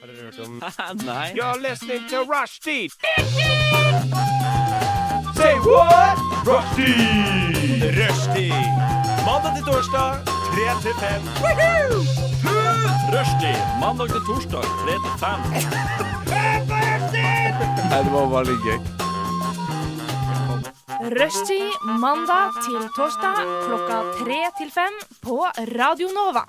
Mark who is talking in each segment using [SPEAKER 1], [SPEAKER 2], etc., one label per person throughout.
[SPEAKER 1] Har dere hørt om
[SPEAKER 2] Nei.
[SPEAKER 1] You're listening to Rushdie! Say what? Rushdie! Rushdie! Mandag til torsdag, 3 til 5. Rushdie, mandag til torsdag, 3 til 5.
[SPEAKER 2] Nei, det var bare litt gøy.
[SPEAKER 3] Rushtid mandag til torsdag klokka tre til fem på Radio Nova.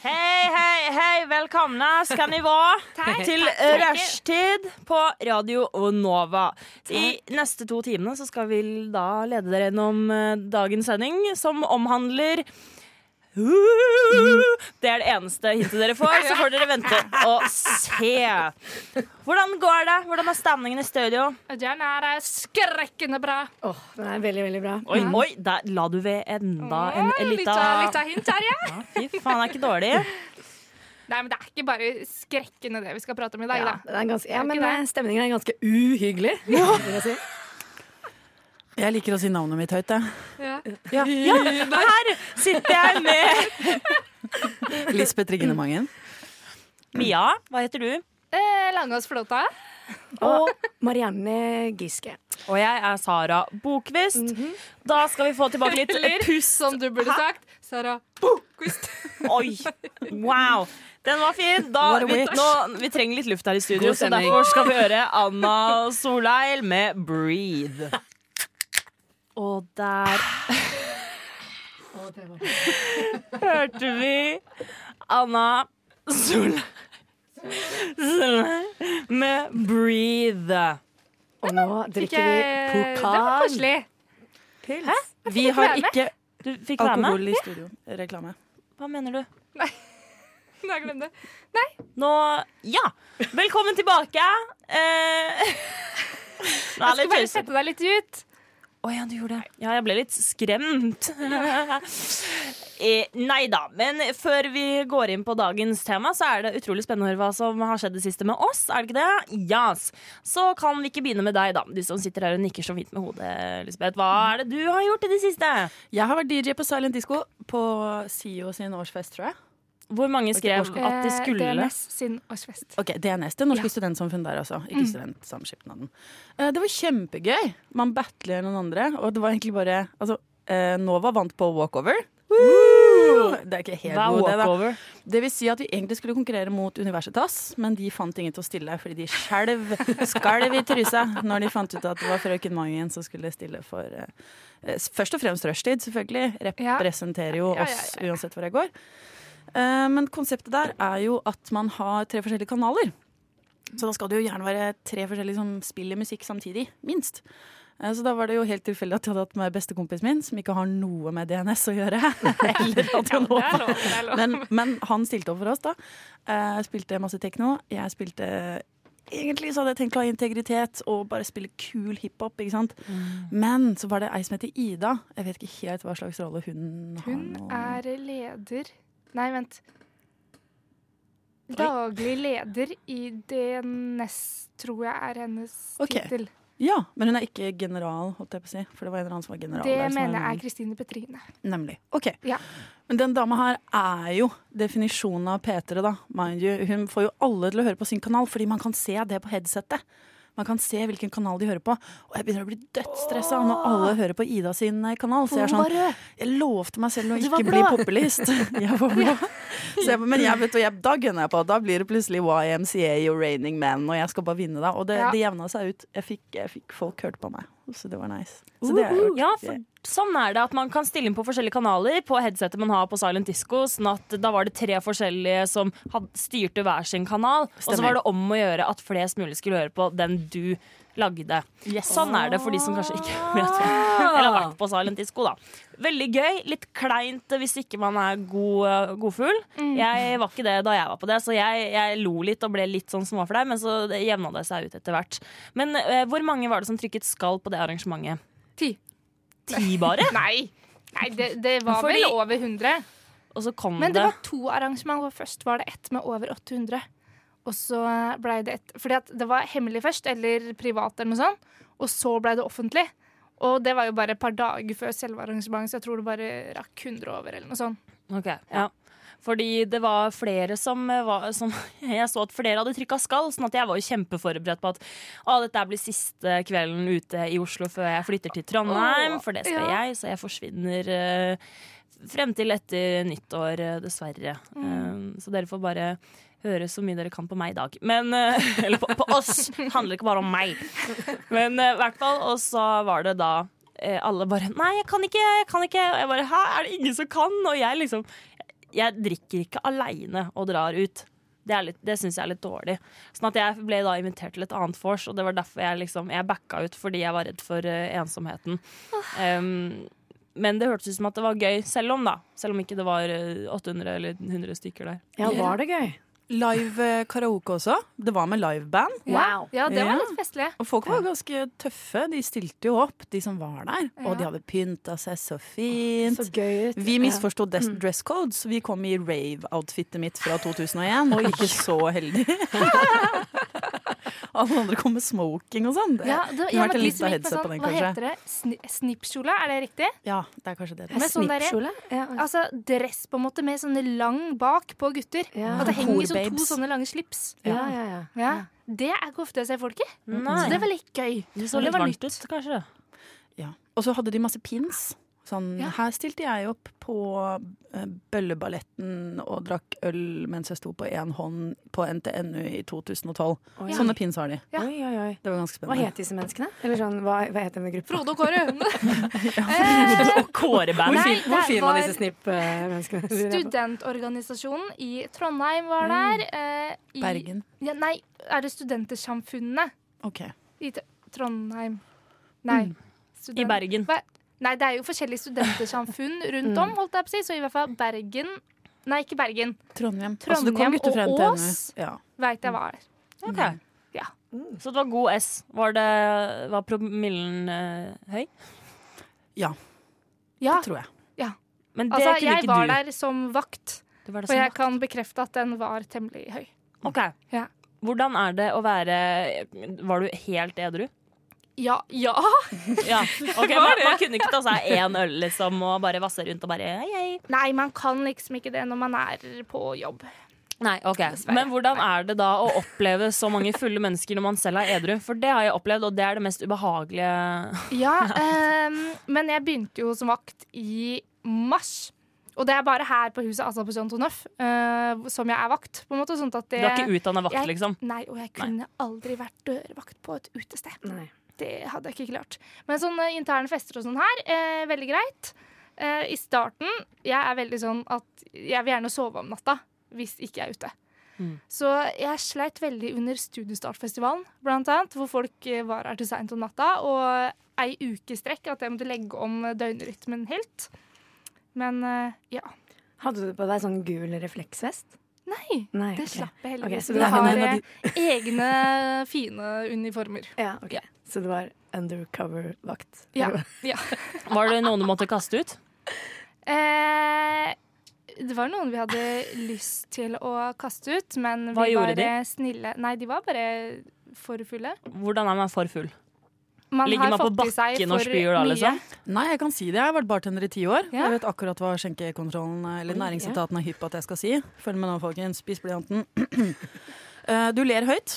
[SPEAKER 4] Hei, hei, hei. Velkomne skal ni være til rushtid på Radio Nova. I neste to timene så skal vi da lede dere gjennom eh, dagens sending, som omhandler Det er det eneste hintet dere får, så får dere vente og se. Hvordan går det? Hvordan er stemningen i studio?
[SPEAKER 5] Den er eh, skrekkende bra.
[SPEAKER 6] Åh, den er veldig, veldig bra.
[SPEAKER 4] Oi, oi, der la du ved enda en
[SPEAKER 5] Litt
[SPEAKER 4] lita
[SPEAKER 5] av litt av hint her, ja.
[SPEAKER 4] Fy faen, det er ikke dårlig.
[SPEAKER 5] Nei, men Det er ikke bare skrekkende det vi skal prate om i dag.
[SPEAKER 6] Ja,
[SPEAKER 5] da.
[SPEAKER 6] den er ganske, ja
[SPEAKER 5] Er
[SPEAKER 6] men
[SPEAKER 5] ikke det?
[SPEAKER 6] eh, stemningen er ganske uhyggelig. vil jeg si.
[SPEAKER 7] Jeg liker å si navnet mitt høyt, jeg.
[SPEAKER 4] Ja, ja, her sitter jeg med
[SPEAKER 7] Lisbeth Rignemangen.
[SPEAKER 4] Mia, hva heter du?
[SPEAKER 5] Eh, Langås Flåta.
[SPEAKER 6] Og Marianne Giske.
[SPEAKER 4] Og jeg er Sara Bokvist. Da skal vi få tilbake litt
[SPEAKER 5] Eller,
[SPEAKER 4] puss.
[SPEAKER 5] som du burde sagt, Sara Bokvist.
[SPEAKER 4] Oi, wow. Den var fin. Da,
[SPEAKER 7] What a
[SPEAKER 4] vi,
[SPEAKER 7] witch.
[SPEAKER 4] nå, vi trenger litt luft her i studio,
[SPEAKER 6] God
[SPEAKER 4] så
[SPEAKER 6] stemning.
[SPEAKER 4] derfor skal vi høre Anna Solheil med 'Breathe'. Og der hørte vi Anna Solheim Solheim med 'Breathe'.
[SPEAKER 6] Og nå
[SPEAKER 5] Fikk
[SPEAKER 6] drikker
[SPEAKER 5] jeg-
[SPEAKER 6] vi
[SPEAKER 5] Det var
[SPEAKER 6] pokal.
[SPEAKER 5] koselig.
[SPEAKER 4] Vi har ikke Du fikk være med?
[SPEAKER 7] Alkohol i studio. Reklame.
[SPEAKER 4] Hva mener du?
[SPEAKER 5] Nå har jeg glemt det.
[SPEAKER 4] Nå Ja! Velkommen tilbake. Eh, Nå er det
[SPEAKER 5] Jeg skulle
[SPEAKER 4] litt
[SPEAKER 5] bare
[SPEAKER 4] pause.
[SPEAKER 5] sette deg litt ut.
[SPEAKER 4] Å ja, du gjorde det. Ja, jeg ble litt skremt. eh, nei da. Men før vi går inn på dagens tema, så er det utrolig spennende å høre hva som har skjedd det siste med oss. Er det ikke det? Yes. Så kan vi ikke begynne med deg, da. Du som sitter her og nikker så fint med hodet, Elisabeth. Hva er det du har gjort i det siste?
[SPEAKER 7] Jeg har vært DJ på Silent Disco på SIO sin årsfest, tror jeg.
[SPEAKER 4] Hvor mange skrev at de
[SPEAKER 5] Eh,
[SPEAKER 4] skulle
[SPEAKER 5] DNS sin årsfest.
[SPEAKER 7] Ok, DNS, det norske studentsamfunn der også. Ikke studentsamskipnaden. Eh, det var kjempegøy. Man battler noen andre, og det var egentlig bare Altså, eh, Nova vant på walkover. Det er ikke helt
[SPEAKER 4] Wow,
[SPEAKER 7] god, det, da.
[SPEAKER 4] walkover.
[SPEAKER 7] Det vil si at vi egentlig skulle konkurrere mot Universitas, men de fant ingen til å stille fordi de skjelv, skalv i trusa når de fant ut at det var frøken Mangen som skulle stille for eh, eh, Først og fremst rushtid, selvfølgelig.
[SPEAKER 5] Ja.
[SPEAKER 7] Representerer jo
[SPEAKER 5] Ja, ja, ja,
[SPEAKER 7] oss uansett hvor jeg går. Eh, Men konseptet der er jo at man har tre forskjellige kanaler. Så da skal det jo gjerne være tre forskjellige som spiller musikk samtidig, minst. Eh, Så da var det jo helt tilfeldig at jeg hadde hatt med bestekompisen min, som ikke har noe med DNS å gjøre. Eller Radio
[SPEAKER 5] Det er
[SPEAKER 7] Nova.
[SPEAKER 5] lov. det er lov.
[SPEAKER 7] Men, men han stilte opp for oss, da. Eh, spilte masse tekno. Jeg spilte Egentlig så hadde jeg tenkt å ha integritet og bare spille kul hiphop. ikke sant?
[SPEAKER 5] Mm.
[SPEAKER 7] Men så var det ei som heter Ida. Jeg vet ikke helt hva slags rolle hun, har
[SPEAKER 5] Hun
[SPEAKER 7] nå.
[SPEAKER 5] er leder Nei, vent. Daglig leder i DNS, tror jeg er hennes
[SPEAKER 7] Ok.
[SPEAKER 5] tittel.
[SPEAKER 7] Ja, Men hun er ikke general, holdt jeg på å si. For det var en eller annen som var general.
[SPEAKER 5] Det
[SPEAKER 7] der, som var
[SPEAKER 5] mener jeg
[SPEAKER 7] en-
[SPEAKER 5] er Kristine Petrine.
[SPEAKER 7] Nemlig. Ok.
[SPEAKER 5] Ja.
[SPEAKER 7] Men den dama her er jo definisjonen av P3, da. Mind you. Hun får jo alle til å høre på sin kanal, fordi man kan se det på headsetet. Man kan se hvilken kanal de hører på. Og jeg begynner å bli dødsstressa når alle hører på Ida sin eh, kanal. Så jeg er sånn Jeg lovte meg selv å ikke bli populist. Jeg var blå. Så jeg, men jeg, vet, du, jeg, da gunner jeg på. Da blir det plutselig YMCA og Raining Man, og jeg skal bare vinne, da. Og det,
[SPEAKER 5] Ja.
[SPEAKER 7] det jevna seg ut. Jeg fikk, jeg fikk folk hørt på meg, så det var nice. Så det har jeg gjort.
[SPEAKER 4] Ja, for sånn er det at man kan stille inn på forskjellige kanaler på headsetet man har på Silent Disco. Sånn at da var det tre forskjellige som had, styrte hver sin kanal. Og så var
[SPEAKER 7] Stemmer.
[SPEAKER 4] det om å gjøre at flest mulig skulle høre på den du lagde. Sånn er det for de som kanskje ikke
[SPEAKER 7] Ah.
[SPEAKER 4] vet hva Eller har vært på Silent Disco, da. Veldig gøy. Litt kleint hvis ikke man er god, godfugl.
[SPEAKER 7] Mm.
[SPEAKER 4] Jeg var ikke det da jeg var på det, så jeg, jeg lo litt og ble litt sånn småflau, men så jevna det seg ut etter hvert. Men eh, hvor mange var det som trykket skall på det arrangementet?
[SPEAKER 5] Ti.
[SPEAKER 4] ti bare,
[SPEAKER 5] Nei, Nei det, det var
[SPEAKER 4] Fordi-
[SPEAKER 5] vel over 100.
[SPEAKER 4] og så kom
[SPEAKER 5] Men
[SPEAKER 4] det.
[SPEAKER 5] det var to arrangement. hvor Først var det ett med over 800. Og så ble det et Fordi at det var hemmelig først, eller privat, eller noe sånt. Og så ble det offentlig. Og det var jo bare et par dager før selve arrangementet, så jeg tror det bare rakk 100 over, eller noe sånt.
[SPEAKER 4] Ok, ja. Fordi det var flere som eh, var som, Jeg så at flere hadde trykka skall, sånn at jeg var jo kjempeforberedt på at å, dette blir siste kvelden ute i Oslo før jeg flytter til Trondheim, for det skal jeg, så jeg forsvinner eh, frem til etter nyttår, eh, dessverre.
[SPEAKER 5] Mm.
[SPEAKER 4] Eh, så dere får bare høre så mye dere kan på meg i dag. Men, eh, eller på, på oss! Det handler ikke bare om meg. Men eh, i hvert fall, og så var det da eh, alle bare Nei, jeg kan ikke, jeg kan ikke. Og jeg bare Hæ, er det ingen som kan? Og jeg liksom Jeg drikker ikke aleine og drar ut. Det, er litt- det syns jeg er litt dårlig. Sånn at jeg ble da invitert til et annet vors, og det var derfor jeg liksom Jeg backa ut fordi jeg var redd for eh, ensomheten. Em, men det hørtes ut som at det var gøy, selv om da Selv om ikke det var eh, 800 eller 100 stykker der.
[SPEAKER 6] Ja, var det gøy?
[SPEAKER 7] Live eh, karaoke også. Det var med liveband.
[SPEAKER 6] Wow.
[SPEAKER 5] Ja, det
[SPEAKER 7] Ja.
[SPEAKER 5] var litt festlig.
[SPEAKER 7] Og folk var ganske tøffe. De stilte jo opp, de som var der. Og de hadde pynta seg så fint.
[SPEAKER 6] Så gøy ut.
[SPEAKER 7] Vi misforsto des-
[SPEAKER 5] Mm.
[SPEAKER 7] dress code, så vi kom i rave-outfitet mitt fra 2001. Og ikke så heldig. Alle andre kom med smoking og sånn. Det-
[SPEAKER 5] Ja, det,
[SPEAKER 7] Kunne
[SPEAKER 5] ja,
[SPEAKER 7] vært
[SPEAKER 5] men
[SPEAKER 7] en
[SPEAKER 5] de
[SPEAKER 7] liten
[SPEAKER 5] som gikk med
[SPEAKER 7] headset på
[SPEAKER 5] sånn,
[SPEAKER 7] den,
[SPEAKER 5] hva
[SPEAKER 7] kanskje.
[SPEAKER 5] heter det? Sni, snippkjole, er det riktig?
[SPEAKER 7] Ja, det er kanskje det.
[SPEAKER 5] Med sånn derre-
[SPEAKER 6] Snippkjole? Ja.
[SPEAKER 5] Altså dress på en måte med sånne lang bak på gutter.
[SPEAKER 6] Ja.
[SPEAKER 5] At det henger som to
[SPEAKER 7] Horebabes.
[SPEAKER 5] sånne lange slips.
[SPEAKER 6] ja, ja, ja.
[SPEAKER 5] Ja. Det er ikke ofte jeg ser folk i.
[SPEAKER 4] Nei.
[SPEAKER 5] Så det var litt gøy.
[SPEAKER 4] Det så litt varmt ut, kanskje.
[SPEAKER 7] Ja. Og så hadde de masse pins. Sånn,
[SPEAKER 5] Ja.
[SPEAKER 7] Her stilte jeg opp på eh, Bølleballetten og drakk øl mens jeg sto på én hånd på NTNU i 2012.
[SPEAKER 6] Oi.
[SPEAKER 7] Sånne pins har de.
[SPEAKER 5] Ja.
[SPEAKER 6] Oi, oi, oi.
[SPEAKER 7] Det var ganske
[SPEAKER 6] Hva
[SPEAKER 7] spennende.
[SPEAKER 6] het disse menneskene? Eller sånn, hva, hva het denne gruppa?
[SPEAKER 5] Frode og Kåre.
[SPEAKER 4] Og kåreband.
[SPEAKER 5] Nei,
[SPEAKER 6] fin- hvor
[SPEAKER 5] der
[SPEAKER 6] fin var
[SPEAKER 5] var-
[SPEAKER 6] disse snipp-menneskene?
[SPEAKER 5] Eh, Studentorganisasjonen i Trondheim var der. eh, I,
[SPEAKER 7] Bergen.
[SPEAKER 5] Ja, nei, er det Studentersamfunnet
[SPEAKER 7] Ok.
[SPEAKER 5] i Tr- Trondheim? Nei. Student-
[SPEAKER 4] I Bergen.
[SPEAKER 5] Hva- Nei, det er jo forskjellige studentersamfunn rundt om, holdt jeg på å si. Så i hvert fall Bergen Nei, ikke Bergen.
[SPEAKER 7] Trondheim. Altså,
[SPEAKER 5] Trondheim
[SPEAKER 7] det kom gutter fra
[SPEAKER 5] og
[SPEAKER 7] NTNU.
[SPEAKER 5] Ås.
[SPEAKER 7] Ja.
[SPEAKER 5] Veit jeg hva er.
[SPEAKER 4] Ok.
[SPEAKER 5] Ja.
[SPEAKER 4] Så det var god S. Var, det, var promillen eh, høy?
[SPEAKER 7] ja,
[SPEAKER 5] Ja,
[SPEAKER 7] det tror jeg.
[SPEAKER 4] Men det
[SPEAKER 5] altså,
[SPEAKER 4] kunne
[SPEAKER 5] jeg
[SPEAKER 4] ikke
[SPEAKER 5] var
[SPEAKER 4] du.
[SPEAKER 5] der som vakt,
[SPEAKER 4] Du var der
[SPEAKER 5] og
[SPEAKER 4] som
[SPEAKER 5] jeg
[SPEAKER 4] vakt.
[SPEAKER 5] kan bekrefte at den var temmelig høy.
[SPEAKER 4] Ok.
[SPEAKER 5] Ja.
[SPEAKER 4] Hvordan er det å være Var du helt edru?
[SPEAKER 5] Ja, ja!
[SPEAKER 4] Ja. ok, man, man kunne ikke ta seg én øl liksom, og bare vasse rundt og bare hei, hei.
[SPEAKER 5] Nei, man kan liksom ikke det når man er på jobb.
[SPEAKER 4] Nei, ok. Men hvordan er det da å oppleve så mange fulle mennesker når man selv er edru? For det har jeg opplevd, og det er det mest ubehagelige.
[SPEAKER 5] Ja, ehm, men jeg begynte jo som vakt i mars. Og det er bare her på huset, altså på John Toneff, som jeg er vakt. på en måte, sånn at det...
[SPEAKER 4] Du er ikke utdanna vakt,
[SPEAKER 5] Jeg-
[SPEAKER 4] liksom?
[SPEAKER 5] Nei, og jeg kunne aldri vært dørvakt på et utested.
[SPEAKER 6] Nei.
[SPEAKER 5] Det hadde jeg ikke klart. Men sånne interne fester og sånn her, eh, veldig greit. Eh, I starten, jeg er veldig sånn at jeg vil gjerne sove om natta hvis ikke jeg er ute.
[SPEAKER 6] Mm.
[SPEAKER 5] Så jeg sleit veldig under Studiestartfestivalen, blant annet, hvor folk eh, var her til seint om natta, og ei uke i strekk at jeg måtte legge om døgnrytmen helt. Men eh, ja.
[SPEAKER 6] Hadde du på deg sånn gul refleksvest?
[SPEAKER 5] Nei,
[SPEAKER 6] Nei.
[SPEAKER 5] det
[SPEAKER 6] ok.
[SPEAKER 5] slapp jeg heldigvis.
[SPEAKER 6] Ok, så
[SPEAKER 5] Vi
[SPEAKER 6] det er
[SPEAKER 5] har
[SPEAKER 6] en av
[SPEAKER 5] eh, egne fine uniformer.
[SPEAKER 6] Ja, ok. Så det var undercover-vakt?
[SPEAKER 5] Ja.
[SPEAKER 6] Eller hva?
[SPEAKER 4] Var det noen du måtte kaste ut?
[SPEAKER 5] Eh, det var noen vi hadde lyst til å kaste ut, men
[SPEAKER 4] Hva
[SPEAKER 5] vi
[SPEAKER 4] gjorde
[SPEAKER 5] var
[SPEAKER 4] de?
[SPEAKER 5] eh, snille. Nei, de var bare for fulle.
[SPEAKER 4] Hvordan er man for full?
[SPEAKER 5] Man
[SPEAKER 4] Ligger
[SPEAKER 5] har
[SPEAKER 4] man på
[SPEAKER 5] fått i seg
[SPEAKER 4] bakken og
[SPEAKER 5] for
[SPEAKER 4] spyr da,
[SPEAKER 5] mye.
[SPEAKER 4] liksom?
[SPEAKER 7] Nei, jeg kan si det. Jeg har vært bartender i ti år.
[SPEAKER 5] Ja.
[SPEAKER 7] Jeg vet akkurat hva skjenkekontrollen eller næringsetaten er hypp på at jeg skal si. Følg med nå, folkens. Spis blyanten. Eh, du ler høyt.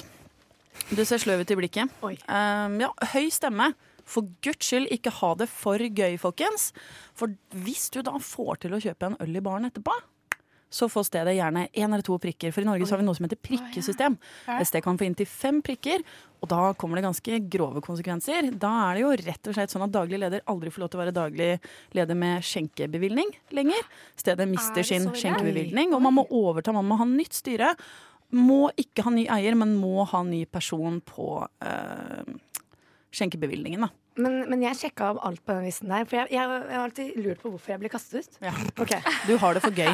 [SPEAKER 7] Du ser sløv ut i blikket.
[SPEAKER 6] Oi.
[SPEAKER 7] Um, ja, høy stemme. For guds skyld, ikke ha det for gøy, folkens. For hvis du da får til å kjøpe en øl i baren etterpå, så får stedet gjerne én eller to prikker. For i Norge så har vi noe som heter prikkesystem. Et sted kan få inntil fem prikker, og da kommer det ganske grove konsekvenser. Da er det jo rett og slett sånn at daglig leder aldri får lov til å være daglig leder med skjenkebevilgning lenger. Stedet mister
[SPEAKER 5] det
[SPEAKER 7] sin
[SPEAKER 5] så ille?
[SPEAKER 7] skjenkebevilgning, og man må overta, man må ha nytt styre. Må ikke ha ny eier, men må ha ny person på eh, skjenkebevilgningen, da.
[SPEAKER 6] Men, men jeg sjekka av alt på den listen der, for jeg, jeg, jeg har alltid lurt på hvorfor jeg ble kastet ut. Ok.
[SPEAKER 7] Du har det for gøy.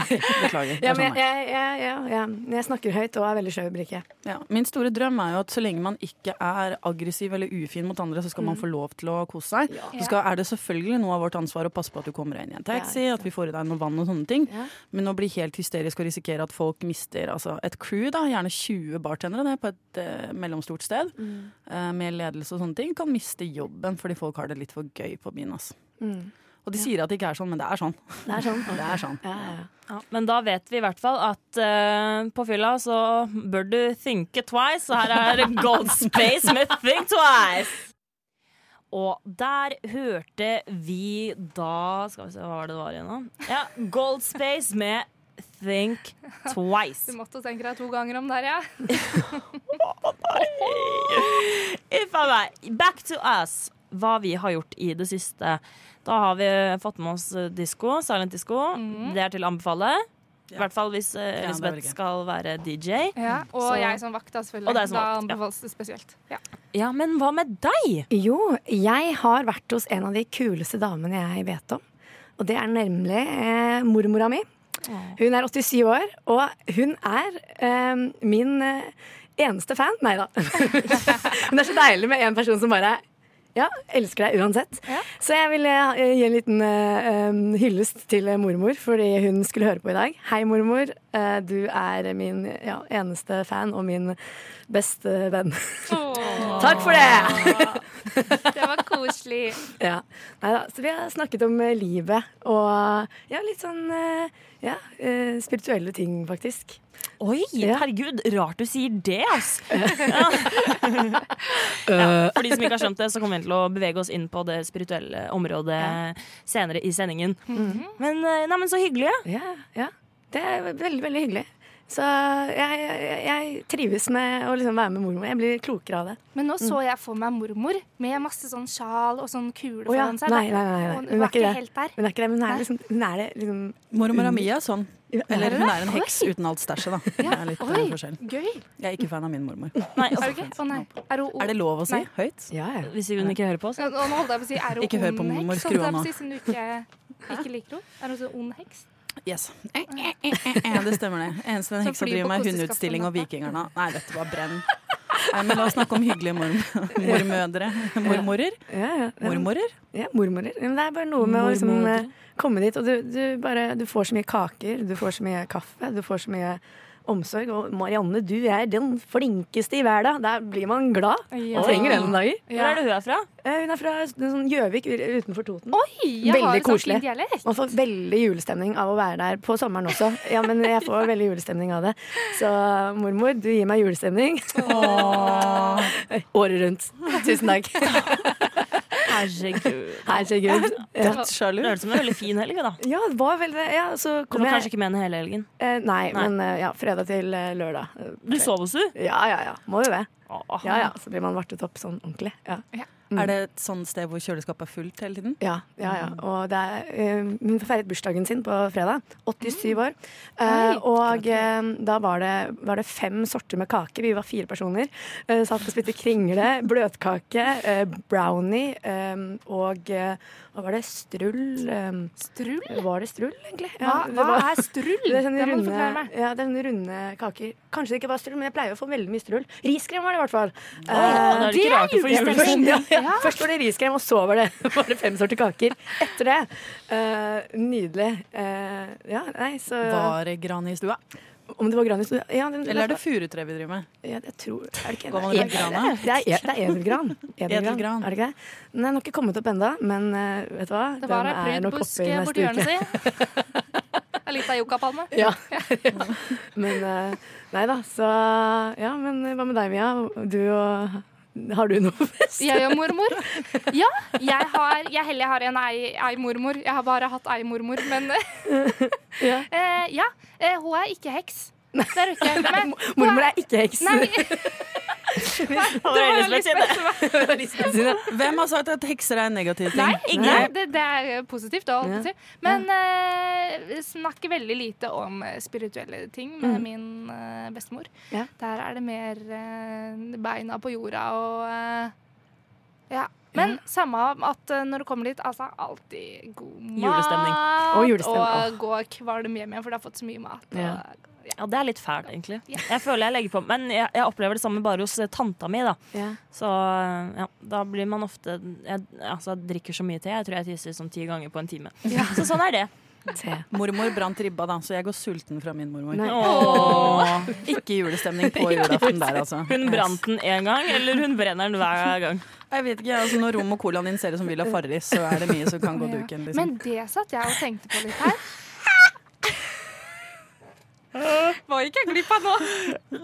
[SPEAKER 7] Beklager.
[SPEAKER 6] Ja,
[SPEAKER 7] Det er
[SPEAKER 6] men jeg,
[SPEAKER 7] sånn det er.
[SPEAKER 6] jeg, jeg, jeg, jeg- jeg snakker høyt og er veldig sløv i blikket.
[SPEAKER 7] Ja. Min store drøm er jo at så lenge man ikke er aggressiv eller ufin mot andre, så skal
[SPEAKER 6] Mm.
[SPEAKER 7] man få lov til å kose seg. Så skal, er det selvfølgelig noe av vårt ansvar å passe på at du kommer deg inn i en taxi, at vi får i deg noe vann og sånne ting.
[SPEAKER 6] Ja.
[SPEAKER 7] Men å bli helt hysterisk og risikere at folk mister altså, et crew, da, gjerne 20 bartendere det, på et eh, mellomstort sted,
[SPEAKER 6] Mm.
[SPEAKER 7] eh, med ledelse og sånne ting, kan miste jobben fordi folk har det litt for gøy på byen. Altså. Og de sier at det ikke er sånn, men det er sånn.
[SPEAKER 6] Mm. Det er sånn.
[SPEAKER 7] Det er sånn.
[SPEAKER 6] Ja, ja, ja.
[SPEAKER 4] Ja, men da vet vi i hvert fall at eh, på fylla så bør du thinke twice. Så her er Gold Space med Think Twice. Og der hørte vi da Skal vi se, hva var det det var igjen, da? Ja, Gold Space med Think Twice.
[SPEAKER 5] Du måtte tenke deg to ganger om der, ja.
[SPEAKER 4] Uff a meg. Back to us. Hva vi har gjort i det siste. Da har vi fått med oss disko. Silent disco. Det er til å anbefale. I hvert fall hvis eh,
[SPEAKER 7] det er veldig
[SPEAKER 4] Elisabeth
[SPEAKER 7] gøy.
[SPEAKER 4] skal være DJ.
[SPEAKER 5] ja. Og
[SPEAKER 4] Så-
[SPEAKER 5] jeg som vakt, da, selvfølgelig.
[SPEAKER 4] Og deg som
[SPEAKER 5] da
[SPEAKER 4] vakt, ja.
[SPEAKER 5] anbefales det spesielt. Ja.
[SPEAKER 4] Ja, men hva med deg?
[SPEAKER 6] Jo, jeg har vært hos en av de kuleste damene jeg vet om. Og det er nemlig eh, mormora mi. Hun er 87 år, og hun er eh, min eh, eneste fan. Nei da. Men det er så deilig med en person som bare ja, elsker deg uansett. Så jeg vil eh, gi en liten eh, em, hyllest til eh, mormor, fordi hun skulle høre på i dag. Hei, mormor. Eh, du er min ja, eneste fan og min beste venn. Takk for det!
[SPEAKER 5] Det var koselig.
[SPEAKER 6] Ja. Neida, så vi har snakket om eh, livet og ja, litt sånn eh, ja, eh, spirituelle ting, faktisk.
[SPEAKER 4] Oi,
[SPEAKER 6] Ja.
[SPEAKER 4] herregud, rart du sier det, ass. Ja. Ja, for de som ikke har skjønt det, så kommer vi til å bevege oss inn på det spirituelle området senere i sendingen. Men eh, nei, men så hyggelig.
[SPEAKER 6] Ja, ja. Det er ve- veldig, veldig hyggelig. Så jeg, jeg, jeg trives med å liksom være med mormor. Jeg blir klokere av det.
[SPEAKER 5] Men nå så jeg for meg mormor med masse sånn sjal og sånn kule
[SPEAKER 6] Å ja.
[SPEAKER 5] foran seg.
[SPEAKER 6] Nei, nei, nei, nei.
[SPEAKER 5] Og
[SPEAKER 6] Hun
[SPEAKER 5] Hun
[SPEAKER 6] er
[SPEAKER 5] var
[SPEAKER 6] ikke
[SPEAKER 5] ikke
[SPEAKER 6] det.
[SPEAKER 5] helt der.
[SPEAKER 6] Hun er ikke det, men hun
[SPEAKER 5] Nei.
[SPEAKER 6] er, liksom, hun er det liksom
[SPEAKER 7] Mormor Amia er sånn. Eller hun er en
[SPEAKER 5] Oi.
[SPEAKER 7] heks uten alt stæsjet, da. Det er litt eh,
[SPEAKER 5] Oi,
[SPEAKER 7] forskjell.
[SPEAKER 5] gøy.
[SPEAKER 7] Jeg er ikke fan av min mormor.
[SPEAKER 4] Nei, altså.
[SPEAKER 5] Er du ikke? Å nei. Er, hun,
[SPEAKER 7] Er det lov å si
[SPEAKER 5] Nei.
[SPEAKER 7] høyt?
[SPEAKER 6] Ja, ja.
[SPEAKER 4] hvis hun ikke hører på oss.
[SPEAKER 5] Ja, Nå holdt jeg på å si er hun
[SPEAKER 7] Ikke hør på
[SPEAKER 5] ond
[SPEAKER 7] mormor,
[SPEAKER 5] heks,
[SPEAKER 7] skru
[SPEAKER 5] holdt jeg på
[SPEAKER 7] av
[SPEAKER 5] å
[SPEAKER 7] nå.
[SPEAKER 5] si, siden du ikke, ikke liker henne. Er hun så ond heks?
[SPEAKER 7] Yes. Eh, eh, eh, eh, eh, Det stemmer, det. Eneste den
[SPEAKER 5] Så
[SPEAKER 7] heksa
[SPEAKER 5] flyr på
[SPEAKER 7] driver med, er
[SPEAKER 5] koseskaftet
[SPEAKER 7] hundeutstilling og
[SPEAKER 5] natta.
[SPEAKER 7] vikingerne. Nei, dette var brenn. Nei, men la oss snakke om hyggelige morm mormødre. Mormorer.
[SPEAKER 6] ja, ja. ja.
[SPEAKER 7] Mormorer.
[SPEAKER 6] Ja, mormorer. Men det er bare noe med å liksom,
[SPEAKER 7] Mormødre.
[SPEAKER 6] eh, komme dit, og du, du, bare, du får så mye kaker, du får så mye kaffe, du får så mye omsorg. Og Marianne, du er den flinkeste i verden. Der blir man glad.
[SPEAKER 5] Ja.
[SPEAKER 6] Man trenger det noen dager.
[SPEAKER 4] Hvor er det hun er fra?
[SPEAKER 6] Eh, Hun er fra sånn Gjøvik utenfor Toten.
[SPEAKER 5] Oi, jeg
[SPEAKER 6] Veldig
[SPEAKER 5] har en sånn
[SPEAKER 6] koselig.
[SPEAKER 5] fin dialekt.
[SPEAKER 6] Man får veldig julestemning av å være der på sommeren også. Ja, men jeg får veldig julestemning av det. Så mormor, du gir meg julestemning. Året rundt. Tusen takk.
[SPEAKER 4] Herregud.
[SPEAKER 6] Herregud. Ja.
[SPEAKER 4] Det høres ut som en veldig fin helg, da.
[SPEAKER 6] Ja, det var veldig Ja, så
[SPEAKER 4] Du
[SPEAKER 6] kom
[SPEAKER 4] var
[SPEAKER 6] jeg
[SPEAKER 4] kanskje ikke med henne hele helgen.
[SPEAKER 6] Eh, nei,
[SPEAKER 4] Nei.
[SPEAKER 6] men eh, ja, fredag til eh, lørdag. Eh,
[SPEAKER 4] Du sov hos henne?
[SPEAKER 6] Ja, ja, ja. Må jo det.
[SPEAKER 4] Åh.
[SPEAKER 6] Ja, ja. Så blir man vartet opp sånn ordentlig. Ja,
[SPEAKER 7] Er det et sånt sted hvor kjøleskapet er fullt hele tiden?
[SPEAKER 6] ja, ja. ja. Og det er, eh, hun feiret bursdagen sin på fredag. 87 år. Eh, og eh, da var det, var det fem sorter med kake. Vi var fire personer. Eh, satt og spiste kringle, bløtkake, eh, brownie eh, og eh, Hva var det? Strull? Eh,
[SPEAKER 5] Strull?
[SPEAKER 6] var det strull, egentlig?
[SPEAKER 5] Hva,
[SPEAKER 6] det
[SPEAKER 5] hva
[SPEAKER 6] var-
[SPEAKER 5] er strull?
[SPEAKER 6] Det er sånne
[SPEAKER 5] Det må du
[SPEAKER 6] runde,
[SPEAKER 5] forklare meg.
[SPEAKER 6] ja, det er sånne runde kaker. Kanskje det ikke var strull, men jeg pleier å få veldig mye strull. Riskrem var det i hvert fall.
[SPEAKER 4] Da
[SPEAKER 6] Eh,
[SPEAKER 4] er det ikke rart du får
[SPEAKER 6] ja,
[SPEAKER 4] julestemning.
[SPEAKER 6] først, ja, ja. først var det riskrem, og så var det bare fem sorter kaker. Etter det. Eh, nydelig. Eh, ja, nei, så
[SPEAKER 7] Var det gran i stua?
[SPEAKER 6] Om det var Granis ja, den-
[SPEAKER 7] Eller er det furutre vi driver med?
[SPEAKER 6] ja, Jeg tror Er det ikke
[SPEAKER 7] Går man
[SPEAKER 6] Nei,
[SPEAKER 7] rundt grana?
[SPEAKER 6] Det er, det er edelgran.
[SPEAKER 7] Edelgran.
[SPEAKER 6] Er det ikke det? Den er nok ikke kommet opp ennå, men eh, vet du hva?
[SPEAKER 5] Det var
[SPEAKER 6] den
[SPEAKER 5] ei pryd busk borti hjørnet si. Det er litt av yuccapalme.
[SPEAKER 6] Ja. Men eh, Nei da, så Ja, men hva med deg, Mia? Du og Har du noe fest?
[SPEAKER 5] Jeg og mormor. Ja, jeg har Jeg heller har en ei, ei mormor. Jeg har bare hatt ei mormor, men
[SPEAKER 6] Ja.
[SPEAKER 5] eh, Ja, eh, hun er ikke heks. Det er hun ikke. Men
[SPEAKER 6] Mormor er ikke heks.
[SPEAKER 5] Nei,
[SPEAKER 4] Det var Elisabeth sin, det.
[SPEAKER 7] Hvem har sagt at hekser er en negativ ting?
[SPEAKER 5] nei,
[SPEAKER 4] Ingen.
[SPEAKER 5] nei det, det er positivt. Da, holdt jeg på å si. Men eh, snakker veldig lite om eh, spirituelle ting med min eh, bestemor.
[SPEAKER 6] Ja.
[SPEAKER 5] Der er det mer eh, beina på jorda og eh, Ja. Men samme at eh, når du kommer dit, altså alltid god mat.
[SPEAKER 4] Julestemning.
[SPEAKER 6] Og julestemning,
[SPEAKER 5] Og gå kvalm hjem igjen, for du har fått så mye mat.
[SPEAKER 6] Ja.
[SPEAKER 5] Og, ja.
[SPEAKER 4] Ja, det er litt fælt, egentlig.
[SPEAKER 5] Ja.
[SPEAKER 4] Jeg føler jeg legger på, men jeg, jeg opplever det samme bare hos eh, tanta mi, da.
[SPEAKER 6] Ja.
[SPEAKER 4] Så eh, ja, da blir man ofte jeg, Altså, jeg drikker så mye te. Jeg tror jeg tisser sånn ti ganger på en time. Så sånn er det.
[SPEAKER 6] te.
[SPEAKER 7] Mormor brant ribba, da, så jeg går sulten fra min mormor.
[SPEAKER 6] Nei.
[SPEAKER 7] Åh. Ikke julestemning på julaften der, altså.
[SPEAKER 4] Hun brant den én gang, eller hun brenner den hver gang.
[SPEAKER 7] Jeg vet ikke, altså Når rom og colaen din ser ut som Villa Farris, så er det mye som kan gå duken. liksom.
[SPEAKER 5] Men det satt jeg og tenkte på litt her. Hva gikk jeg glipp av nå?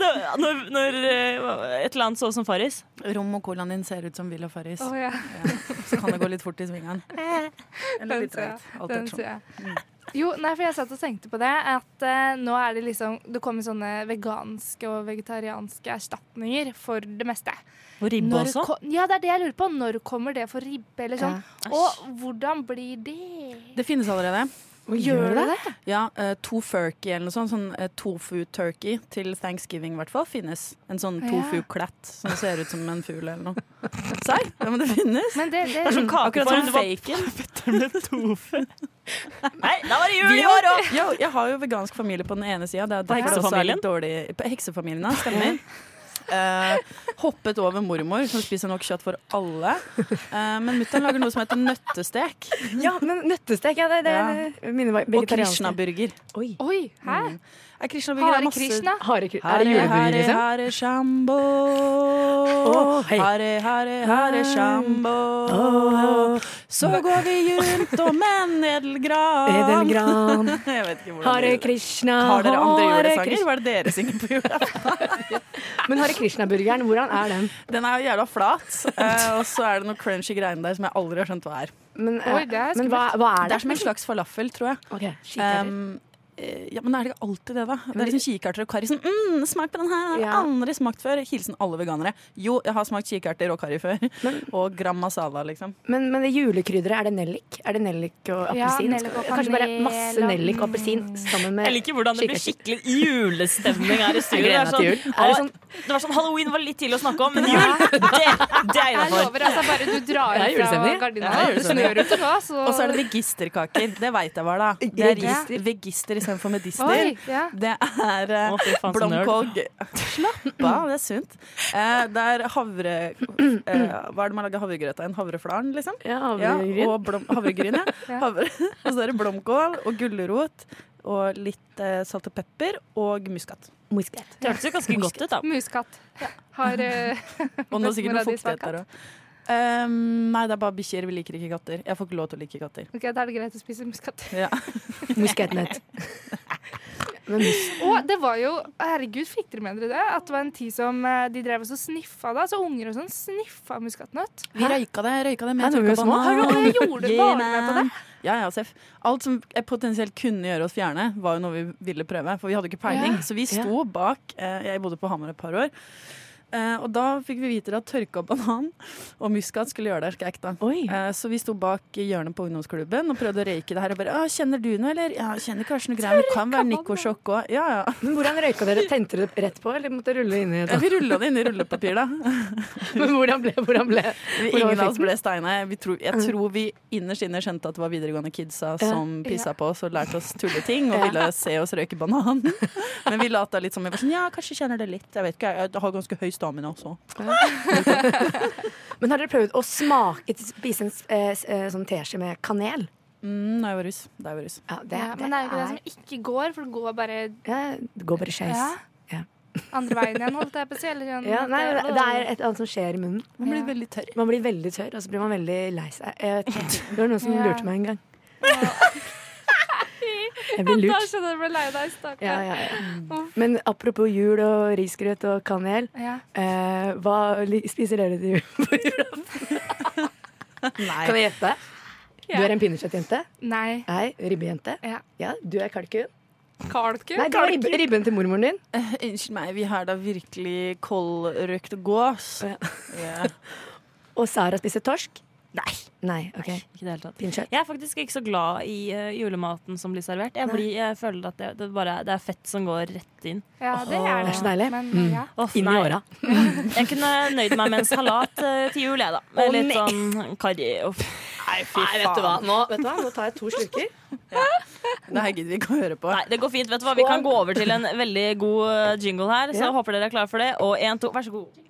[SPEAKER 4] Da- Når, når eh, et eller annet så ut som Farris.
[SPEAKER 7] Rom og colaen din ser ut som Villa Farris,
[SPEAKER 5] Å, ja.
[SPEAKER 7] så kan det gå litt fort i svingeren. Eller
[SPEAKER 5] Den
[SPEAKER 7] litt
[SPEAKER 5] tror jeg.
[SPEAKER 7] tregt. Alt
[SPEAKER 5] Den
[SPEAKER 7] ettersom. Mm.
[SPEAKER 5] tror jeg. Jo, nei, for jeg satt og tenkte på det, at eh, nå er det liksom Det kommer sånne veganske og vegetarianske erstatninger for det meste.
[SPEAKER 4] Og ribbe
[SPEAKER 5] Når
[SPEAKER 4] også.
[SPEAKER 5] ko- Ja, det er det jeg lurer på. Når kommer det for ribbe, eller sånn? Og hvordan blir det?
[SPEAKER 7] Det finnes allerede.
[SPEAKER 6] Gjør det det?
[SPEAKER 7] Ja, eh, to furky eller noe sånt. Sånn eh, tofu turkey til thanksgiving i hvert fall finnes. En sånn
[SPEAKER 5] Ja.
[SPEAKER 7] tofu-klatt som ser ut som en fugl eller noe. Serr? Ja, men det finnes.
[SPEAKER 5] Men det, det,
[SPEAKER 4] Det er sånn kake
[SPEAKER 7] Akkurat
[SPEAKER 4] for
[SPEAKER 7] som
[SPEAKER 4] en vapp-
[SPEAKER 7] faken.
[SPEAKER 4] med tofu. Nei, da var det jul
[SPEAKER 7] Vi
[SPEAKER 4] i år
[SPEAKER 7] har,
[SPEAKER 4] òg!
[SPEAKER 7] ja, jeg har jo vegansk familie på den ene sida. Det er
[SPEAKER 4] På
[SPEAKER 7] derfor det også er litt
[SPEAKER 4] heksefamilien?
[SPEAKER 7] dårlig på Heksefamilien, ja. Stemmer. Eh, hoppet over mormor, som spiser nok kjøtt for alle. Eh, men mutter'n lager noe som heter nøttestek.
[SPEAKER 6] Ja, men nøttestek, ja. Det, det, det minner meg
[SPEAKER 7] Og
[SPEAKER 6] vegetarianske.
[SPEAKER 7] krishnaburger.
[SPEAKER 6] Oi.
[SPEAKER 5] Oi, hæ?
[SPEAKER 7] Er krishnaburger er
[SPEAKER 5] Hare
[SPEAKER 7] masse
[SPEAKER 5] Krishna?
[SPEAKER 6] Hare, kri- er
[SPEAKER 7] Hare,
[SPEAKER 6] det juleburger,
[SPEAKER 7] hare,
[SPEAKER 6] liksom?
[SPEAKER 7] hare, shambo.
[SPEAKER 6] Å, hei.
[SPEAKER 7] Hare, hare, hare, shambo. Så går vi rundt om en edelgran.
[SPEAKER 6] Edelgran,
[SPEAKER 7] Jeg vet ikke hvordan
[SPEAKER 6] Hare
[SPEAKER 7] det-
[SPEAKER 6] Krishna,
[SPEAKER 7] Har dere andre
[SPEAKER 6] Hare
[SPEAKER 7] julesanger?
[SPEAKER 6] Krishna.
[SPEAKER 7] Hva er det dere synger på julaften?
[SPEAKER 6] Men Hare Krishna-burgeren, hvordan er den?
[SPEAKER 7] Den er jo jævla flat, eh, og så er det noe crunchy greiene der som jeg aldri har skjønt hva er.
[SPEAKER 6] Men, eh,
[SPEAKER 5] Oi, det er
[SPEAKER 6] men hva, hva er det?
[SPEAKER 7] Det er som en slags falafel, tror jeg.
[SPEAKER 6] Ok, shit, herrer.
[SPEAKER 7] Um, eh, ja, Men er det ikke alltid det, da? Det er liksom Kikerter og karri. Sånn, mm, smak på den her!
[SPEAKER 6] Ja.
[SPEAKER 7] Aldri smakt før. Hilsen alle veganere. Jo, jeg har smakt kikerter og karri før. og gram masala, liksom.
[SPEAKER 6] men, men det julekrydderet, er det nellik? Er det nellik og
[SPEAKER 5] Ja,
[SPEAKER 6] appelsin?
[SPEAKER 5] nellik og
[SPEAKER 6] Kanskje bare
[SPEAKER 5] kanel
[SPEAKER 6] masse
[SPEAKER 5] og-
[SPEAKER 6] nellik og appelsin sammen med
[SPEAKER 4] Jeg liker hvordan det blir
[SPEAKER 6] kikerter.
[SPEAKER 4] Eh, skikkelig julestemning her i studio. Det,
[SPEAKER 6] Jeg
[SPEAKER 4] er
[SPEAKER 6] gleder meg til
[SPEAKER 4] sånn,
[SPEAKER 6] jul. Er det
[SPEAKER 4] å, det var sånn Halloween var litt tidlig å snakke om, men jul, det, det er
[SPEAKER 5] Jeg
[SPEAKER 4] innafor.
[SPEAKER 5] lover, altså, bare du drar
[SPEAKER 6] Det er
[SPEAKER 5] fra
[SPEAKER 6] julestemning.
[SPEAKER 5] gardina.
[SPEAKER 7] Ja, det er
[SPEAKER 5] Det snør ute nå, så
[SPEAKER 7] Og så er det vegisterkaker. Det veit jeg hva er, da. Det er ris, vegister istedenfor medister.
[SPEAKER 5] Oi, ja.
[SPEAKER 7] Det er
[SPEAKER 4] Å, fy faen, så nerd.
[SPEAKER 7] blomkål Slapp av, det er sunt. Eh, det er havre... Eh, hva er det man lager havregrøt av? En havreflaren, liksom?
[SPEAKER 6] Ja,
[SPEAKER 7] Ja,
[SPEAKER 6] havregryn.
[SPEAKER 7] og blom, havregryn, ja.
[SPEAKER 5] Ja.
[SPEAKER 7] Havre, og så er det blomkål og gulrot og litt eh, salt og pepper og muskat.
[SPEAKER 6] Muskat.
[SPEAKER 4] Det hørtes jo ganske godt ut, da.
[SPEAKER 5] Muskatt. Har eh,
[SPEAKER 7] Og nå sikkert
[SPEAKER 5] Bestemora
[SPEAKER 7] noe
[SPEAKER 5] di
[SPEAKER 7] fuktighet
[SPEAKER 5] smakar.
[SPEAKER 7] der òg. Um, nei, det er bare bikkjer. Vi liker ikke katter. Jeg får ikke lov til å like katter.
[SPEAKER 5] Ok, da er det greit å spise muskatt.
[SPEAKER 7] Ja.
[SPEAKER 6] Muskatnøtt. Men mus
[SPEAKER 5] Og det var jo Herregud, fikk dere med dere det? At det var en tid som eh, de drev og så sniffa det. Altså unger og sånn sniffa muskatnøtt.
[SPEAKER 7] Vi røyka det, røyka
[SPEAKER 6] Hæ,
[SPEAKER 7] det med
[SPEAKER 6] når vi var
[SPEAKER 7] tørka
[SPEAKER 6] små?
[SPEAKER 7] banan.
[SPEAKER 5] Har du- jeg gjorde
[SPEAKER 7] Yeah,
[SPEAKER 5] bare med på det.
[SPEAKER 7] man. Ja, ja, Seff. Alt som jeg potensielt kunne gjøre oss fjerne, var jo noe vi ville prøve. For vi hadde jo ikke peiling. Så vi sto bak eh, Jeg bodde på Hamar et par år. Eh, og da fikk vi vite at tørka banan og muskat skulle gjøre det. Skal jeg ikke da.
[SPEAKER 6] Oi.
[SPEAKER 7] Eh, så vi sto bak i hjørnet på ungdomsklubben og prøvde å røyke det her. Og bare, «Å, 'Kjenner du noe, eller?' 'Ja, kjenner kanskje noe greier.' men Det kan være Nico-sjokk òg. Ja, ja.
[SPEAKER 6] Men hvordan røyka dere? Tente dere rett på, eller måtte dere rulle inn i et
[SPEAKER 7] Ja, Vi rulla det inn i rullepapir, da.
[SPEAKER 6] Men hvordan ble, hvordan ble
[SPEAKER 7] Vi-
[SPEAKER 6] hvordan
[SPEAKER 7] Ingen av oss
[SPEAKER 6] fikk den?
[SPEAKER 7] ble steina. Vi tror, jeg tror vi innerst inne skjønte at det var videregående kidsa som pissa på oss og lærte oss tulleting og ville se oss røyke banan. Men vi lata litt som vi var sånn Ja, kanskje kjenner det litt. Jeg vet ikke, jeg jeg har ganske høy stamina også.
[SPEAKER 6] Men har dere prøvd å smake Spise en eh, s- eh, sånn teskje med kanel?
[SPEAKER 7] Mm, da jeg var russ. Da jeg var russ.
[SPEAKER 6] Ja, det,
[SPEAKER 5] Ja, men det er jo ikke det som ikke går, for det går bare
[SPEAKER 6] ja, Det går bare skeis.
[SPEAKER 5] Ja.
[SPEAKER 6] Ja.
[SPEAKER 5] andre veien igjen, holdt jeg på å si. Eller sånn,
[SPEAKER 6] Ja, nei,
[SPEAKER 5] at
[SPEAKER 6] det det er et eller annet som skjer i munnen.
[SPEAKER 7] Man blir
[SPEAKER 5] Ja.
[SPEAKER 7] veldig tørr.
[SPEAKER 6] Man blir veldig tørr, og så blir man veldig lei seg. Jeg vet ikke. Det var noen som
[SPEAKER 5] Ja.
[SPEAKER 6] lurte meg en gang. Jeg ble
[SPEAKER 5] Da
[SPEAKER 6] lurt.
[SPEAKER 5] skjønner jeg at du ble lei deg, stakkar.
[SPEAKER 6] Ja, ja, ja. Men apropos jul og risgrøt og kanel.
[SPEAKER 5] Ja.
[SPEAKER 6] Eh, hva li- spiser dere til jul?
[SPEAKER 7] Nei.
[SPEAKER 6] Kan jeg gjette? Du er en pinnekjøttjente?
[SPEAKER 5] Nei.
[SPEAKER 6] Nei, ribbejente?
[SPEAKER 5] Ja.
[SPEAKER 6] du er kalkun?
[SPEAKER 5] Kalkun?
[SPEAKER 6] Nei, du er ribbe, ribben til mormoren din.
[SPEAKER 7] Unnskyld meg, vi har da virkelig koldrøkt gås.
[SPEAKER 6] Ja.
[SPEAKER 7] Ja.
[SPEAKER 6] Og Sara spiser torsk?
[SPEAKER 4] Nei.
[SPEAKER 6] Nei, ok.
[SPEAKER 4] Ikke i det hele tatt.
[SPEAKER 6] Pinnekjøtt.
[SPEAKER 4] Jeg er faktisk ikke så glad i eh, julematen som blir servert. Jeg, blir, jeg føler at det, det, bare, det er fett som går rett inn.
[SPEAKER 5] Ja, det er det.
[SPEAKER 6] Det er så deilig.
[SPEAKER 5] Men,
[SPEAKER 6] Mm.
[SPEAKER 5] ja.
[SPEAKER 4] Åh,
[SPEAKER 6] Inn i
[SPEAKER 4] nei.
[SPEAKER 6] åra.
[SPEAKER 4] Jeg kunne nøyd meg med en salat eh, til jul, jeg, da. Med litt sånn karri og
[SPEAKER 7] Nei, fy faen.
[SPEAKER 6] Nå, tar jeg to slurker.
[SPEAKER 7] Det her gidder vi ikke å høre på.
[SPEAKER 4] Nei, det går fint. Vet du hva? Vi kan gå over til en veldig god eh, jingle her, så
[SPEAKER 6] Ja.
[SPEAKER 4] jeg håper dere er klare for det. Og én, to, vær så god.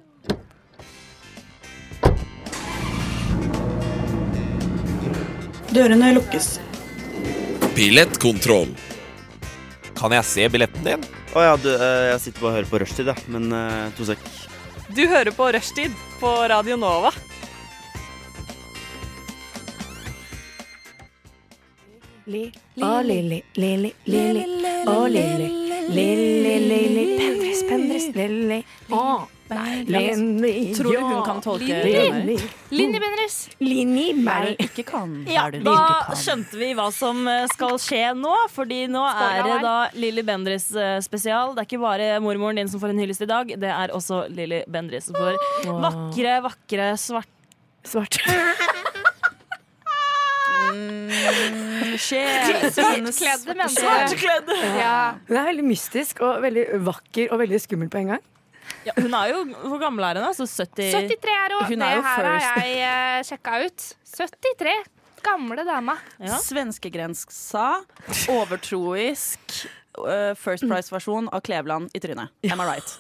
[SPEAKER 8] Dørene lukkes. Billettkontroll.
[SPEAKER 1] Kan jeg se billetten din?
[SPEAKER 9] Å ja, du, eh, jeg sitter bare og hører på rushtid, jeg. Men eh, to sek.
[SPEAKER 10] Du hører på Rushtid på Radio Nova.
[SPEAKER 6] Li, å lili, lili, lili, å lili, lili, lili, pendris, pendris, lili, å, lili,
[SPEAKER 7] Tror du hun kan tolke drømmer?
[SPEAKER 5] Linni Bendriss.
[SPEAKER 6] Lini,
[SPEAKER 7] Er
[SPEAKER 6] meg.
[SPEAKER 7] det ikke kan?
[SPEAKER 4] Ja,
[SPEAKER 7] Er det
[SPEAKER 4] da
[SPEAKER 7] virkelig kan?
[SPEAKER 4] skjønte vi hva som eh, skal skje nå, fordi nå
[SPEAKER 5] Skåla
[SPEAKER 4] er det
[SPEAKER 5] her.
[SPEAKER 4] da Lilly Bendriss eh, spesial. Det er ikke bare mormoren din som får en hyllest i dag, det er også Lilly Bendriss som får vakre, vakre svarte
[SPEAKER 6] Svart.
[SPEAKER 4] skjell.
[SPEAKER 5] Svartkledde mennesker. Ja.
[SPEAKER 6] Hun er veldig mystisk og veldig vakker og veldig skummel på en gang.
[SPEAKER 4] Ja, hun er jo Hvor gammel er hun? Altså 70?
[SPEAKER 5] 73 er hun.
[SPEAKER 7] Hun
[SPEAKER 5] Det
[SPEAKER 7] er jo
[SPEAKER 5] her
[SPEAKER 7] first.
[SPEAKER 5] har jeg eh, sjekka ut. 73. Gamle dama.
[SPEAKER 4] Ja.
[SPEAKER 7] Svenskegrensa, overtroisk, eh, First Price-versjon av Kleveland i trynet. Am I right?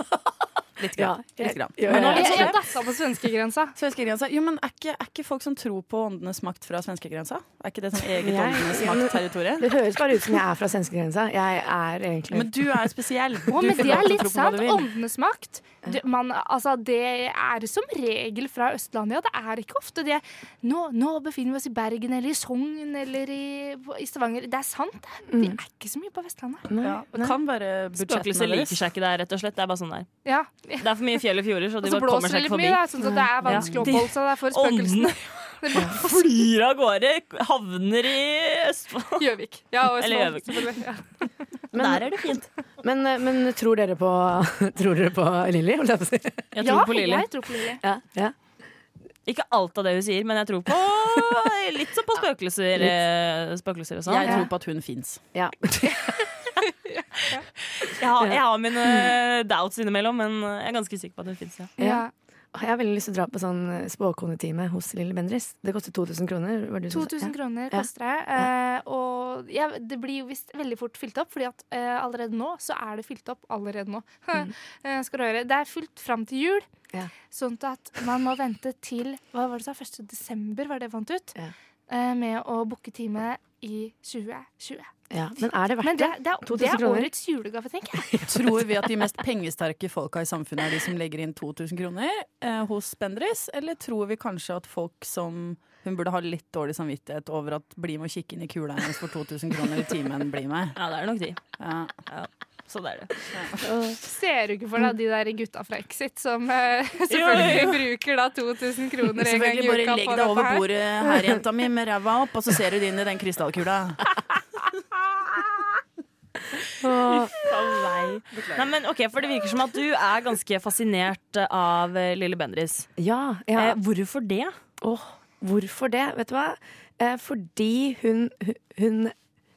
[SPEAKER 7] Litt grann. Litt grann.
[SPEAKER 6] Ja, ja,
[SPEAKER 7] Men nå
[SPEAKER 6] ja.
[SPEAKER 7] er det
[SPEAKER 5] Jeg,
[SPEAKER 7] sånn-
[SPEAKER 5] jeg dassa på svenskegrensa.
[SPEAKER 7] Svenskegrensa. Jo, men er ikke, er ikke folk som tror på åndenes makt fra svenskegrensa? Er ikke det sånn eget
[SPEAKER 6] Jeg-
[SPEAKER 7] åndenes
[SPEAKER 6] ja, men-
[SPEAKER 7] makt-territorium?
[SPEAKER 6] Det høres bare ut som jeg er fra svenskegrensa. Jeg er egentlig
[SPEAKER 7] Men du er
[SPEAKER 5] Å,
[SPEAKER 7] spesiell. Du
[SPEAKER 5] men det
[SPEAKER 7] får lov
[SPEAKER 5] er
[SPEAKER 7] til å
[SPEAKER 5] litt
[SPEAKER 7] tro på hva
[SPEAKER 5] sant.
[SPEAKER 7] du vil.
[SPEAKER 5] Åndenes makt. Du, man, altså, det er som regel fra Østlandet. Ja, det er ikke ofte det. Nå, nå befinner vi oss i Bergen eller i Sogn eller i, i Stavanger. Det er sant. det.
[SPEAKER 6] Mm.
[SPEAKER 5] Det er ikke så mye på Vestlandet.
[SPEAKER 7] Ja, det kan være budsjettene
[SPEAKER 4] Spøkelser
[SPEAKER 7] deres.
[SPEAKER 4] liker seg ikke der, rett og slett. Det er bare sånn der.
[SPEAKER 5] Ja.
[SPEAKER 4] Det er for mye fjell og fjorder, så
[SPEAKER 5] Og
[SPEAKER 4] de
[SPEAKER 5] så
[SPEAKER 4] bare
[SPEAKER 5] blåser
[SPEAKER 4] kommer
[SPEAKER 5] det
[SPEAKER 4] seg
[SPEAKER 5] litt
[SPEAKER 4] ikke forbi.
[SPEAKER 5] mye, da, sånn at det er vanskelig å oppholde seg der for spøkelsene.
[SPEAKER 4] Åndene flyr av gårde, havner i Østfold.
[SPEAKER 5] Gjøvik. Ja, og
[SPEAKER 4] Eller
[SPEAKER 5] Østfold, selvfølgelig. Ja.
[SPEAKER 4] Der er det fint.
[SPEAKER 6] Men, eh, men tror dere på Tror dere på Lilly? holdt jeg på å si?
[SPEAKER 4] Jeg tror
[SPEAKER 5] Ja,
[SPEAKER 4] på Lilly.
[SPEAKER 5] Jeg tror på Lilly.
[SPEAKER 6] Ja, ja.
[SPEAKER 4] Ikke alt av det hun sier, men jeg tror på litt sånn på spøkelser, eh, spøkelser og sånn.
[SPEAKER 7] Jeg
[SPEAKER 4] Jeg,
[SPEAKER 7] tror på at hun fins.
[SPEAKER 6] ja.
[SPEAKER 4] har- jeg har mine doubts innimellom, men jeg er ganske sikker på at hun fins. Ja.
[SPEAKER 6] Ja. Jeg har veldig lyst til å dra på sånn spåkonetime hos Lilly Bendriss. Det koster 2000 kroner. var det du som sa?
[SPEAKER 5] 2000
[SPEAKER 6] Ja.
[SPEAKER 5] kroner
[SPEAKER 6] Ja.
[SPEAKER 5] koster det. eh, Og ja, det blir jo visst veldig fort fylt opp, Fordi at eh, allerede nå så er det fylt opp. allerede nå
[SPEAKER 4] Mm.
[SPEAKER 5] Eh, Skal du høre Det er fylt fram til jul,
[SPEAKER 6] Ja.
[SPEAKER 5] sånn at man må vente til Hva var det du sa? 1. desember, var det jeg fant ut?
[SPEAKER 6] Ja.
[SPEAKER 5] eh, Med å booke time i 2020.
[SPEAKER 6] Ja. Men er det
[SPEAKER 5] Men det,
[SPEAKER 6] verdt det?
[SPEAKER 5] det, er,
[SPEAKER 6] 2000
[SPEAKER 5] det er
[SPEAKER 6] kroner?
[SPEAKER 5] årets julegave, tenker jeg.
[SPEAKER 7] Tror vi at de mest pengesterke folka i samfunnet er de som legger inn 2000 kroner eh, hos Bendriss, eller tror vi kanskje at folk som hun burde ha litt dårlig samvittighet over at bli med og kikke inn i kula hennes for 2000 kroner i timen, bli med.
[SPEAKER 4] ja, det er nok de.
[SPEAKER 7] Ja.
[SPEAKER 4] Så det er det.
[SPEAKER 5] Ser du ikke for deg de der gutta fra Exit som eh, selvfølgelig
[SPEAKER 4] Jo,
[SPEAKER 5] bruker da 2000 kroner en gang i uka?
[SPEAKER 7] Selvfølgelig, bare legg
[SPEAKER 5] på
[SPEAKER 7] deg
[SPEAKER 5] dette
[SPEAKER 7] over
[SPEAKER 5] her?
[SPEAKER 7] bordet her, jenta mi, med ræva opp, og så ser du inn i den krystallkula.
[SPEAKER 4] Nei, men ok, for Det virker som at du er ganske fascinert av eh, Lille Bendriss.
[SPEAKER 6] Ja. ja.
[SPEAKER 4] Eh, hvorfor det?
[SPEAKER 6] Åh, hvorfor det? Vet du hva? Eh, fordi hun hun, hun,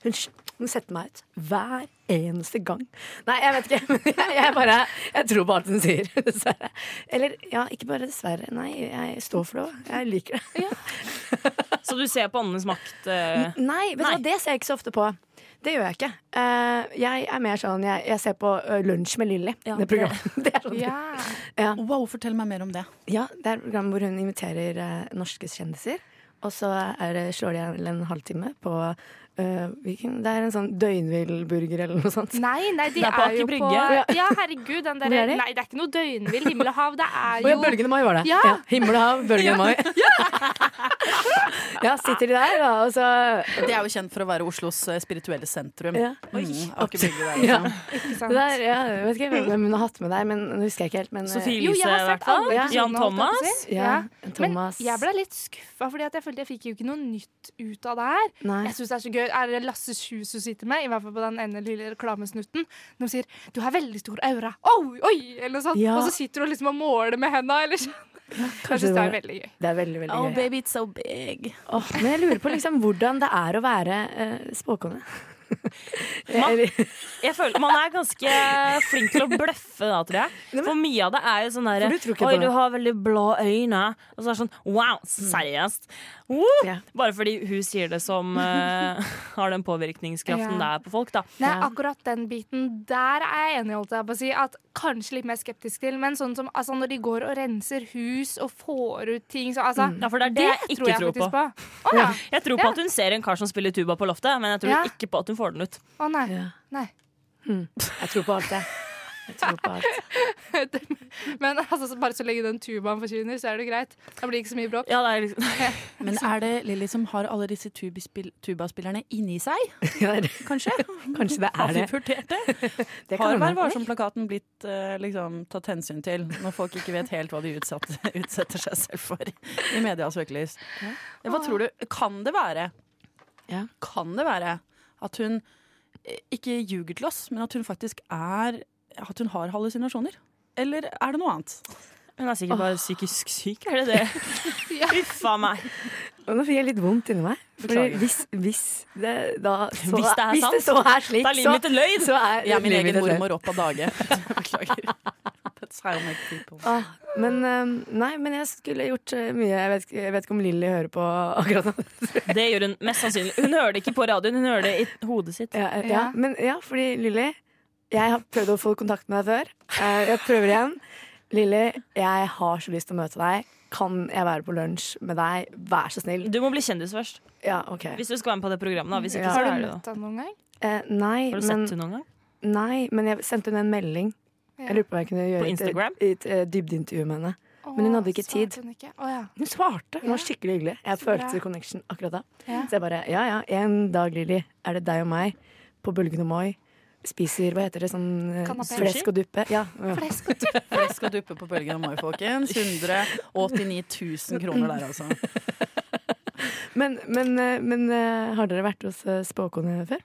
[SPEAKER 6] hun s- hun setter meg ut hver eneste gang. Nei, jeg vet ikke. men Jeg, jeg bare Jeg tror på alt hun sier, dessverre. Eller ja, ikke bare dessverre. Nei, jeg står for det òg. Jeg liker det.
[SPEAKER 4] Så du ser på Åndenes makt? Eh,
[SPEAKER 6] Nei, vet du hva, det ser jeg ikke så ofte på. Det gjør jeg ikke. Eh, jeg er mer sånn Jeg, jeg ser på eh, Lunsj med Lilly.
[SPEAKER 4] Ja,
[SPEAKER 6] det programmet. Det er sånn, ja.
[SPEAKER 5] Ja.
[SPEAKER 7] Wow, fortell meg mer om det.
[SPEAKER 6] det er et program hvor hun inviterer eh, norske kjendiser. Og så er det, slår de igjen en halvtime på eh, hvilken, Det er en sånn døgnvillburger eller noe sånt.
[SPEAKER 5] Nei, nei, de
[SPEAKER 4] Det er
[SPEAKER 5] er,
[SPEAKER 4] på Aker
[SPEAKER 5] jo på
[SPEAKER 4] Brygge.
[SPEAKER 5] Ja, herregud, den
[SPEAKER 6] Hvor
[SPEAKER 5] derre
[SPEAKER 6] er de?
[SPEAKER 5] Nei, det er ikke noe døgnvill himmel og hav. Det er
[SPEAKER 6] Å ja,
[SPEAKER 5] jo
[SPEAKER 6] Bølgen i mai var det.
[SPEAKER 5] Ja.
[SPEAKER 6] Himmel og hav, bølgen i mai. Ja. sitter de der, da, og så
[SPEAKER 7] Det er jo kjent for å være Oslos eh, spirituelle sentrum.
[SPEAKER 6] Ja.
[SPEAKER 7] Mm, Aker Brygge der,
[SPEAKER 6] Ja.
[SPEAKER 7] liksom.
[SPEAKER 5] ikke sant?
[SPEAKER 6] Det der, ja, Jeg vet ikke hvem hun har hatt med der, men nå husker jeg ikke helt. Men, eh,
[SPEAKER 4] Sophie
[SPEAKER 5] Jo,
[SPEAKER 4] Elise,
[SPEAKER 5] jeg
[SPEAKER 4] i
[SPEAKER 5] har
[SPEAKER 4] hvert
[SPEAKER 5] sett
[SPEAKER 4] fall.
[SPEAKER 5] alle
[SPEAKER 4] Jan
[SPEAKER 5] episodene, holdt jeg på å
[SPEAKER 4] Thomas.
[SPEAKER 5] si.
[SPEAKER 6] ja, Thomas
[SPEAKER 5] Men jeg ble litt skuffa, Fordi at jeg følte jeg fikk jo ikke noe nytt ut av det her.
[SPEAKER 6] Nei.
[SPEAKER 5] Jeg synes det Er så gøy Er det Lasse Kjus du sitter med, i hvert fall på den ene lille reklamesnutten, når de sier 'du har veldig stor aura', oi, oi, eller noe sånt,
[SPEAKER 6] Ja.
[SPEAKER 5] og så sitter du og liksom og måler med henda, eller sånn. Jeg syns
[SPEAKER 6] det
[SPEAKER 5] det er
[SPEAKER 6] var-
[SPEAKER 5] veldig gøy.
[SPEAKER 6] Det er veldig, veldig
[SPEAKER 7] Oh,
[SPEAKER 6] gøy.
[SPEAKER 7] baby, it's so big.
[SPEAKER 6] Åh, men jeg lurer på liksom hvordan det er å være eh, spåkone. Eller-
[SPEAKER 4] Jeg føler Man er ganske flink til å bløffe da, tror jeg. For mye av det er jo sånn
[SPEAKER 6] For du
[SPEAKER 4] derre
[SPEAKER 6] tror ikke
[SPEAKER 4] Oi,
[SPEAKER 6] på det.
[SPEAKER 4] du har veldig blå øyne. Og så er det sånn Wow, seriøst! Woo!
[SPEAKER 6] Ja.
[SPEAKER 4] Bare fordi hun sier det som eh, har den påvirkningskraften det
[SPEAKER 5] Ja.
[SPEAKER 4] er på folk, da.
[SPEAKER 5] Nei, akkurat den biten der er jeg enig holdt jeg på å si, at kanskje litt mer skeptisk til. Men sånn som altså, når de går og renser hus og får ut ting så, altså,
[SPEAKER 4] Ja, for det er det, jeg ikke tror,
[SPEAKER 5] faktisk
[SPEAKER 4] på.
[SPEAKER 5] Å ja.
[SPEAKER 4] Jeg tror på
[SPEAKER 5] Ja.
[SPEAKER 4] at hun ser en kar som spiller tuba på loftet, men jeg tror
[SPEAKER 5] Ja.
[SPEAKER 4] ikke på at hun får den ut.
[SPEAKER 5] Å nei.
[SPEAKER 6] Ja.
[SPEAKER 5] nei.
[SPEAKER 6] Jeg tror på alt, jeg. Jeg tror på alt.
[SPEAKER 5] Men altså, så bare så lenge den tubaen forsvinner, så er det greit. Da blir det ikke så mye bråk.
[SPEAKER 4] Ja, det er liksom
[SPEAKER 7] Men er det Lilly som har alle disse tubispill- tubaspillerne inni seg,
[SPEAKER 6] Ja, det er-
[SPEAKER 7] kanskje?
[SPEAKER 6] Kanskje det
[SPEAKER 7] Har
[SPEAKER 6] er
[SPEAKER 7] vi
[SPEAKER 6] det.
[SPEAKER 7] vurdert det?
[SPEAKER 6] det
[SPEAKER 7] Har
[SPEAKER 6] kan
[SPEAKER 7] Vær
[SPEAKER 6] hende.
[SPEAKER 7] varsom-plakaten blitt eh, liksom, tatt hensyn til, når folk ikke vet helt hva de utsatt, utsetter seg selv for i medias søkelys? Hva tror du? Kan det være
[SPEAKER 6] Ja.
[SPEAKER 7] Kan det være at hun eh, ikke ljuger til oss, men at hun faktisk er At hun har hallusinasjoner? Eller er det noe annet?
[SPEAKER 4] Hun er sikkert bare psykisk syk, er det det? Uffa meg.
[SPEAKER 6] Og nå fikk jeg litt vondt inni meg. Fordi
[SPEAKER 7] Beklager.
[SPEAKER 6] hvis, hvis, det, da, så,
[SPEAKER 4] Hvis det er
[SPEAKER 6] hvis det så
[SPEAKER 4] sant,
[SPEAKER 6] er slik,
[SPEAKER 4] Da er livet mitt
[SPEAKER 6] så,
[SPEAKER 4] en løgn!
[SPEAKER 6] så er
[SPEAKER 7] Jeg er min
[SPEAKER 6] livet
[SPEAKER 7] egen
[SPEAKER 6] mitt et løgn.
[SPEAKER 7] mormor opp av dage. Beklager. That's how I make people.
[SPEAKER 6] Ah, men, eh, nei, men jeg skulle gjort eh, mye Jeg vet, ikke- jeg vet ikke om Lilly hører på akkurat nå.
[SPEAKER 4] Det gjør hun mest sannsynlig. Hun hører det ikke på radioen, hun hører det i hodet sitt.
[SPEAKER 6] Ja, eh, ja.
[SPEAKER 5] Ja.
[SPEAKER 6] Men, ja, fordi Lilly Jeg har prøvd å få kontakt med deg før. Eh, Jeg prøver igjen. Lilly, jeg har så lyst til å møte deg. Kan jeg være på lunsj med deg? Vær så snill.
[SPEAKER 4] Du må bli kjendis først,
[SPEAKER 6] Ja, ok.
[SPEAKER 4] hvis du skal være med på det programmet. Da. Hvis ikke,
[SPEAKER 6] Ja.
[SPEAKER 4] så
[SPEAKER 5] Har
[SPEAKER 4] er
[SPEAKER 5] du
[SPEAKER 4] det jo
[SPEAKER 5] møtt han noen gang?
[SPEAKER 6] Eh, nei,
[SPEAKER 4] Har du
[SPEAKER 6] men,
[SPEAKER 4] sett henne noen gang?
[SPEAKER 6] nei, men jeg sendte henne en melding. Jeg lurer på om jeg kunne
[SPEAKER 4] På
[SPEAKER 6] gjøre et,
[SPEAKER 4] Instagram?
[SPEAKER 6] et, eh, dybdeintervju med henne. Men hun hadde ikke tid.
[SPEAKER 5] Hun ikke? Å, ja.
[SPEAKER 6] Hun svarte. Hun var skikkelig hyggelig. Jeg følte
[SPEAKER 5] bra.
[SPEAKER 6] connection akkurat da.
[SPEAKER 5] Ja.
[SPEAKER 6] Så jeg bare ja ja, en dag, Lilly, er det deg og meg på Bølgen og Moi. Spiser hva heter det, sånn eh,
[SPEAKER 5] Kanapé.
[SPEAKER 6] flesk og duppe. Ja, ja.
[SPEAKER 5] Flesk og
[SPEAKER 7] Flesk og duppe på bølgen av mai, folkens. 189 000 kroner der, altså.
[SPEAKER 6] Men, men, eh, men eh, har dere vært hos eh, spåkone før?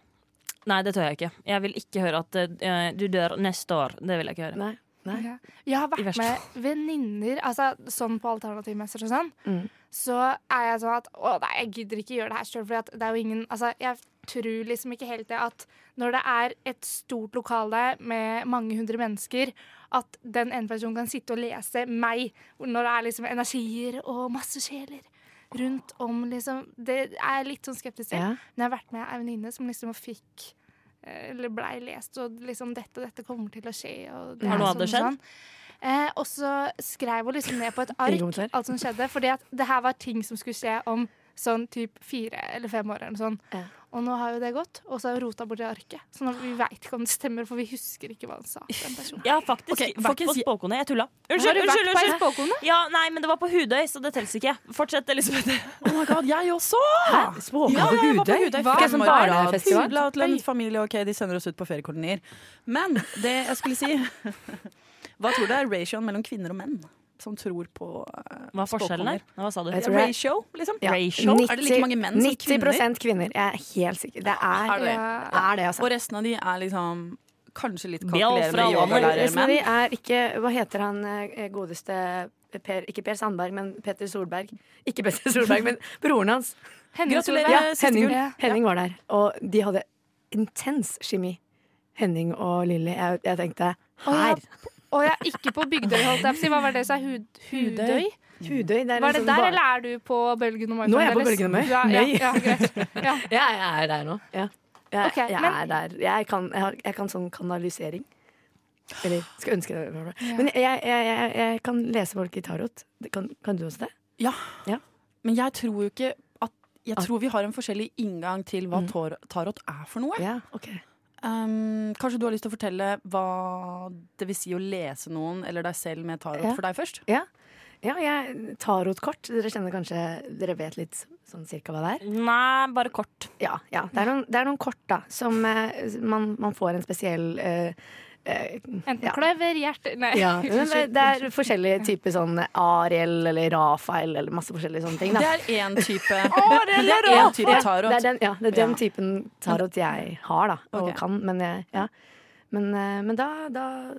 [SPEAKER 4] Nei, det tør jeg ikke. Jeg vil ikke høre at eh, du dør neste år. Det vil jeg ikke høre.
[SPEAKER 6] Nei. Nei.
[SPEAKER 5] Ja. Jeg har
[SPEAKER 4] I
[SPEAKER 5] vært
[SPEAKER 4] verste
[SPEAKER 5] med venninner altså, sånn på alternativmesser og sånn.
[SPEAKER 6] Mm.
[SPEAKER 5] Så er jeg sånn at å nei, jeg gidder ikke gjøre det her sjøl, for det er jo ingen altså, Jeg tror liksom ikke helt det at når det er et stort lokale med mange hundre mennesker, at den ene personen kan sitte og lese meg når det er liksom energier og masse sjeler rundt om, liksom. Det er jeg litt sånn skeptisk til.
[SPEAKER 6] Ja.
[SPEAKER 5] Men jeg har vært med ei venninne som liksom fikk eh, Eller blei lest, og liksom dette og dette kommer til å skje. Og det
[SPEAKER 4] Har
[SPEAKER 5] er
[SPEAKER 4] noe av
[SPEAKER 5] sånn
[SPEAKER 4] det
[SPEAKER 5] og
[SPEAKER 4] skjedd?
[SPEAKER 5] Sånn. Eh, og så skrev hun liksom ned på et
[SPEAKER 6] Ingen
[SPEAKER 5] ark
[SPEAKER 6] kommentar.
[SPEAKER 5] alt som skjedde, fordi at det her var ting som skulle skje om sånn typ fire eller fem år. eller sånn.
[SPEAKER 6] Ja.
[SPEAKER 5] Og nå har jo det gått, og så har hun rota bort det arket. Så nå, vi veit ikke om det stemmer, for vi husker ikke hva han sa. til Den personen.
[SPEAKER 4] Jeg har faktisk
[SPEAKER 7] Ok,
[SPEAKER 4] vært på
[SPEAKER 7] folkens, jeg-
[SPEAKER 4] spåkone. Jeg tulla.
[SPEAKER 5] har
[SPEAKER 4] Unnskyld,
[SPEAKER 5] du
[SPEAKER 4] unnskyld,
[SPEAKER 5] vært på ei
[SPEAKER 4] unnskyld.
[SPEAKER 5] spåkone?
[SPEAKER 4] Ja, nei, men det var på Hudøy, så det telles ikke. Fortsett, Elisabeth.
[SPEAKER 7] Oh my god, jeg også!
[SPEAKER 6] Spåkone
[SPEAKER 7] Ja, jeg var på Hudøy.
[SPEAKER 6] Hva er det som bare er festival?
[SPEAKER 7] Hudla til en familie, ok, de sender oss ut på feriekolonier. Men det jeg skulle si Hva tror du er ratioen mellom kvinner og menn som tror på eh,
[SPEAKER 4] Hva er forskjellen
[SPEAKER 7] spåkoner?
[SPEAKER 4] der? Hva sa du?
[SPEAKER 6] Jeg tror det er-
[SPEAKER 7] Ratio, liksom?
[SPEAKER 6] Ja.
[SPEAKER 4] Ratio?
[SPEAKER 7] Er det like mange menn som
[SPEAKER 6] 90
[SPEAKER 7] kvinner?
[SPEAKER 6] kvinner. Jeg er helt sikker. Det er,
[SPEAKER 7] Er det det?
[SPEAKER 6] er det, altså.
[SPEAKER 7] Og resten av de er liksom kanskje litt
[SPEAKER 4] Bjell fra
[SPEAKER 7] kalkulerende
[SPEAKER 4] Åland.
[SPEAKER 6] Resten av
[SPEAKER 7] yogalærermenn?
[SPEAKER 6] de er ikke Hva heter han eh, godeste per, Ikke Per Sandberg, men Peter Solberg. Ikke Peter Solberg, men broren hans.
[SPEAKER 5] Henning
[SPEAKER 7] Gratulerer.
[SPEAKER 5] Solberg.
[SPEAKER 6] Ja,
[SPEAKER 7] siste
[SPEAKER 6] Henning,
[SPEAKER 5] gull.
[SPEAKER 6] Henning var der, og de hadde intens kjemi. Henning og Lilly. Jeg, jeg tenkte
[SPEAKER 5] ja.
[SPEAKER 6] her!
[SPEAKER 5] Og jeg er ikke på Bygdøy, holdt jeg på å si. Hva var det jeg sa? Hud, hudøy?
[SPEAKER 6] Hudøy. Det er
[SPEAKER 5] Var det
[SPEAKER 6] liksom
[SPEAKER 5] der,
[SPEAKER 6] bare-
[SPEAKER 5] eller er du på Bølgen og Mai?
[SPEAKER 6] Nå er jeg på
[SPEAKER 5] fremdeles?
[SPEAKER 6] Bølgen og Mai.
[SPEAKER 5] Du er- Ja,
[SPEAKER 6] Nei.
[SPEAKER 5] ja, greit. Ja.
[SPEAKER 6] Ja, jeg er der nå. Ja. Jeg,
[SPEAKER 5] Ok,
[SPEAKER 6] jeg
[SPEAKER 5] men-
[SPEAKER 6] er der. Jeg kan, jeg, har, jeg kan sånn kanalisering. Eller skal ønske det. Men jeg, jeg, jeg, jeg kan lese folk i tarot. Det Kan, kan du også det?
[SPEAKER 7] Men jeg tror jo ikke at Jeg
[SPEAKER 6] Ah.
[SPEAKER 7] tror vi har en forskjellig inngang til
[SPEAKER 6] Mm.
[SPEAKER 7] hva tar- tarot er for noe.
[SPEAKER 6] Ja, ok
[SPEAKER 7] Um, kanskje du har lyst til å fortelle hva det vil si å lese noen eller deg selv med tarot
[SPEAKER 6] Ja.
[SPEAKER 7] for deg først?
[SPEAKER 6] Ja, jeg tarotkort. Dere kjenner kanskje Dere vet litt sånn cirka hva det er?
[SPEAKER 4] Nei, bare kort.
[SPEAKER 6] Ja. ja. Det, er noen, det er noen kort, da, som eh, man, man får en spesiell eh, eh,
[SPEAKER 5] Enten
[SPEAKER 6] Ja.
[SPEAKER 5] kløver, hjerte Nei.
[SPEAKER 6] ja, men det det er forskjellige typer sånn Ariel eller Rafael eller masse forskjellige sånne ting.
[SPEAKER 7] Det
[SPEAKER 6] Da.
[SPEAKER 7] er én type, Men det er en type tarot.
[SPEAKER 6] Det er den, ja, det er den
[SPEAKER 7] Ja.
[SPEAKER 6] typen tarot jeg har, da. Og
[SPEAKER 7] Ok.
[SPEAKER 6] kan. Men, jeg, ja. men, eh, men da, da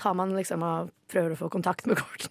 [SPEAKER 6] har man liksom og prøver å få kontakt med kortene.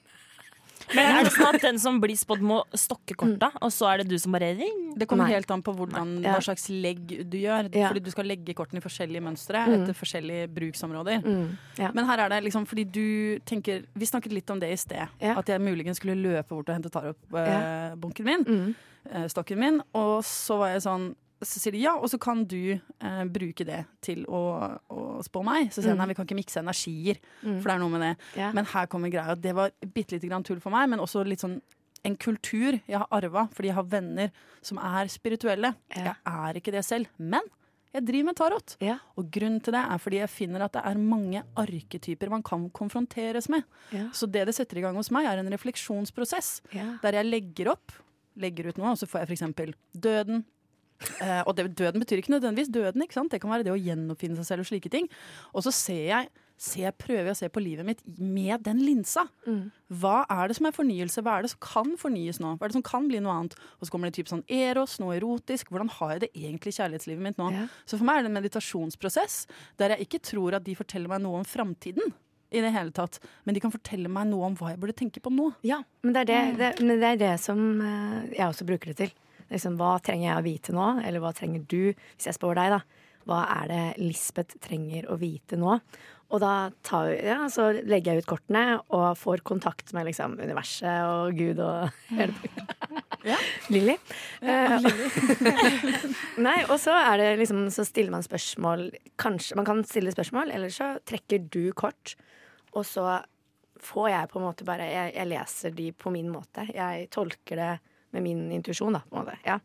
[SPEAKER 4] Men er det sånn at den som blir spådd, må stokke korta, og så er det du som bare ringer?
[SPEAKER 7] Det kommer
[SPEAKER 6] Nei.
[SPEAKER 7] helt an på hvordan,
[SPEAKER 6] Ja.
[SPEAKER 7] hva slags legg du gjør.
[SPEAKER 6] Ja.
[SPEAKER 7] Fordi du skal legge kortene i forskjellige mønstre
[SPEAKER 6] Mm.
[SPEAKER 7] etter forskjellige bruksområder.
[SPEAKER 6] Mm, ja.
[SPEAKER 7] Men her er det liksom fordi du tenker Vi snakket litt om det i sted.
[SPEAKER 6] Ja.
[SPEAKER 7] At jeg muligens skulle løpe bort og hente tarotbunken min.
[SPEAKER 6] Mm.
[SPEAKER 7] eh, Stokken min. Og så var jeg sånn så sier de ja, og så kan du eh, bruke det til å, å spå meg. Så sier jeg
[SPEAKER 6] Mm.
[SPEAKER 7] nei, vi kan ikke mikse energier,
[SPEAKER 6] Mm.
[SPEAKER 7] for det er noe med det.
[SPEAKER 6] Ja.
[SPEAKER 7] Men her kommer greia. Det var bitte lite grann tull for meg, men også litt sånn en kultur jeg har arva fordi jeg har venner som er spirituelle.
[SPEAKER 6] Ja.
[SPEAKER 7] Jeg er ikke det selv, men jeg driver med tarot.
[SPEAKER 6] Ja.
[SPEAKER 7] Og grunnen til det er fordi jeg finner at det er mange arketyper man kan konfronteres med.
[SPEAKER 6] Ja.
[SPEAKER 7] Så det det setter i gang hos meg, er en refleksjonsprosess
[SPEAKER 6] Ja.
[SPEAKER 7] der jeg legger opp, legger ut noe, og så får jeg f.eks. døden. Eh, og det, døden betyr ikke nødvendigvis døden, ikke sant? det kan være det å gjenoppfinne seg selv og slike ting. Og så ser jeg, ser, prøver jeg å se på livet mitt med den linsa. Hva er det som er fornyelse? Hva er det som kan fornyes nå? Hva er det som kan bli noe annet? Og så kommer det typ sånn eros, noe erotisk. Hvordan har jeg det egentlig i kjærlighetslivet mitt nå?
[SPEAKER 6] Ja.
[SPEAKER 7] Så for meg er det en meditasjonsprosess der jeg ikke tror at de forteller meg noe om framtiden. I det hele tatt. Men de kan fortelle meg noe om hva jeg burde tenke på nå.
[SPEAKER 6] Ja, men det er det, det, men det, er det som eh, jeg også bruker det til. Liksom, hva trenger jeg å vite nå? Eller hva trenger du, hvis jeg spår deg, da? Hva er det Lisbeth trenger å vite nå? Og da tar, ja, så legger jeg ut kortene og får kontakt med liksom, universet og Gud og hele Lilly. Eh, Nei, og så er det liksom Så stiller man spørsmål. Kanskje man kan stille spørsmål, eller så trekker du kort, og så får jeg på en måte bare Jeg, jeg leser de på min måte. Jeg tolker det med min intuisjon, da, på en måte. Ja.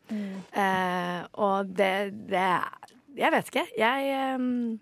[SPEAKER 6] Eh, og det, det er- Jeg vet ikke. Jeg, ehm,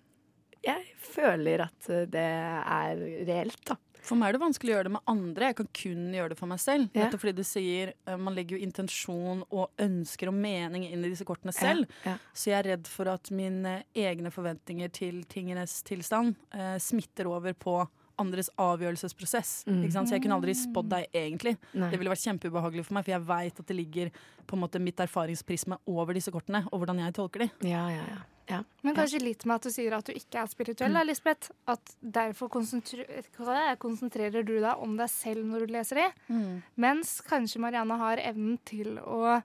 [SPEAKER 6] jeg føler at det er reelt, da.
[SPEAKER 7] For meg er det vanskelig å gjøre det med andre. Jeg kan kun gjøre det for meg selv.
[SPEAKER 6] Ja.
[SPEAKER 7] Nettopp fordi du sier eh, man legger jo intensjon og ønsker og mening inn i disse kortene selv.
[SPEAKER 6] Ja, ja.
[SPEAKER 7] Så jeg er redd for at mine egne forventninger til tingenes tilstand eh, smitter over på andres avgjørelsesprosess. Ikke sant? Så jeg kunne aldri spådd deg, egentlig.
[SPEAKER 6] Mm. Nei.
[SPEAKER 7] Det ville vært kjempeubehagelig for meg, for jeg veit at det ligger på en måte mitt erfaringsprisme over disse kortene, og hvordan jeg tolker de.
[SPEAKER 6] Ja, ja, ja. ja.
[SPEAKER 5] Men kanskje litt med at du sier at du ikke er spirituell, da, Lisbeth. At derfor konsentru- hva- konsentrerer du deg om deg selv når du leser de.
[SPEAKER 6] Mm.
[SPEAKER 5] Mens kanskje Marianne har evnen til å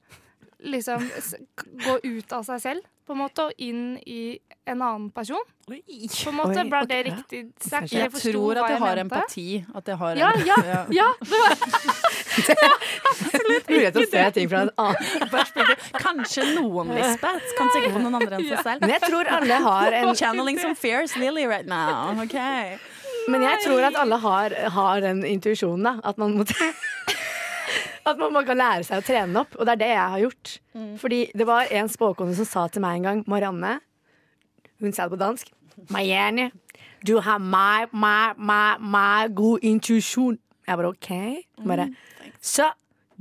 [SPEAKER 5] liksom s- k- gå ut av seg selv, på en måte, og inn i en annen person. På en måte,
[SPEAKER 6] Oi,
[SPEAKER 5] Ble
[SPEAKER 6] ok,
[SPEAKER 5] det
[SPEAKER 6] ja.
[SPEAKER 5] riktig sagt?
[SPEAKER 6] Jeg
[SPEAKER 5] Dere
[SPEAKER 7] Jeg
[SPEAKER 5] forsto
[SPEAKER 7] tror
[SPEAKER 5] hva
[SPEAKER 7] at jeg har
[SPEAKER 5] mente?
[SPEAKER 7] empati. At jeg har
[SPEAKER 5] Ja,
[SPEAKER 7] en-
[SPEAKER 5] ja, Ja, det var
[SPEAKER 6] Mulighet til å se ting fra en annen
[SPEAKER 7] Kanskje noen, Lisbeth, kan tenke på noen andre enn seg selv.
[SPEAKER 6] Men jeg tror alle har en
[SPEAKER 7] Channeling some fears Lily right now. ok
[SPEAKER 6] Men jeg tror at alle har, har den intuisjonen, da. At man, må tre- at man bare kan lære seg å trene den opp. Og det er det jeg har gjort. Fordi det var en spåkone som sa til meg en gang, Marianne Hun sa det på dansk. Marianne, du har meg, meg, meg, meg god intuisjon. Jeg bare OK. Hun Bare, så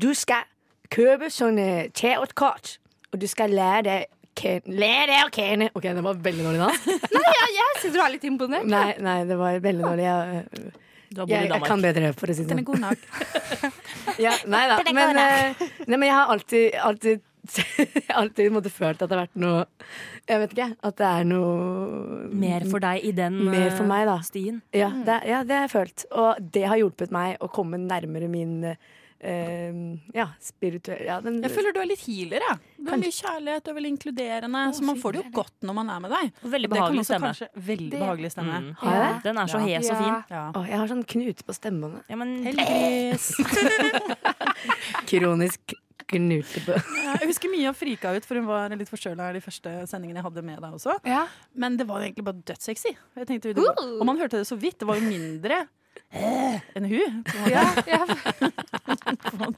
[SPEAKER 6] du skal kjøpe sånne teotkort, og du skal lære deg ken- lære deg å kjenne OK, det var veldig dårlig dansk.
[SPEAKER 5] Jeg syns du er litt imponert.
[SPEAKER 6] Nei, nei, det var veldig dårlig. Jeg,
[SPEAKER 4] Du har bodd
[SPEAKER 6] jeg,
[SPEAKER 4] i
[SPEAKER 6] jeg
[SPEAKER 4] Danmark.
[SPEAKER 6] kan bedre, for å si det
[SPEAKER 7] Den er
[SPEAKER 6] sånn.
[SPEAKER 7] god nok.
[SPEAKER 6] Ja, nei da. Men, eh, nei, men jeg har alltid, alltid Alltid måtte følt at det har vært noe Jeg vet ikke. At det er noe
[SPEAKER 4] Mer for deg i den
[SPEAKER 6] Mer for meg, da.
[SPEAKER 4] eh, stien.
[SPEAKER 6] Ja,
[SPEAKER 7] Mm.
[SPEAKER 6] det, ja, det har jeg følt. Og det har hjulpet meg å komme nærmere min eh, ja, spirituelle ja, den,
[SPEAKER 7] Jeg føler du er litt healer. Ja. Du har mye kjærlighet, du er veldig inkluderende. Så man får det jo godt når man er med deg.
[SPEAKER 4] Veldig
[SPEAKER 7] Det kan
[SPEAKER 4] behagelig
[SPEAKER 7] også
[SPEAKER 4] stemme.
[SPEAKER 7] kanskje Veldig
[SPEAKER 5] Det-
[SPEAKER 7] behagelig stemme.
[SPEAKER 4] Mm.
[SPEAKER 6] Har jeg det?
[SPEAKER 4] Den er så
[SPEAKER 7] Ja.
[SPEAKER 4] hes og fin.
[SPEAKER 7] Ja.
[SPEAKER 6] Å, jeg har sånn knute på stemmene.
[SPEAKER 4] Ja, men
[SPEAKER 7] Heldigvis.
[SPEAKER 6] Kronisk knute på
[SPEAKER 7] Jeg husker Mia frika ut, for hun var litt forkjøla i de første sendingene jeg hadde med deg også.
[SPEAKER 5] Ja.
[SPEAKER 7] Men det var jo egentlig bare dødssexy. Jeg tenkte, det var- Og man hørte det så vidt. Det var jo mindre eh, enn hun. på en måte.
[SPEAKER 5] Ja, ja.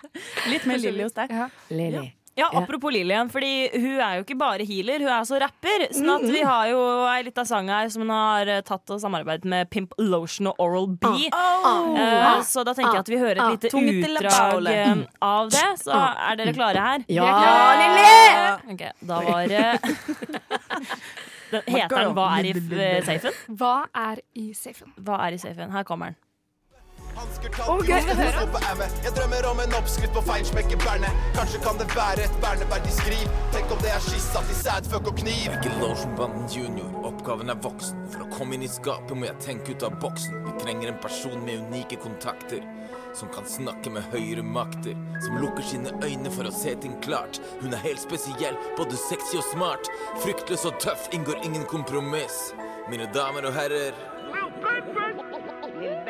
[SPEAKER 7] Litt mer Lilly hos deg.
[SPEAKER 6] Lily.
[SPEAKER 4] Ja, apropos Lillian, fordi hun er jo ikke bare healer, hun er også rapper. Sånn at
[SPEAKER 6] Mm.
[SPEAKER 4] vi har jo ei lita sang her som hun har eh, tatt og samarbeidet med Pimp Lotion og Oral B.
[SPEAKER 7] Oh.
[SPEAKER 4] Eh, så da tenker jeg at vi hører
[SPEAKER 6] Oh. Ah,
[SPEAKER 4] et lite
[SPEAKER 7] tunge til
[SPEAKER 4] utdrag
[SPEAKER 7] Paule.
[SPEAKER 4] eh, av det. Så er dere klare her?
[SPEAKER 6] Ja,
[SPEAKER 4] Lilly! Ok, da var det Den- Heter den 'Hva er i f- eh, safen'?
[SPEAKER 5] Hva er i safen?
[SPEAKER 4] Hva er i safen? Her kommer den.
[SPEAKER 6] Å, gøy.
[SPEAKER 8] Jeg drømmer om en oppskrift på feinschmecker berne. Kanskje kan det være et bernebær de skriver. Tenk om det er skissa til sædføkk og kniv.
[SPEAKER 11] Michelangelo-banden junior, oppgaven er voksen. For å komme inn i skapet må jeg tenke ut av boksen. Vi trenger en person med unike kontakter. Som kan snakke med høyere makter. Som lukker sine øyne for å se ting klart. Hun er helt spesiell, både sexy og smart. Fryktløs og tøff, inngår ingen kompromiss. Mine damer og herrer.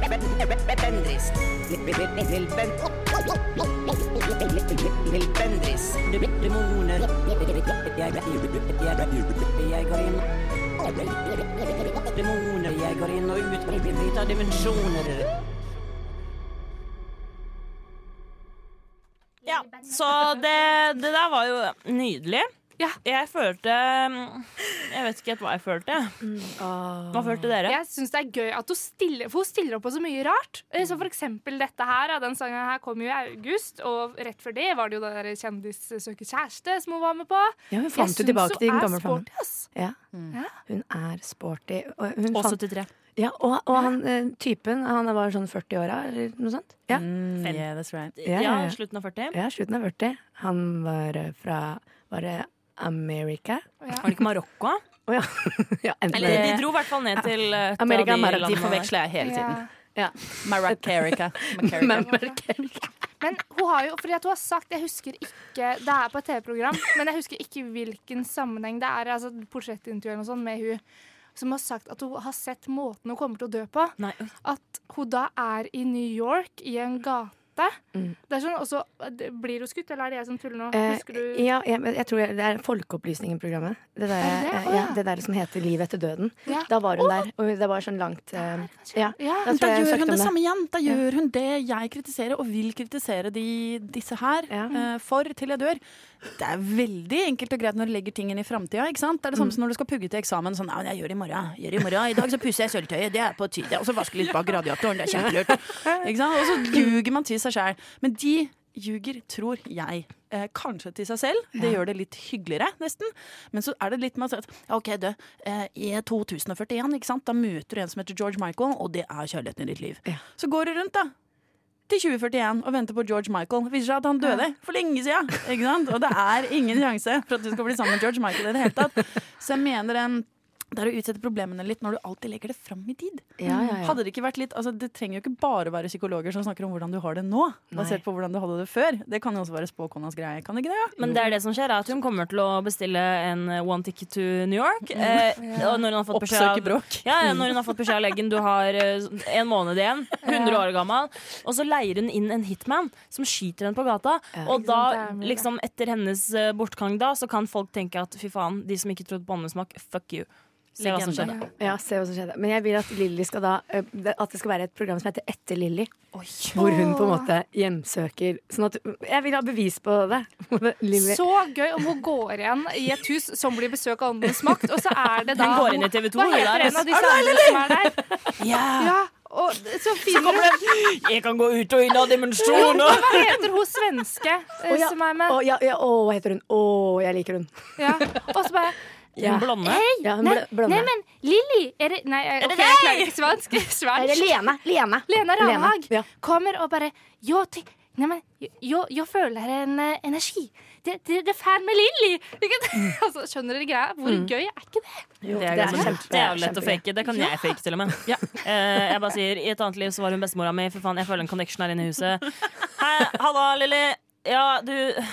[SPEAKER 12] Bendris. Lill Ben- Lill Bendris. Demoner. Jeg jeg går inn Demoner. Jeg går inn og ut ut av dimensjoner.
[SPEAKER 4] Ja, så det, det der var jo nydelig. Jeg følte mm, Jeg vet ikke helt hva jeg følte. Hva følte dere?
[SPEAKER 5] Jeg syns det er gøy at hun stiller, for hun stiller opp på så mye rart. Eh, Så for eksempel dette her. ja, Den sangen her kom jo i august, og rett før det var det jo den der Kjendis søker kjæreste som hun var med på.
[SPEAKER 6] Ja, hun fant jo
[SPEAKER 5] Jeg syns
[SPEAKER 6] tilbake til den
[SPEAKER 5] hun er
[SPEAKER 6] gamle flammen.
[SPEAKER 5] sporty, ass.
[SPEAKER 6] Ja.
[SPEAKER 7] Mm.
[SPEAKER 6] Hun er sporty. Og, hun
[SPEAKER 4] Og
[SPEAKER 6] fant-
[SPEAKER 4] 73.
[SPEAKER 6] Ja, og, og han eh, typen, han var sånn 40-åra eller noe sånt? Ja.
[SPEAKER 7] Mm.
[SPEAKER 4] Fem.
[SPEAKER 6] Ja,
[SPEAKER 4] Ja,
[SPEAKER 6] ja, ja.
[SPEAKER 4] slutten av 40.
[SPEAKER 6] Ja, slutten av 40. Han var eh, fra Var det America?
[SPEAKER 4] Var det ikke Marokko?
[SPEAKER 6] Å ja. ja enten
[SPEAKER 4] Eller de
[SPEAKER 6] det-
[SPEAKER 4] dro i hvert fall ned til eh, et
[SPEAKER 6] Amerika
[SPEAKER 4] av de
[SPEAKER 6] Mara- de
[SPEAKER 4] landene
[SPEAKER 6] forveksler jeg hele
[SPEAKER 4] der.
[SPEAKER 6] tiden.
[SPEAKER 7] Ja. Maracarica.
[SPEAKER 5] Men hun har jo, fordi at hun har sagt Jeg husker ikke Det er på et TV-program, men jeg husker ikke hvilken sammenheng det er. Altså Portrettintervju eller noe sånt med hun som har sagt at hun har sett måten hun kommer til å dø på. At hun da er i New York, i en gate. Det er sånn, og så eh, blir hun skutt, eller er det jeg som tuller nå?
[SPEAKER 6] Mm. Eh,
[SPEAKER 5] Husker du?
[SPEAKER 6] ja, jeg, men jeg tror jeg, Det er Folkeopplysningen-programmet. Det, der,
[SPEAKER 5] Er det det? Å,
[SPEAKER 6] eh, ja,
[SPEAKER 5] ja.
[SPEAKER 6] det der som heter Liv etter døden.
[SPEAKER 5] Ja.
[SPEAKER 6] Da var hun der. Og det var sånn langt eh, ja,
[SPEAKER 7] Da,
[SPEAKER 6] tror jeg jeg
[SPEAKER 7] gjør
[SPEAKER 6] søkte
[SPEAKER 7] hun
[SPEAKER 6] om
[SPEAKER 7] det samme igjen. Da gjør hun det jeg kritiserer, og vil kritisere de, disse her eh, for til jeg dør. Det er veldig enkelt og greit når du legger ting inn i framtida. Det er det samme som når du skal pugge til eksamen. Sånn, ja, men jeg gjør det i morgen. jeg Gjør det I morgen. I dag så pusser jeg sølvtøyet. Det er på tide. Og så vasker jeg litt bak radiatoren. Det er kjempelurt. Ikke sant? Og så ljuger man til seg sjæl. Men de ljuger, tror jeg. Eh, kanskje til seg selv. Det gjør det litt hyggeligere, nesten. Men så er det litt med at ja, OK, du. Eh, I 2041, ikke sant, da møter du en som heter George Michael, og det er kjærligheten i ditt liv. Så går du rundt, da. Til 2041 og venter på George Michael. Viser seg at han døde for lenge siden. Ikke sant? Og det er ingen sjanse for at du skal bli sammen med George Michael i det hele tatt. Så jeg mener em, det er å utsette problemene litt når du alltid legger det fram i tid.
[SPEAKER 6] Ja, ja, ja.
[SPEAKER 7] Hadde det ikke vært litt altså, Det trenger jo ikke bare være psykologer som snakker om hvordan du har det nå, basert på hvordan du hadde det før. Det kan jo også være spåkonas greie. Kan det ikke det? ja?
[SPEAKER 4] Men det er det som skjer, er at hun kommer til å bestille en eh, one ticket to New York. Eh,
[SPEAKER 7] Ja.
[SPEAKER 4] og når hun har fått beskjed
[SPEAKER 7] Oppsøke bråk.
[SPEAKER 4] Ja, ja, når hun har fått beskjed av legen du har eh, en måned igjen, 100 år gammel. Og så leier hun inn en hitman som skyter henne på gata. Og
[SPEAKER 5] Ikke sant, det
[SPEAKER 4] da,
[SPEAKER 5] er mulig.
[SPEAKER 4] liksom etter hennes eh, bortgang da, så kan folk tenke at fy faen, de som ikke trodde på åndesmak, fuck you. Se hva som skjedde.
[SPEAKER 6] Ja, se hva som skjedde. Men jeg vil at Lilly skal da eh, At det skal være et program som heter Etter Lilly. Hvor hun på en måte hjemsøker Sånn at Jeg vil ha bevis på det. Lilly.
[SPEAKER 5] Så gøy om hun går igjen i et hus som blir besøk av åndens makt, og så er det da
[SPEAKER 4] Hun går inn i TV 2,
[SPEAKER 5] Hva
[SPEAKER 4] hun der,
[SPEAKER 5] heter
[SPEAKER 4] altså.
[SPEAKER 5] en av disse andre som er der? Ja, og så finner hun
[SPEAKER 4] Jeg kan gå ut og inn av
[SPEAKER 5] Hva
[SPEAKER 4] dimensjoner!
[SPEAKER 5] heter hun svenske eh,
[SPEAKER 6] Å, ja.
[SPEAKER 5] som er med?
[SPEAKER 6] Å, ja, ja, å, hva heter hun? Å, jeg liker hun.
[SPEAKER 5] Ja. Og så bare
[SPEAKER 6] Ja.
[SPEAKER 4] Blonde.
[SPEAKER 5] Hei!
[SPEAKER 6] Ja, hun
[SPEAKER 5] nei,
[SPEAKER 6] bl- blonde.
[SPEAKER 5] nei, men Lilly er det, Nei, ok,
[SPEAKER 6] det
[SPEAKER 5] jeg klarer ikke svensk.
[SPEAKER 6] Er det
[SPEAKER 5] svensk.
[SPEAKER 6] Lene? Lene.
[SPEAKER 5] Lena Ranhag
[SPEAKER 6] Ja.
[SPEAKER 5] kommer og bare «Jo, ty- Nei, men jo- jo, jeg føler en eh, energi. Det, det, det er fan med Lilly! Ikke sant? Altså, skjønner dere greia? Hvor gøy er ikke det?
[SPEAKER 6] Jo,
[SPEAKER 4] Det er, ganske
[SPEAKER 6] kjempe-
[SPEAKER 4] kult. det er jo lett å
[SPEAKER 6] kjempegøy.
[SPEAKER 4] fake. Det kan jeg fake, til og med. Eh, jeg bare sier, I et annet liv så var hun bestemora mi. Fy faen, jeg føler en connection her inne i huset. Hei, halla, Lilly. Ja, du,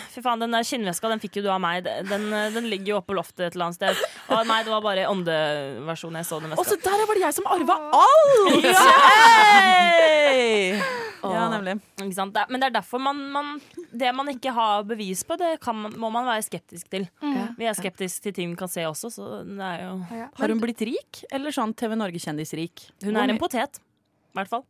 [SPEAKER 4] fy faen, den der skinnveska den fikk jo du av meg. Den, den ligger jo oppe på loftet et eller annet sted. Og nei, det var bare åndeversjonen jeg så den
[SPEAKER 7] Og så
[SPEAKER 4] veska.
[SPEAKER 7] der var det jeg som arva alt!
[SPEAKER 4] Ja!
[SPEAKER 7] Hey! Ja, nemlig.
[SPEAKER 4] Ikke sant? Det er- Men det er derfor man, man Det man ikke har bevis på, det kan, man- må man være skeptisk til.
[SPEAKER 5] Mm.
[SPEAKER 4] Vi er skeptiske til ting vi kan se også, så det er jo
[SPEAKER 7] Har hun blitt rik, eller sånn TV Norge-kjendisrik?
[SPEAKER 4] Hun er en potet, i hvert fall.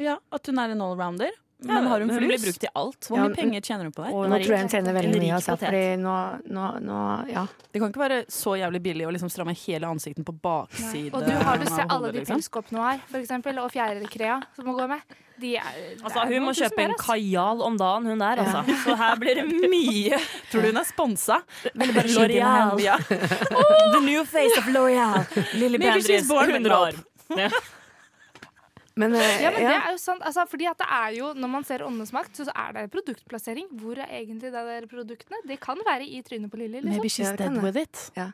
[SPEAKER 7] Ja, At hun er en allrounder? Men har hun
[SPEAKER 4] Hun blir
[SPEAKER 7] flus?
[SPEAKER 4] brukt til alt.
[SPEAKER 7] Hvor mye penger tjener hun på det?
[SPEAKER 6] Nå tror jeg hun tjener veldig mye. Altså, fordi
[SPEAKER 7] det
[SPEAKER 6] nå, nå, nå, ja.
[SPEAKER 7] kan ikke være så jævlig billig å liksom stramme hele ansikten på baksiden.
[SPEAKER 5] Og du har du
[SPEAKER 7] av
[SPEAKER 5] sett alle
[SPEAKER 7] hodet,
[SPEAKER 5] de
[SPEAKER 7] liksom.
[SPEAKER 5] pilskoppene hun har, for eksempel, og fjærkrea som hun går med. De er, det
[SPEAKER 4] Altså,
[SPEAKER 5] er
[SPEAKER 4] hun må
[SPEAKER 5] noen tusen
[SPEAKER 4] kjøpe en
[SPEAKER 5] der, ass.
[SPEAKER 4] kajal om dagen, hun der, altså. Så her blir det mye.
[SPEAKER 7] Tror du hun er sponsa?
[SPEAKER 4] L'Oreal.
[SPEAKER 7] Ja.
[SPEAKER 4] The new face of L'Oreal. Lille
[SPEAKER 7] Maybe she's
[SPEAKER 4] Bendriss,
[SPEAKER 7] born with
[SPEAKER 4] 100 år.
[SPEAKER 6] Men, eh,
[SPEAKER 5] Ja, men det
[SPEAKER 6] ja.
[SPEAKER 5] er jo sant. Altså, fordi at det er jo, når man ser Åndenes makt, så så er det produktplassering. Hvor er egentlig det der produktene? Det kan være i trynet på Lilly. Liksom.
[SPEAKER 7] Maybe she's dead with it.
[SPEAKER 6] Ja.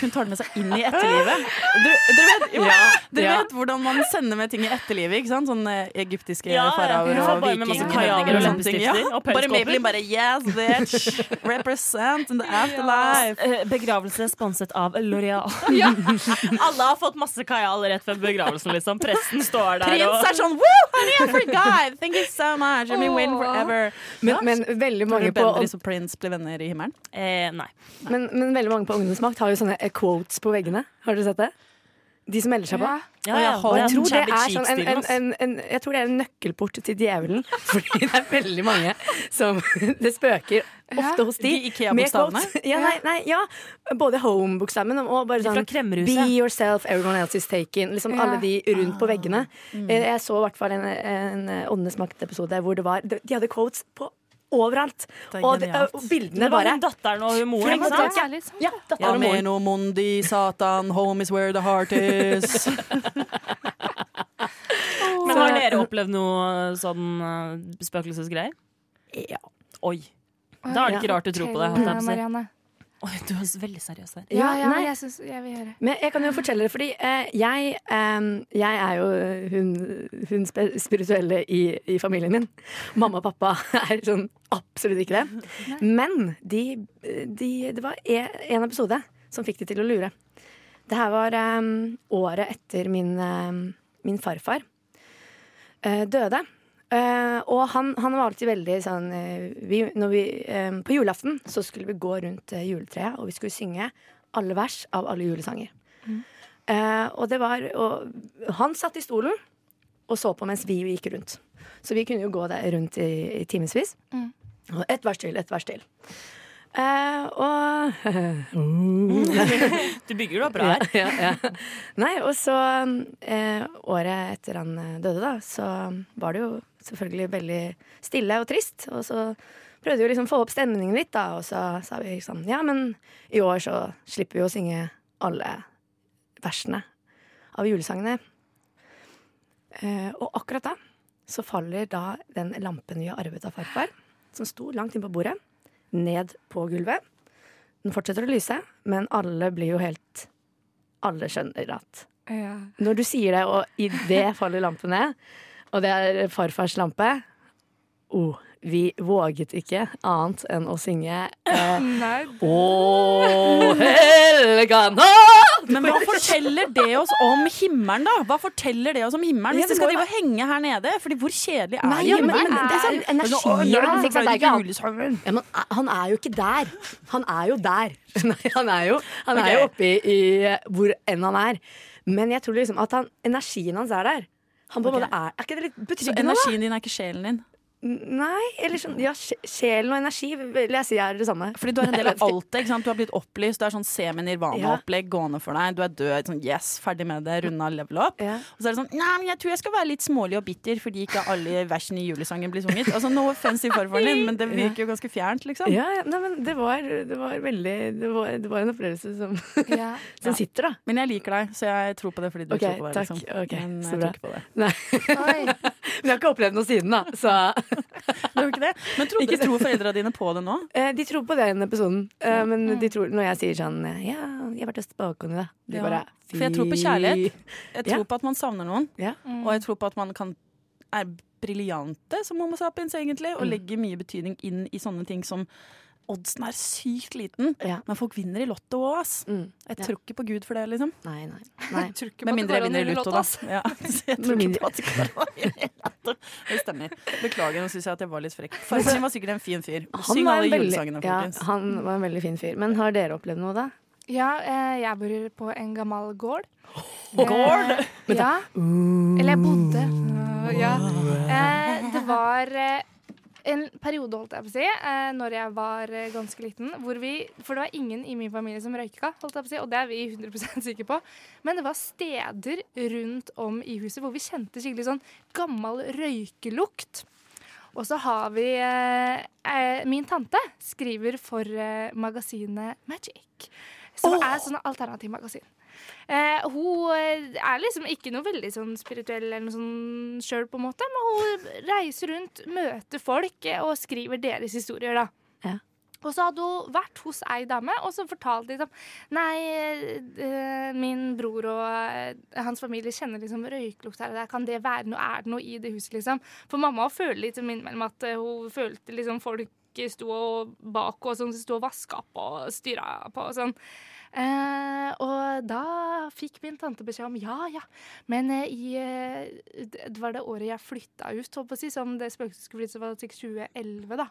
[SPEAKER 7] Hun tar det med seg inn i etterlivet. Dere, dere, vet, jo,
[SPEAKER 4] Ja,
[SPEAKER 7] dere
[SPEAKER 4] ja.
[SPEAKER 7] vet hvordan man sender med ting i etterlivet? ikke sant? Sånne egyptiske
[SPEAKER 4] Ja, ja.
[SPEAKER 7] faraoer
[SPEAKER 4] Ja,
[SPEAKER 7] og
[SPEAKER 4] bare med masse
[SPEAKER 7] vikinger.
[SPEAKER 4] kajaler og
[SPEAKER 7] sånne ting.
[SPEAKER 4] leppestifter og
[SPEAKER 7] bare
[SPEAKER 4] pelskåper.
[SPEAKER 7] Maybelline bare Yes, bitch! Represent in the afterlife!
[SPEAKER 4] Eh, Begravelse sponset av L'Oreal. Alle har fått masse kajal rett før begravelsen, liksom. Presten står der
[SPEAKER 7] Prins er sånn Woo, honey, I forgot! Thank you so much! I mean, win forever.
[SPEAKER 6] Men, men veldig mange på
[SPEAKER 7] Bendriss og Prince blir venner i himmelen?
[SPEAKER 4] Eh, nei.
[SPEAKER 6] Men, men veldig mange på Ungdommens makt har jo sånne eh, quotes på veggene. Har dere sett det? De som melder seg på.
[SPEAKER 4] Ja. Ja, ja,
[SPEAKER 6] og
[SPEAKER 4] det
[SPEAKER 6] jeg,
[SPEAKER 4] er
[SPEAKER 6] tror det
[SPEAKER 4] sånn
[SPEAKER 6] er sånn en,
[SPEAKER 4] Charlie
[SPEAKER 6] en, en, en, jeg tror det er en nøkkelport til djevelen. Fordi det er veldig mange som Det spøker ofte hos de.
[SPEAKER 7] De
[SPEAKER 6] med
[SPEAKER 7] IKEA-bokstavene?
[SPEAKER 6] quotes. Ja, nei, nei, ja. Både home-bokstaven og bare
[SPEAKER 4] De fra
[SPEAKER 6] sånn
[SPEAKER 4] Kremmerhuset.
[SPEAKER 6] Be yourself, everyone else is taken. Liksom
[SPEAKER 5] Ja.
[SPEAKER 6] alle de rundt på veggene.
[SPEAKER 5] Mm.
[SPEAKER 6] Eh, Jeg så i hvert fall en, en eh, Åndenes makt-episode hvor det var De de hadde quotes på overalt.
[SPEAKER 7] Det er
[SPEAKER 6] Og, de,
[SPEAKER 7] genialt.
[SPEAKER 6] og
[SPEAKER 4] Det
[SPEAKER 6] bildene
[SPEAKER 4] var
[SPEAKER 6] bare
[SPEAKER 4] hun datteren og hun moren,
[SPEAKER 6] Frem og
[SPEAKER 4] ikke sant?
[SPEAKER 6] tilbake.
[SPEAKER 5] sånn.
[SPEAKER 6] Ja, datteren og moren.
[SPEAKER 7] Ameno mundi, satan, home is where the heart is.
[SPEAKER 4] Men har dere opplevd noe sånn eh, spøkelsesgreier?
[SPEAKER 6] Ja.
[SPEAKER 4] Oi. Da er det ikke rart du tror på det. holdt jeg på å si.
[SPEAKER 5] Marianne.
[SPEAKER 4] Oi, du er veldig seriøs her.
[SPEAKER 5] Ja, ja,
[SPEAKER 6] nei.
[SPEAKER 5] jeg, synes, jeg vil høre.
[SPEAKER 6] Men jeg kan jo fortelle det, fordi eh, jeg, eh, jeg er jo hun, hun spe- spirituelle i, i familien min. Mamma og pappa er sånn absolutt ikke det. Men de, de, det var e- en episode som fikk de til å lure. Det her var eh, året etter min, eh, min farfar eh, døde. Eh, og han, han var alltid veldig sånn eh, vi, når vi, eh, På julaften så skulle vi gå rundt eh, juletreet, og vi skulle synge alle vers av alle julesanger. Eh, og det var og Han satt i stolen og så på mens vi gikk rundt. Så vi kunne jo gå der rundt i, i timevis.
[SPEAKER 5] Mm.
[SPEAKER 6] Og ett vers til, ett vers til. Eh, og oh.
[SPEAKER 4] Du bygger det opp bra her.
[SPEAKER 6] Ja, ja, ja. Nei, og så eh, Året etter han eh, døde, da, så var det jo selvfølgelig veldig stille og trist. Og så prøvde vi å liksom få opp stemningen litt, da, og så sa vi sånn Ja, men i år så slipper vi å synge alle versene av julesangene. Eh, og akkurat da så faller da den lampen vi har arvet av farfar, som sto langt inne på bordet, ned på gulvet. Den fortsetter å lyse, men alle blir jo helt Alle skjønner at
[SPEAKER 5] Ja.
[SPEAKER 6] Når du sier det, og i det faller lampen ned, og det er farfars lampe oh, Vi våget ikke annet enn å synge eh,
[SPEAKER 5] Nei.
[SPEAKER 6] Å, helga natt!
[SPEAKER 7] Men hva forteller det oss om himmelen, da? Hva forteller det oss om himmelen
[SPEAKER 6] Ja,
[SPEAKER 7] Hvis det
[SPEAKER 6] det
[SPEAKER 7] skal
[SPEAKER 6] må jo
[SPEAKER 7] drive og henge her nede? Fordi hvor kjedelig er
[SPEAKER 6] Nei, ja, men,
[SPEAKER 7] himmelen?
[SPEAKER 6] men det er sånn energi
[SPEAKER 7] Når det
[SPEAKER 6] ja,
[SPEAKER 7] kommer
[SPEAKER 5] liksom,
[SPEAKER 6] ikke sant?
[SPEAKER 7] fra
[SPEAKER 6] Det er ikke han-
[SPEAKER 7] julesangen.
[SPEAKER 6] Ja, men eh, han er jo ikke der. Han er jo der. Nei, han er jo, han
[SPEAKER 7] Ok.
[SPEAKER 6] er jo oppe i, i eh, hvor enn han er. Men jeg tror liksom at han, energien hans er der. Han på en
[SPEAKER 7] Ok.
[SPEAKER 6] måte er Er ikke det litt
[SPEAKER 7] Så
[SPEAKER 6] betryggende, da?
[SPEAKER 7] energien din er ikke sjelen din?
[SPEAKER 6] Nei, eller sånn Ja, sj- sjelen og energi vil jeg si er det samme.
[SPEAKER 7] Fordi du er en del
[SPEAKER 6] Jeg vet
[SPEAKER 7] av
[SPEAKER 6] ikke.
[SPEAKER 7] alt det. ikke sant? Du har blitt opplyst, det er sånn semi-nirvana-opplegg gående for deg. Du er død. sånn yes, Ferdig med det, runda level up.
[SPEAKER 6] Ja.
[SPEAKER 7] Og så er det sånn Nei, men jeg tror jeg skal være litt smålig og bitter fordi ikke alle versene i julesangen blir sunget. Altså, No offense til farfaren din, men det virker jo ganske fjernt, liksom.
[SPEAKER 6] Ja, ja, nei, men det var, det var veldig det var, det var en opplevelse som,
[SPEAKER 5] Ja.
[SPEAKER 6] som sitter, da.
[SPEAKER 7] Men jeg liker deg, så jeg tror på det fordi du
[SPEAKER 6] Ok,
[SPEAKER 7] tror på det.
[SPEAKER 6] takk.
[SPEAKER 7] Liksom.
[SPEAKER 6] Ok,
[SPEAKER 7] men
[SPEAKER 6] så
[SPEAKER 7] jeg
[SPEAKER 6] bra.
[SPEAKER 7] tror ikke på det.
[SPEAKER 6] Nei,
[SPEAKER 5] Oi.
[SPEAKER 6] men jeg har ikke opplevd noe siden, da. Så
[SPEAKER 7] Du gjør ikke det? Men trodde,
[SPEAKER 6] Ikke-
[SPEAKER 7] tror foreldra dine på det nå?
[SPEAKER 6] eh, de tror på det i den episoden. Eh, men de tror, når jeg sier sånn eh, Ja, jeg har vært hos spåkona, da. De
[SPEAKER 7] Ja,
[SPEAKER 6] bare
[SPEAKER 7] for jeg tror på kjærlighet. Jeg tror
[SPEAKER 6] Ja.
[SPEAKER 7] på at man savner noen,
[SPEAKER 6] Ja.
[SPEAKER 7] og jeg tror på at man kan er briljante som homo sapiens, egentlig, og legger mye betydning inn i sånne ting som Oddsen er sykt liten,
[SPEAKER 6] Ja.
[SPEAKER 7] men folk vinner i Lotto òg, ass.
[SPEAKER 6] Mm.
[SPEAKER 7] Jeg
[SPEAKER 6] Ja.
[SPEAKER 7] tror ikke på Gud for det, liksom.
[SPEAKER 6] Nei, nei.
[SPEAKER 5] Mm.
[SPEAKER 6] nei.
[SPEAKER 7] Med mindre jeg
[SPEAKER 5] går an å
[SPEAKER 7] vinner i
[SPEAKER 5] vinne
[SPEAKER 7] Lotto,
[SPEAKER 5] Lotto,
[SPEAKER 7] da. Ja. Så jeg
[SPEAKER 6] Med
[SPEAKER 7] tror ikke
[SPEAKER 6] mindre-
[SPEAKER 7] på at det går an å vinne i Lotto. Det stemmer. Beklager, nå syns jeg at jeg var litt frekk. Farfar din var sikkert en fin fyr.
[SPEAKER 6] Han
[SPEAKER 7] Syng
[SPEAKER 6] var
[SPEAKER 7] alle
[SPEAKER 6] en veldig-
[SPEAKER 7] julesangene, folkens.
[SPEAKER 6] Ja, han var en veldig fin fyr. Men har dere opplevd noe, da?
[SPEAKER 5] Ja, eh, jeg bor på en gammel gård.
[SPEAKER 7] Gård?
[SPEAKER 5] Eh, ja. Eller jeg bodde. Eh, ja. Eh, det var eh, en periode, holdt jeg på å si, eh, når jeg var eh, ganske liten, hvor vi For det var ingen i min familie som røyka, holdt jeg på å si, og det er vi 100 sikre på. Men det var steder rundt om i huset hvor vi kjente skikkelig sånn gammel røykelukt. Og så har vi eh, eh, Min tante skriver for eh, magasinet Magic, som er sånne alternativmagasin. Eh, hun eh, er liksom ikke noe veldig sånn spirituell eller noe sånn sjøl, på en måte, men hun reiser rundt, møter folk eh, og skriver deres historier, da. Og så hadde hun vært hos ei dame, og så fortalte de liksom Nei, eh, min bror og eh, hans familie kjenner liksom røyklukt her og der. Kan det være noe? Er det noe i det huset, liksom? For mamma føler litt som innimellom at eh, hun følte liksom folk sto og bak og sånn, sto og vaska på og styra på og sånn. Eh, og da fikk min tante beskjed om ja, ja. Men eh, i eh, d- Det var det året jeg flytta ut, holdt på å si, som det spøkelset skulle flytte, så var det sikkert 2011, da.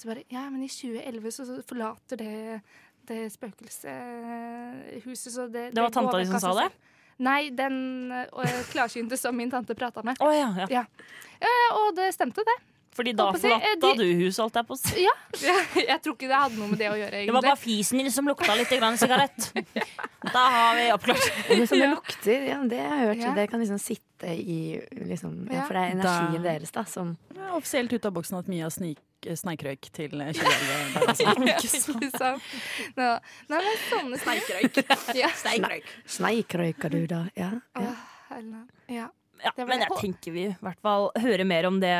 [SPEAKER 5] Så bare Ja, men i 2011 så, så forlater det det spøkelseshuset, så det
[SPEAKER 4] Det var
[SPEAKER 5] går
[SPEAKER 4] tanta di
[SPEAKER 5] vekk
[SPEAKER 4] som
[SPEAKER 5] av
[SPEAKER 4] sa
[SPEAKER 5] seg
[SPEAKER 4] det?
[SPEAKER 5] selv. Nei, den eh, klarsynte som min tante prata med.
[SPEAKER 4] Å, ja, ja.
[SPEAKER 5] Eh, og det stemte, det.
[SPEAKER 4] Fordi da
[SPEAKER 5] Holdt på å si, eh,
[SPEAKER 4] forlatta du
[SPEAKER 5] de-
[SPEAKER 4] huset, holdt jeg på å si.
[SPEAKER 5] Ja, jeg tror ikke det hadde noe med det å gjøre, egentlig.
[SPEAKER 4] Det var bare fisen din som lukta litt grann sigarett. Da har vi oppklart.
[SPEAKER 6] Og Det som det lukter, ja, det har jeg hørt.
[SPEAKER 4] Ja.
[SPEAKER 6] Det kan liksom sitte i liksom, ja, For det er
[SPEAKER 7] Ja.
[SPEAKER 6] energien
[SPEAKER 7] Da-
[SPEAKER 6] deres da som
[SPEAKER 7] Det er offisielt ute av boksen at Mia snik, snikrøyk til eh, altså. 2011.
[SPEAKER 5] Ja, ikke sant. Nei, da. Sånn. Nei, men sånne Steikrøyk. Ja.
[SPEAKER 6] Sneikrøyker du, da? Ja. ja.
[SPEAKER 5] Eller- Ja.
[SPEAKER 4] Ja,
[SPEAKER 5] Det var
[SPEAKER 4] men
[SPEAKER 5] det.
[SPEAKER 4] jeg tenker vi i hvert fall hører mer om det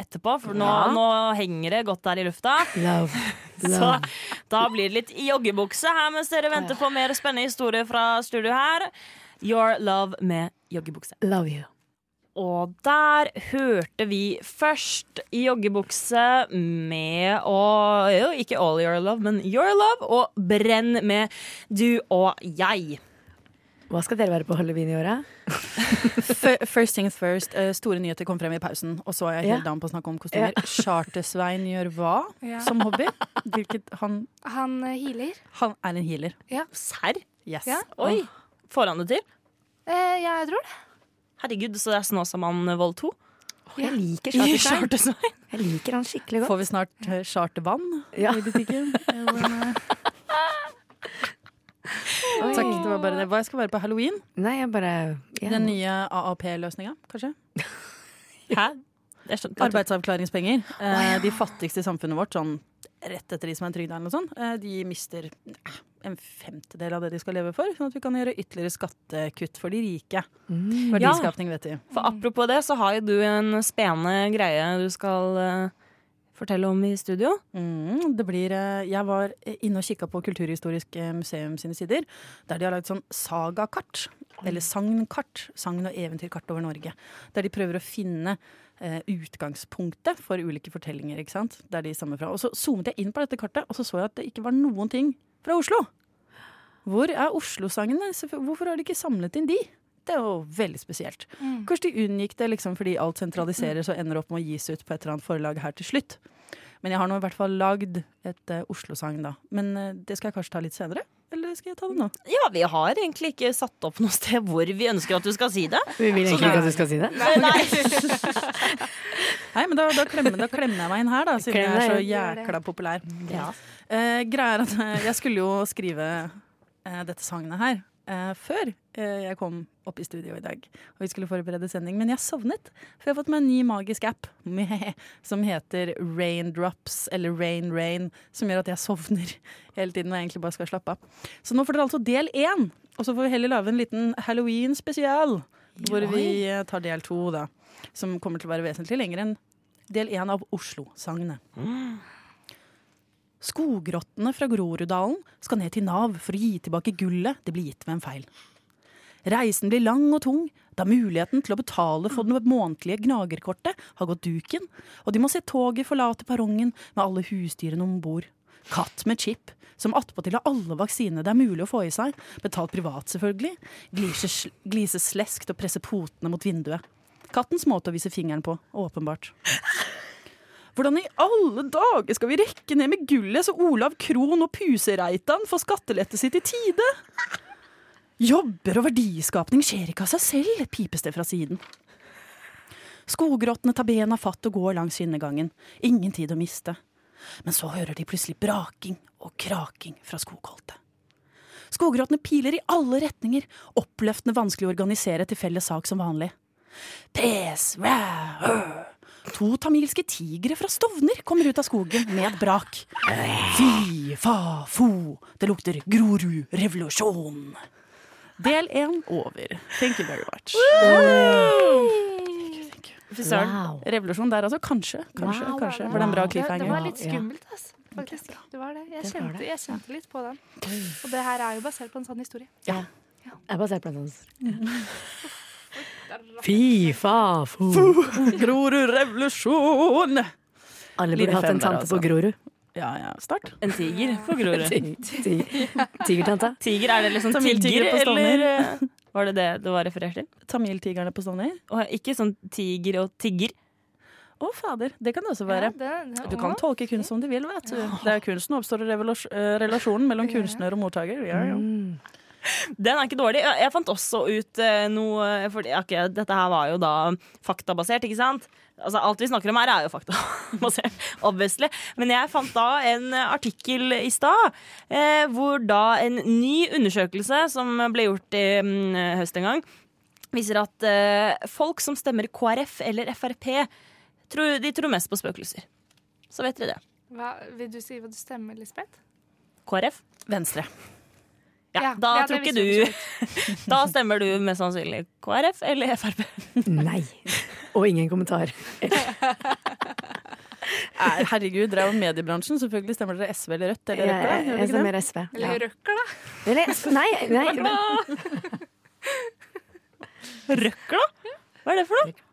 [SPEAKER 4] etterpå, for nå,
[SPEAKER 6] Ja.
[SPEAKER 4] nå henger det godt der i lufta.
[SPEAKER 6] Love.
[SPEAKER 4] Så
[SPEAKER 6] Love.
[SPEAKER 4] da blir det litt joggebukse her mens dere venter på mer spennende historier fra studio her. Your love med joggebukse.
[SPEAKER 6] Love you.
[SPEAKER 4] Og der hørte vi først joggebukse med og jo, Ikke All Your Love, men Your Love og Brenn med Du og jeg.
[SPEAKER 6] Hva skal dere være på halloween i året?
[SPEAKER 7] F- First things first. eh, Store nyheter kom frem i pausen, og så er jeg
[SPEAKER 6] Ja.
[SPEAKER 7] helt down på å snakke om kostymer.
[SPEAKER 6] Ja.
[SPEAKER 7] Chartersvein gjør hva
[SPEAKER 5] Ja.
[SPEAKER 7] som hobby? Hvilket han,
[SPEAKER 5] Han eh, healer.
[SPEAKER 7] han er en healer.
[SPEAKER 5] Ja.
[SPEAKER 4] Serr?
[SPEAKER 7] Yes.
[SPEAKER 5] Ja.
[SPEAKER 4] Oi! Får han det til?
[SPEAKER 5] Eh, ja, jeg tror det.
[SPEAKER 4] Herregud, så det er Snåsamann eh, vold 2?
[SPEAKER 6] Jeg liker
[SPEAKER 4] Ja.
[SPEAKER 6] Chartersvein. Jeg liker han skikkelig godt.
[SPEAKER 7] Får vi snart eh, chartervann
[SPEAKER 6] Ja.
[SPEAKER 7] i butikken? eh.
[SPEAKER 6] Oi.
[SPEAKER 7] Takk, det var bare det. Hva jeg skal være på halloween?
[SPEAKER 6] Nei, jeg bare ja.
[SPEAKER 7] Den nye AAP-løsninga, kanskje?
[SPEAKER 4] Hæ?
[SPEAKER 7] Arbeidsavklaringspenger. Eh, de fattigste i samfunnet vårt, sånn rett etter de som er trygda, eller noe sånt, eh, de mister eh, en femtedel av det de skal leve for, sånn at vi kan gjøre ytterligere skattekutt for de rike. Verdiskapning, vet du.
[SPEAKER 4] For apropos det, så har jo du en spennende greie du skal eh, fortelle om i studio.
[SPEAKER 7] Mm, det blir, eh, jeg var inne og kikka på Kulturhistorisk eh, museum sine sider, der de har lagd sånn sagakart. Eller sagnkart. Sagn- og eventyrkart over Norge. Der de prøver å finne eh, utgangspunktet for ulike fortellinger. ikke sant? Der de stammer fra. Og så zoomet jeg inn på dette kartet, og så så jeg at det ikke var noen ting fra Oslo. Hvor er Oslo-sangene? Selvfø- Hvorfor har de ikke samlet inn de? Det er jo veldig spesielt.
[SPEAKER 13] Mm.
[SPEAKER 7] Kanskje de unngikk det liksom fordi alt sentraliseres og ender opp med å gis ut på et eller annet forlag her til slutt. Men jeg har nå i hvert fall lagd et eh, Oslo-sang, da. Men eh, det skal jeg kanskje ta litt senere? Eller skal jeg ta det nå?
[SPEAKER 4] Ja, vi har egentlig ikke satt opp noe sted hvor vi ønsker at du skal si det.
[SPEAKER 6] Vi vil
[SPEAKER 4] Så
[SPEAKER 6] egentlig ikke at du skal si det.
[SPEAKER 4] Nei, nei.
[SPEAKER 7] Nei, men da, da, klemmer, da klemmer jeg meg inn her, da, siden jeg er så
[SPEAKER 6] Klem deg inn.
[SPEAKER 7] jækla populær.
[SPEAKER 6] Ja.
[SPEAKER 7] Eh, greia er at eh, jeg skulle jo skrive eh, dette sangene her eh, før eh, jeg kom opp i studio i dag. Og vi skulle forberede sending, men jeg sovnet. For jeg har fått meg en ny magisk app som heter Raindrops, eller Rain Rain, som gjør at jeg sovner hele tiden og egentlig bare skal slappe av. Så nå får dere altså del én, og så får vi heller lage en liten halloween-spesial. Hvor
[SPEAKER 13] Oi.
[SPEAKER 7] vi eh, tar del to, da. Som kommer til å være vesentlig lenger enn del én av Oslo-sangene. Skogrottene fra Groruddalen skal ned til Nav for å gi tilbake gullet det blir gitt ved en feil. Reisen blir lang og tung, da muligheten til å betale for det månedlige gnagerkortet har gått duken, og de må se toget forlate perrongen med alle husdyrene om bord. Katt med chip, som attpåtil har alle vaksinene det er mulig å få i seg, betalt privat selvfølgelig, gliser, sl- gliser sleskt og presser potene mot vinduet. Kattens måte å vise fingeren på, åpenbart. Hvordan i alle dager skal vi rekke ned med gullet så Olav Krohn og Pusereitan får skattelettet sitt i tide? Jobber og verdiskapning skjer ikke av seg selv, pipes det fra siden. Skogrottene tar bena fatt og går langs skinnegangen. Ingen tid å miste. Men så hører de plutselig braking og kraking fra skogholtet. Skogrottene piler i alle retninger, oppløftende vanskelig å organisere til felles sak som vanlig. Pes, ræ, øh. To tamilske tigre fra Stovner kommer ut av skogen med et brak. Fy, fa, fo. Det lukter Grorud revolusjon. Del én over. Thank you very much. Fy søren.
[SPEAKER 5] Wow.
[SPEAKER 7] Revolusjon der, altså. Kanskje. Kanskje.
[SPEAKER 5] Wow, wow,
[SPEAKER 7] kanskje.
[SPEAKER 5] wow.
[SPEAKER 7] Var det en bra
[SPEAKER 5] Det,
[SPEAKER 7] cliffhanger?
[SPEAKER 5] det var litt skummelt, altså, faktisk. Det var det. Jeg,
[SPEAKER 6] Det var
[SPEAKER 5] kjente,
[SPEAKER 6] det.
[SPEAKER 5] jeg kjente litt på den. Og det her er jo basert på en sann historie.
[SPEAKER 6] Ja. Jeg er basert på en sånn.
[SPEAKER 7] Fy fa fo. Grorud revolusjon!
[SPEAKER 6] Alle burde
[SPEAKER 7] Lille
[SPEAKER 6] hatt en
[SPEAKER 7] femmer,
[SPEAKER 6] tante på
[SPEAKER 7] altså.
[SPEAKER 6] Grorud.
[SPEAKER 7] Ja, ja. Start.
[SPEAKER 4] En tiger på Grorud.
[SPEAKER 6] Ti- ti- Tigertanta.
[SPEAKER 4] Tiger, er det liksom
[SPEAKER 7] Tamiltigre
[SPEAKER 4] tiger,
[SPEAKER 7] på Stovner.
[SPEAKER 4] eller eh, var det det det var referert til?
[SPEAKER 7] Tamiltigerne på Stovner?
[SPEAKER 4] Og ikke sånn tiger og tigger.
[SPEAKER 7] Å, fader. Det kan det også være. Du kan tolke kunst som du vil, vet du. Det er kunsten oppstår i revolusj- eh, relasjonen mellom kunstner og mottaker. Ja, ja.
[SPEAKER 4] Den er ikke dårlig. Jeg jeg fant også ut eh, noe eh, fordi, ok, Dette her var jo da faktabasert, ikke sant? Altså, alt vi snakker om her, er jo faktabasert, obviously. Men jeg fant da en eh, artikkel i stad eh, hvor da en ny undersøkelse som ble gjort i mm, høst en gang, viser at eh, folk som stemmer KrF eller Frp, tror, de tror mest på spøkelser. Så vet dere det.
[SPEAKER 5] Hva, vil du si hva du stemmer, Lisbeth?
[SPEAKER 4] KrF?
[SPEAKER 7] Venstre.
[SPEAKER 4] Ja,
[SPEAKER 5] Ja,
[SPEAKER 4] da
[SPEAKER 5] ja, det
[SPEAKER 4] tror ikke
[SPEAKER 5] visste jeg
[SPEAKER 4] du Da stemmer du mest sannsynlig KrF eller Frp.
[SPEAKER 6] Nei. Og ingen kommentar.
[SPEAKER 7] Er- Herregud, dere er jo mediebransjen. Selvfølgelig stemmer dere SV eller Rødt. Eller
[SPEAKER 6] Ja,
[SPEAKER 7] Rødt,
[SPEAKER 6] jeg- jeg stemmer SV, ja. Eller
[SPEAKER 5] Røkker, da?
[SPEAKER 6] Eller SV Nei. nei.
[SPEAKER 4] Røkla? Hva er det for noe?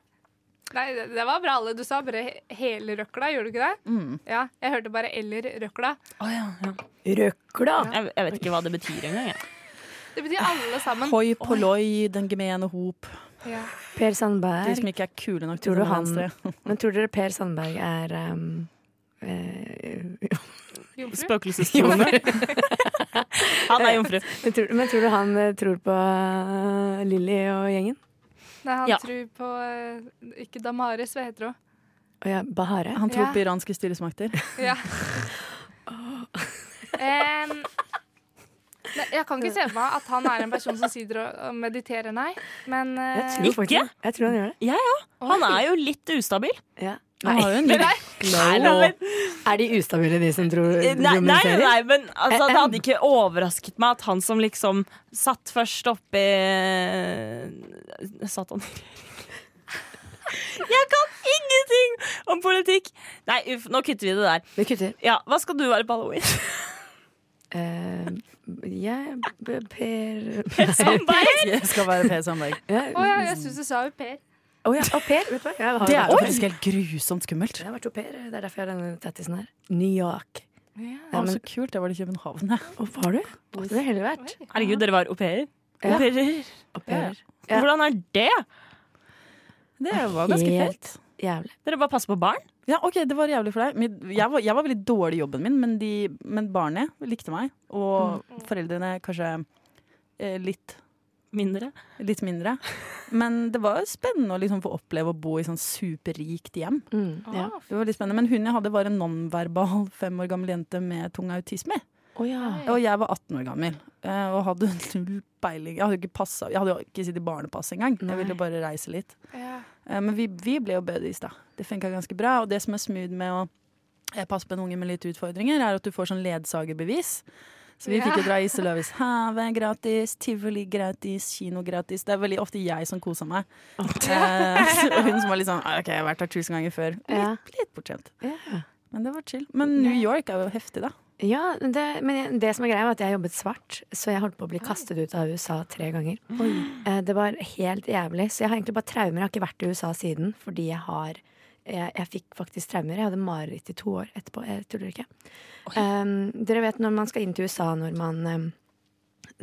[SPEAKER 5] Nei, det, det var bra, alle. Du sa bare he- hele røkla, gjorde du ikke det? Ja, jeg hørte bare 'eller røkla'.
[SPEAKER 6] Røkla.
[SPEAKER 4] Jeg, jeg vet ikke hva det betyr engang. jeg.
[SPEAKER 5] Det betyr alle sammen.
[SPEAKER 7] Hoi polloi, den gemene hop.
[SPEAKER 5] Ja.
[SPEAKER 6] Per Sandberg.
[SPEAKER 7] De som ikke er kule nok til
[SPEAKER 6] Tror du
[SPEAKER 7] å
[SPEAKER 6] han,
[SPEAKER 7] stemme
[SPEAKER 6] men tror dere Per Sandberg er um, eh,
[SPEAKER 5] Jomfru?
[SPEAKER 4] Spøkelsestroende. Han er jomfru.
[SPEAKER 6] Men tror, men tror du han eh, tror på uh, Lilly og gjengen?
[SPEAKER 5] Nei, han
[SPEAKER 6] Ja.
[SPEAKER 5] tror på eh, Ikke Damaris, hva heter hun?
[SPEAKER 6] Og ja, Bahare?
[SPEAKER 5] Han tror Ja. på
[SPEAKER 7] iranske styresmakter.
[SPEAKER 5] Ja. Em, nei, jeg kan ikke se for meg at han er en person som sitter og og mediterer, nei. Men eh,
[SPEAKER 6] Jeg tror faktisk det. Jeg tror han gjør det.
[SPEAKER 4] Jeg òg. Han er jo litt ustabil.
[SPEAKER 6] Ja.
[SPEAKER 4] Han har jo en
[SPEAKER 6] Nei.
[SPEAKER 4] Nei, nei, men-
[SPEAKER 6] Er de ustabile, de som tror
[SPEAKER 4] Eh, Nei, nei, nei, nei men altså, det
[SPEAKER 6] Eh, em.
[SPEAKER 4] hadde ikke overrasket meg at han som liksom satt først oppi Satt han i regjering? Jeg kan ingenting om politikk! Nei, uff, nå kutter vi det der.
[SPEAKER 6] Vi kutter.
[SPEAKER 4] Ja, Hva skal du være på halloween?
[SPEAKER 6] Eh, jeg b- Per
[SPEAKER 4] Per Sandberg?
[SPEAKER 7] Jeg skal være Per Sandberg.
[SPEAKER 6] Ja.
[SPEAKER 5] Å ja, jeg syns du sa jo Per.
[SPEAKER 6] Å ja, og Per. Vet du hva? Jeg har
[SPEAKER 7] Det er jo
[SPEAKER 6] Oi!
[SPEAKER 7] faktisk helt grusomt skummelt.
[SPEAKER 6] Jeg har vært au pair. Det er derfor jeg har denne tattisen her. New York.
[SPEAKER 7] Å, så kult. Jeg var i København, jeg.
[SPEAKER 6] Og var du? Det har heller vært.
[SPEAKER 4] Herregud, dere var au pairer?
[SPEAKER 6] Ja.
[SPEAKER 4] Au pairer.
[SPEAKER 6] pairer.
[SPEAKER 4] Ja. Hvordan er det?
[SPEAKER 7] Det var ganske
[SPEAKER 6] Helt
[SPEAKER 7] fett.
[SPEAKER 6] Jævlig.
[SPEAKER 4] Dere bare passer på barn?
[SPEAKER 7] Ja, ok, det var jævlig for deg. Men Jeg var, jeg var veldig dårlig i jobben min, men, de, men barnet likte meg. Og foreldrene kanskje eh, litt
[SPEAKER 4] Mindre?
[SPEAKER 7] Litt mindre. Men det var spennende å liksom få oppleve å bo i sånn superrikt hjem.
[SPEAKER 6] Mm, ja.
[SPEAKER 7] Det var litt spennende, Men hun jeg hadde, var en nonverbal fem år gammel jente med tung autisme.
[SPEAKER 6] Å ja.
[SPEAKER 7] Og jeg var 18 år gammel eh, og hadde null peiling. Jeg hadde jo ikke, passet, jeg hadde jo ikke sittet i barnepass engang. Jeg ville jo bare reise litt.
[SPEAKER 5] Ja.
[SPEAKER 7] Eh, Men vi, vi ble jo buddies, da. Det funka ganske bra. Og det som er smooth med å eh, passe på en unge med litt utfordringer, er at du får sånn ledsagerbevis. Så vi
[SPEAKER 13] Ja.
[SPEAKER 7] fikk jo dra Iseløvis have gratis, tivoli gratis, kino gratis. Det er veldig ofte jeg som koser meg. Eh, så- og hun som var litt sånn «Ah, OK, jeg har vært her tusen ganger før.
[SPEAKER 6] Ja.
[SPEAKER 7] Litt, litt bortskjemt. Men det var chill. Men New York er jo heftig, da.
[SPEAKER 6] Ja, men det, men jeg- det som er greia var at jeg jobbet svart, så jeg holdt på å bli kastet ut av USA tre ganger. Eh, Det var helt jævlig, så jeg har egentlig bare traumer. Jeg har ikke vært i USA siden fordi jeg har jeg, jeg fikk faktisk traumer. Jeg hadde mareritt i to år etterpå. Jeg tuller ikke. Um, dere vet når man skal inn til USA når man um,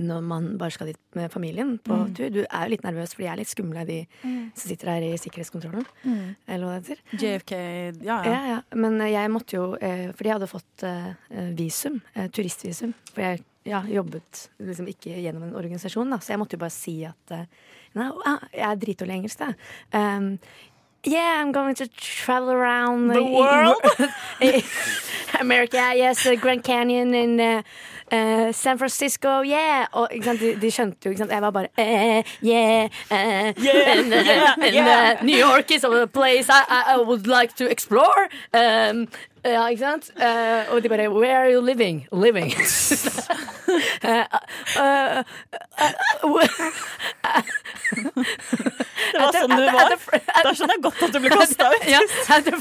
[SPEAKER 6] når man bare skal dit med familien på
[SPEAKER 13] Mm.
[SPEAKER 6] tur. Du er jo litt nervøs, for de er litt skumle, de
[SPEAKER 7] Mm.
[SPEAKER 6] som sitter her i sikkerhetskontrollen.
[SPEAKER 7] Mm.
[SPEAKER 6] Eller hva det heter.
[SPEAKER 7] JFK Ja,
[SPEAKER 6] Ja, ja. Men eh, jeg måtte jo eh, Fordi jeg hadde fått eh, eh, visum, eh, turistvisum. For jeg ja, jobbet liksom ikke gjennom en organisasjon, da. Så jeg måtte jo bare si at eh, Nei, ah, jeg er dritdårlig i engelsk, da. Um, Yeah, I'm going to travel around
[SPEAKER 4] The
[SPEAKER 6] i- i-
[SPEAKER 4] world?
[SPEAKER 6] America, yes, uh, Grand Canyon and uh, uh, San Francisco, yeah. Og ikke sant, de, de skjønte jo, ikke sant. Jeg var bare eh, yeah, eh,
[SPEAKER 12] Yeah,
[SPEAKER 6] and, uh,
[SPEAKER 12] yeah,
[SPEAKER 6] and,
[SPEAKER 12] yeah.
[SPEAKER 6] uh, New York is a place I, I, I would like to explore. Um, ja, ikke sant? Eh, og de bare Where are you living? Living. Eh, eh,
[SPEAKER 4] Det var sånn du var. Da skjønner jeg godt at du ble kasta ut.
[SPEAKER 6] Ja, at the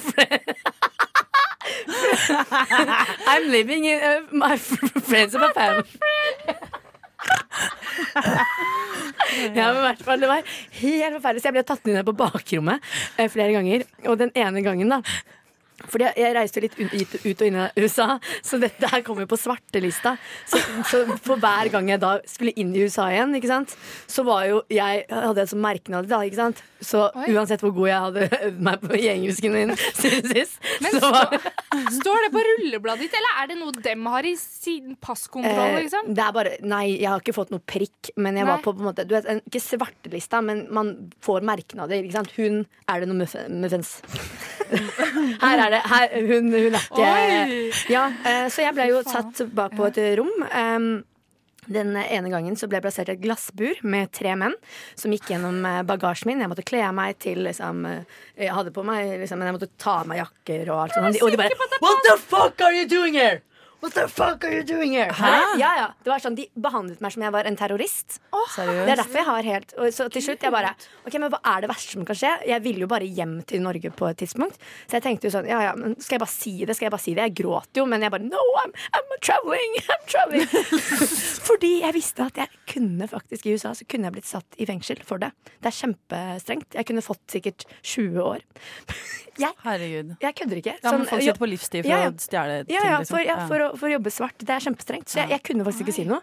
[SPEAKER 6] I'm living in uh, my fr- friends and my family. ja, men i hvert fall, Det var helt forferdelig, så jeg ble tatt ned på bakrommet eh, flere ganger. Og den ene gangen, da fordi jeg, jeg reiste jo litt ut, ut- ut og inn av USA, så dette her kom jo på svartelista. Så, så for hver gang jeg da skulle inn i USA igjen, ikke sant? så var jo jeg hadde jeg som merknad da, ikke sant. Så uansett hvor god jeg hadde øvd meg på i engelsken min siden sist,
[SPEAKER 5] Men
[SPEAKER 6] så var
[SPEAKER 5] Står det på rullebladet ditt, eller er det noe dem har i sin passkontroll?
[SPEAKER 6] Eh,
[SPEAKER 5] liksom?
[SPEAKER 6] Det er bare, nei, jeg har ikke fått noe prikk, men jeg var
[SPEAKER 5] Nei.
[SPEAKER 6] på, på en måte, du vet, en, ikke svartelista, men man får merknader, ikke sant? Hun, er det noe muffe- muffins? her er det, her, hun, hun er ikke...
[SPEAKER 12] Oi!
[SPEAKER 6] Ja, eh, så jeg ble jo satt bak på et rom, em, den ene gangen så ble jeg plassert i et glassbur med tre menn som gikk gjennom eh, bagasjen min. Jeg måtte kle av meg til liksom, eh, Jeg hadde på meg liksom, Men jeg måtte ta av meg jakker og alt sånt. Og de bare What the fuck are you doing here? What the fuck are you doing here?
[SPEAKER 12] Hæ?
[SPEAKER 6] Ja, ja. Det var sånn, De behandlet meg som jeg var en terrorist. Det er derfor jeg har helt og Så til slutt jeg bare Ok, men hva er det verste som kan skje? Jeg ville jo bare hjem til Norge på et tidspunkt. Så jeg tenkte jo sånn Ja ja, men skal jeg bare si det? Skal jeg bare si det? Jeg gråt jo, men jeg bare No, I'm, I'm traveling! I'm traveling! Fordi jeg visste at jeg kunne faktisk i USA så kunne jeg blitt satt i fengsel for det. Det er kjempestrengt. Jeg kunne fått sikkert 20 år. Jeg,
[SPEAKER 7] Herregud.
[SPEAKER 6] Jeg kødder ikke.
[SPEAKER 7] Ja, men
[SPEAKER 6] Sånn,
[SPEAKER 7] folk
[SPEAKER 6] jo-
[SPEAKER 7] sitter på livstid for
[SPEAKER 6] Ja, ja.
[SPEAKER 7] å stjele ting.
[SPEAKER 6] Ja, ja,
[SPEAKER 7] liksom.
[SPEAKER 6] for, ja,
[SPEAKER 7] Ja.
[SPEAKER 6] for, å, for å jobbe svart. Det er kjempestrengt. Så jeg, jeg kunne faktisk ikke si noe.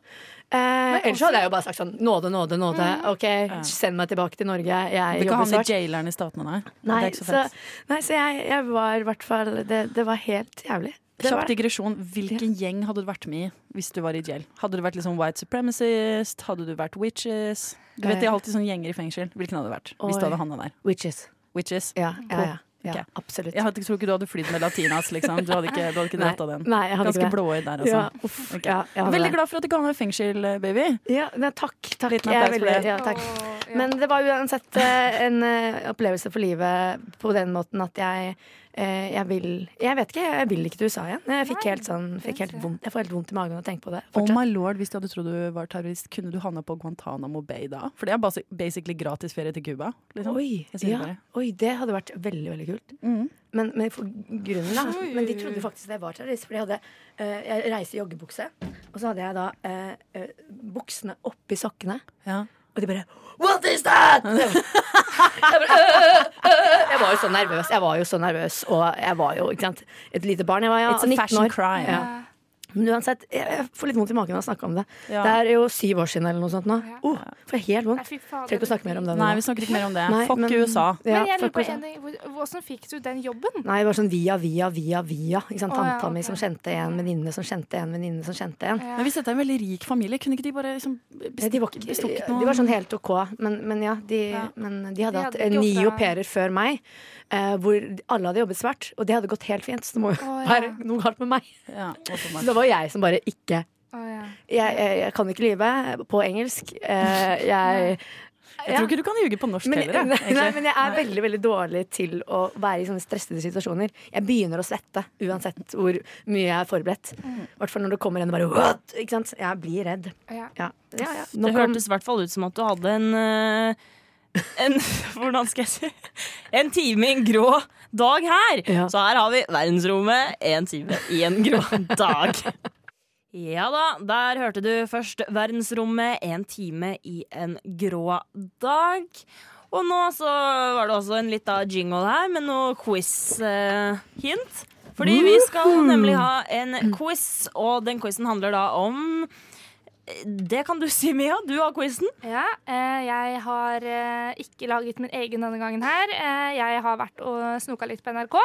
[SPEAKER 6] Eh, ellers hadde jeg jo bare sagt sånn nåde, nåde, nåde.
[SPEAKER 7] Mm.
[SPEAKER 6] OK, send meg tilbake til Norge.
[SPEAKER 7] Det er
[SPEAKER 6] Jeg
[SPEAKER 7] ikke
[SPEAKER 6] jobber
[SPEAKER 7] han i
[SPEAKER 6] svart.
[SPEAKER 7] jaileren i Statene, nei.
[SPEAKER 6] Nei,
[SPEAKER 7] det er ikke så
[SPEAKER 6] så,
[SPEAKER 7] fett.
[SPEAKER 6] nei, så jeg, jeg var i hvert fall det, det var helt jævlig. Så var
[SPEAKER 7] Kjapp
[SPEAKER 6] det.
[SPEAKER 7] digresjon. Hvilken gjeng hadde du vært med i hvis du var i jail? Hadde du vært liksom white supremacist? Hadde du vært witches? Du vet, De har alltid sånne gjenger i fengsel. Hvilken hadde du vært hvis
[SPEAKER 6] Oi.
[SPEAKER 7] du hadde havna der?
[SPEAKER 6] Witches.
[SPEAKER 7] Witches?
[SPEAKER 6] Ja, ja, ja. Ja, absolutt.
[SPEAKER 7] Jeg hadde- tror ikke du hadde flydd med latinas, liksom. Du hadde ikke, du hadde ikke
[SPEAKER 6] Nei.
[SPEAKER 7] dratt av den.
[SPEAKER 6] Nei, jeg hadde
[SPEAKER 7] Ganske
[SPEAKER 6] ikke det.
[SPEAKER 7] blåøyd der, altså.
[SPEAKER 6] Ja, uff,
[SPEAKER 7] Ok.
[SPEAKER 6] ja, jeg hadde
[SPEAKER 7] Veldig
[SPEAKER 6] det.
[SPEAKER 7] glad for at du ga meg fengsel, baby.
[SPEAKER 6] Ja, nei, takk. takk.
[SPEAKER 7] Liten
[SPEAKER 6] Jeg er
[SPEAKER 7] applaus for
[SPEAKER 6] veldig-
[SPEAKER 7] det.
[SPEAKER 6] Ja, takk. Men det var uansett eh, en eh, opplevelse for livet på den måten at jeg eh, jeg vil Jeg vet ikke, jeg vil ikke til USA igjen. Jeg fikk helt sånn, fikk helt vondt, jeg får helt vondt i magen av å tenke på det.
[SPEAKER 7] Oh my lord, Hvis du hadde trodd du var terrorist, kunne du havna på Guantánamo Bay da? For det er basi- basically gratis ferie til Cuba. Liksom.
[SPEAKER 6] Oi,
[SPEAKER 7] Jeg sier det
[SPEAKER 6] ja.
[SPEAKER 7] bare. Mm.
[SPEAKER 6] Oi, det hadde vært veldig veldig kult. Men, men for grunnen da Men de trodde faktisk det var terrorist. For de hadde eh, Jeg reiste i joggebukse, og så hadde jeg da eh, eh, buksene oppi sokkene. Og de bare What is that?! Jeg, bare, «Øh, øh». jeg var jo så nervøs. Jeg var jo så nervøs Og jeg var jo ikke sant, et lite barn. Jeg var ja,
[SPEAKER 7] It's a
[SPEAKER 6] 19
[SPEAKER 7] fashion
[SPEAKER 6] år.
[SPEAKER 7] crime.
[SPEAKER 6] Ja. Men uansett, jeg- jeg får litt vondt i magen av å snakke om det.
[SPEAKER 7] Ja.
[SPEAKER 6] Det er jo syv år siden eller noe sånt nå. Oh, får jeg helt vondt. Trenger ikke å snakke mer om det. nå.
[SPEAKER 7] Nei, vi snakker ikke mer om det.
[SPEAKER 6] Nei,
[SPEAKER 7] Fuck
[SPEAKER 6] men-
[SPEAKER 7] USA.
[SPEAKER 6] Ja,
[SPEAKER 5] Men jeg lurer
[SPEAKER 6] fuck
[SPEAKER 5] på
[SPEAKER 6] USA.
[SPEAKER 5] en ting. Hvor- Hvordan fikk du den jobben?
[SPEAKER 6] Nei, det var sånn via, via, via, via. Ikke sant?
[SPEAKER 5] Å, ja,
[SPEAKER 6] Tanta mi som kjente en venninne som kjente en venninne som kjente en.
[SPEAKER 7] Men hvis dette er en veldig rik familie, kunne ikke de bare liksom
[SPEAKER 6] Ja, de, var,
[SPEAKER 7] bestikk-
[SPEAKER 6] ikke-
[SPEAKER 7] bestukket
[SPEAKER 6] de var sånn helt OK, men, men ja, de, Men de hadde
[SPEAKER 7] De
[SPEAKER 6] hatt
[SPEAKER 7] hadde ikke
[SPEAKER 6] eh, ni au
[SPEAKER 7] ofra-
[SPEAKER 6] pairer før meg, eh, hvor alle hadde jobbet svart, og det hadde gått helt fint, så det må jo
[SPEAKER 7] Å, ja.
[SPEAKER 6] være noe galt med meg.
[SPEAKER 7] Ja,
[SPEAKER 6] Så det var jeg som bare ikke Jeg, jeg, jeg kan ikke lyve på engelsk. Eh, jeg
[SPEAKER 7] Jeg tror ikke du kan ljuge på norsk
[SPEAKER 6] men,
[SPEAKER 7] heller.
[SPEAKER 6] Nei,
[SPEAKER 7] jeg,
[SPEAKER 6] nei,
[SPEAKER 7] egentlig.
[SPEAKER 6] men jeg er veldig veldig dårlig til å være i sånne stressede situasjoner. Jeg begynner å svette uansett hvor mye jeg er forberedt.
[SPEAKER 4] Mm.
[SPEAKER 6] I hvert fall når det kommer en og bare What? Ikke sant? Jeg blir redd.
[SPEAKER 5] Ja.
[SPEAKER 6] Ja, ja. Nå
[SPEAKER 4] Det
[SPEAKER 6] kom-
[SPEAKER 4] hørtes i hvert fall ut som at du hadde en eh, en, hvordan skal jeg si En time i en grå dag her. Så her har vi verdensrommet, én time i en grå dag. Ja da, der hørte du først verdensrommet, en time i en grå dag. Og nå så var det også en lita jingle her med noe quiz-hint. Fordi vi skal
[SPEAKER 13] Woohoo!
[SPEAKER 4] nemlig ha en quiz, og den quizen handler da om Det kan du si, Mia. Du har quizen.
[SPEAKER 5] Ja, eh, jeg har eh, ikke laget min egen denne gangen her. Eh, jeg har vært og snoka litt på NRK.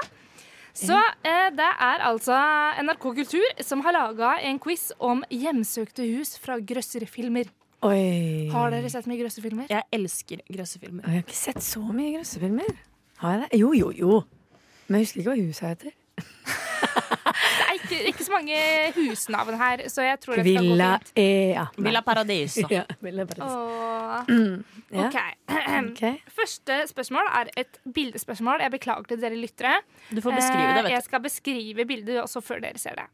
[SPEAKER 5] Så eh, det er altså NRK Kultur som har laga en quiz om hjemsøkte hus fra grøsserfilmer.
[SPEAKER 6] Oi.
[SPEAKER 5] Har dere sett mye grøsserfilmer?
[SPEAKER 4] Jeg elsker grøssefilmer.
[SPEAKER 6] Jeg har ikke sett så mye grøssefilmer. Har jeg det? Jo, jo, jo. Men jeg husker ikke hva huset heter.
[SPEAKER 5] Det er ikke, ikke så mange husnavn her, så jeg tror det skal gå
[SPEAKER 6] Villa
[SPEAKER 5] fint.
[SPEAKER 6] Ea. Nei.
[SPEAKER 4] Villa Paradiso.
[SPEAKER 6] ja, Villa Paradiso.
[SPEAKER 5] Åh.
[SPEAKER 6] Mm, Ja.
[SPEAKER 5] OK. Første spørsmål er et bildespørsmål. Jeg beklager til dere lyttere.
[SPEAKER 4] Du får beskrive det,
[SPEAKER 5] Eh, Jeg
[SPEAKER 4] vet du.
[SPEAKER 5] skal beskrive bildet også før dere ser det.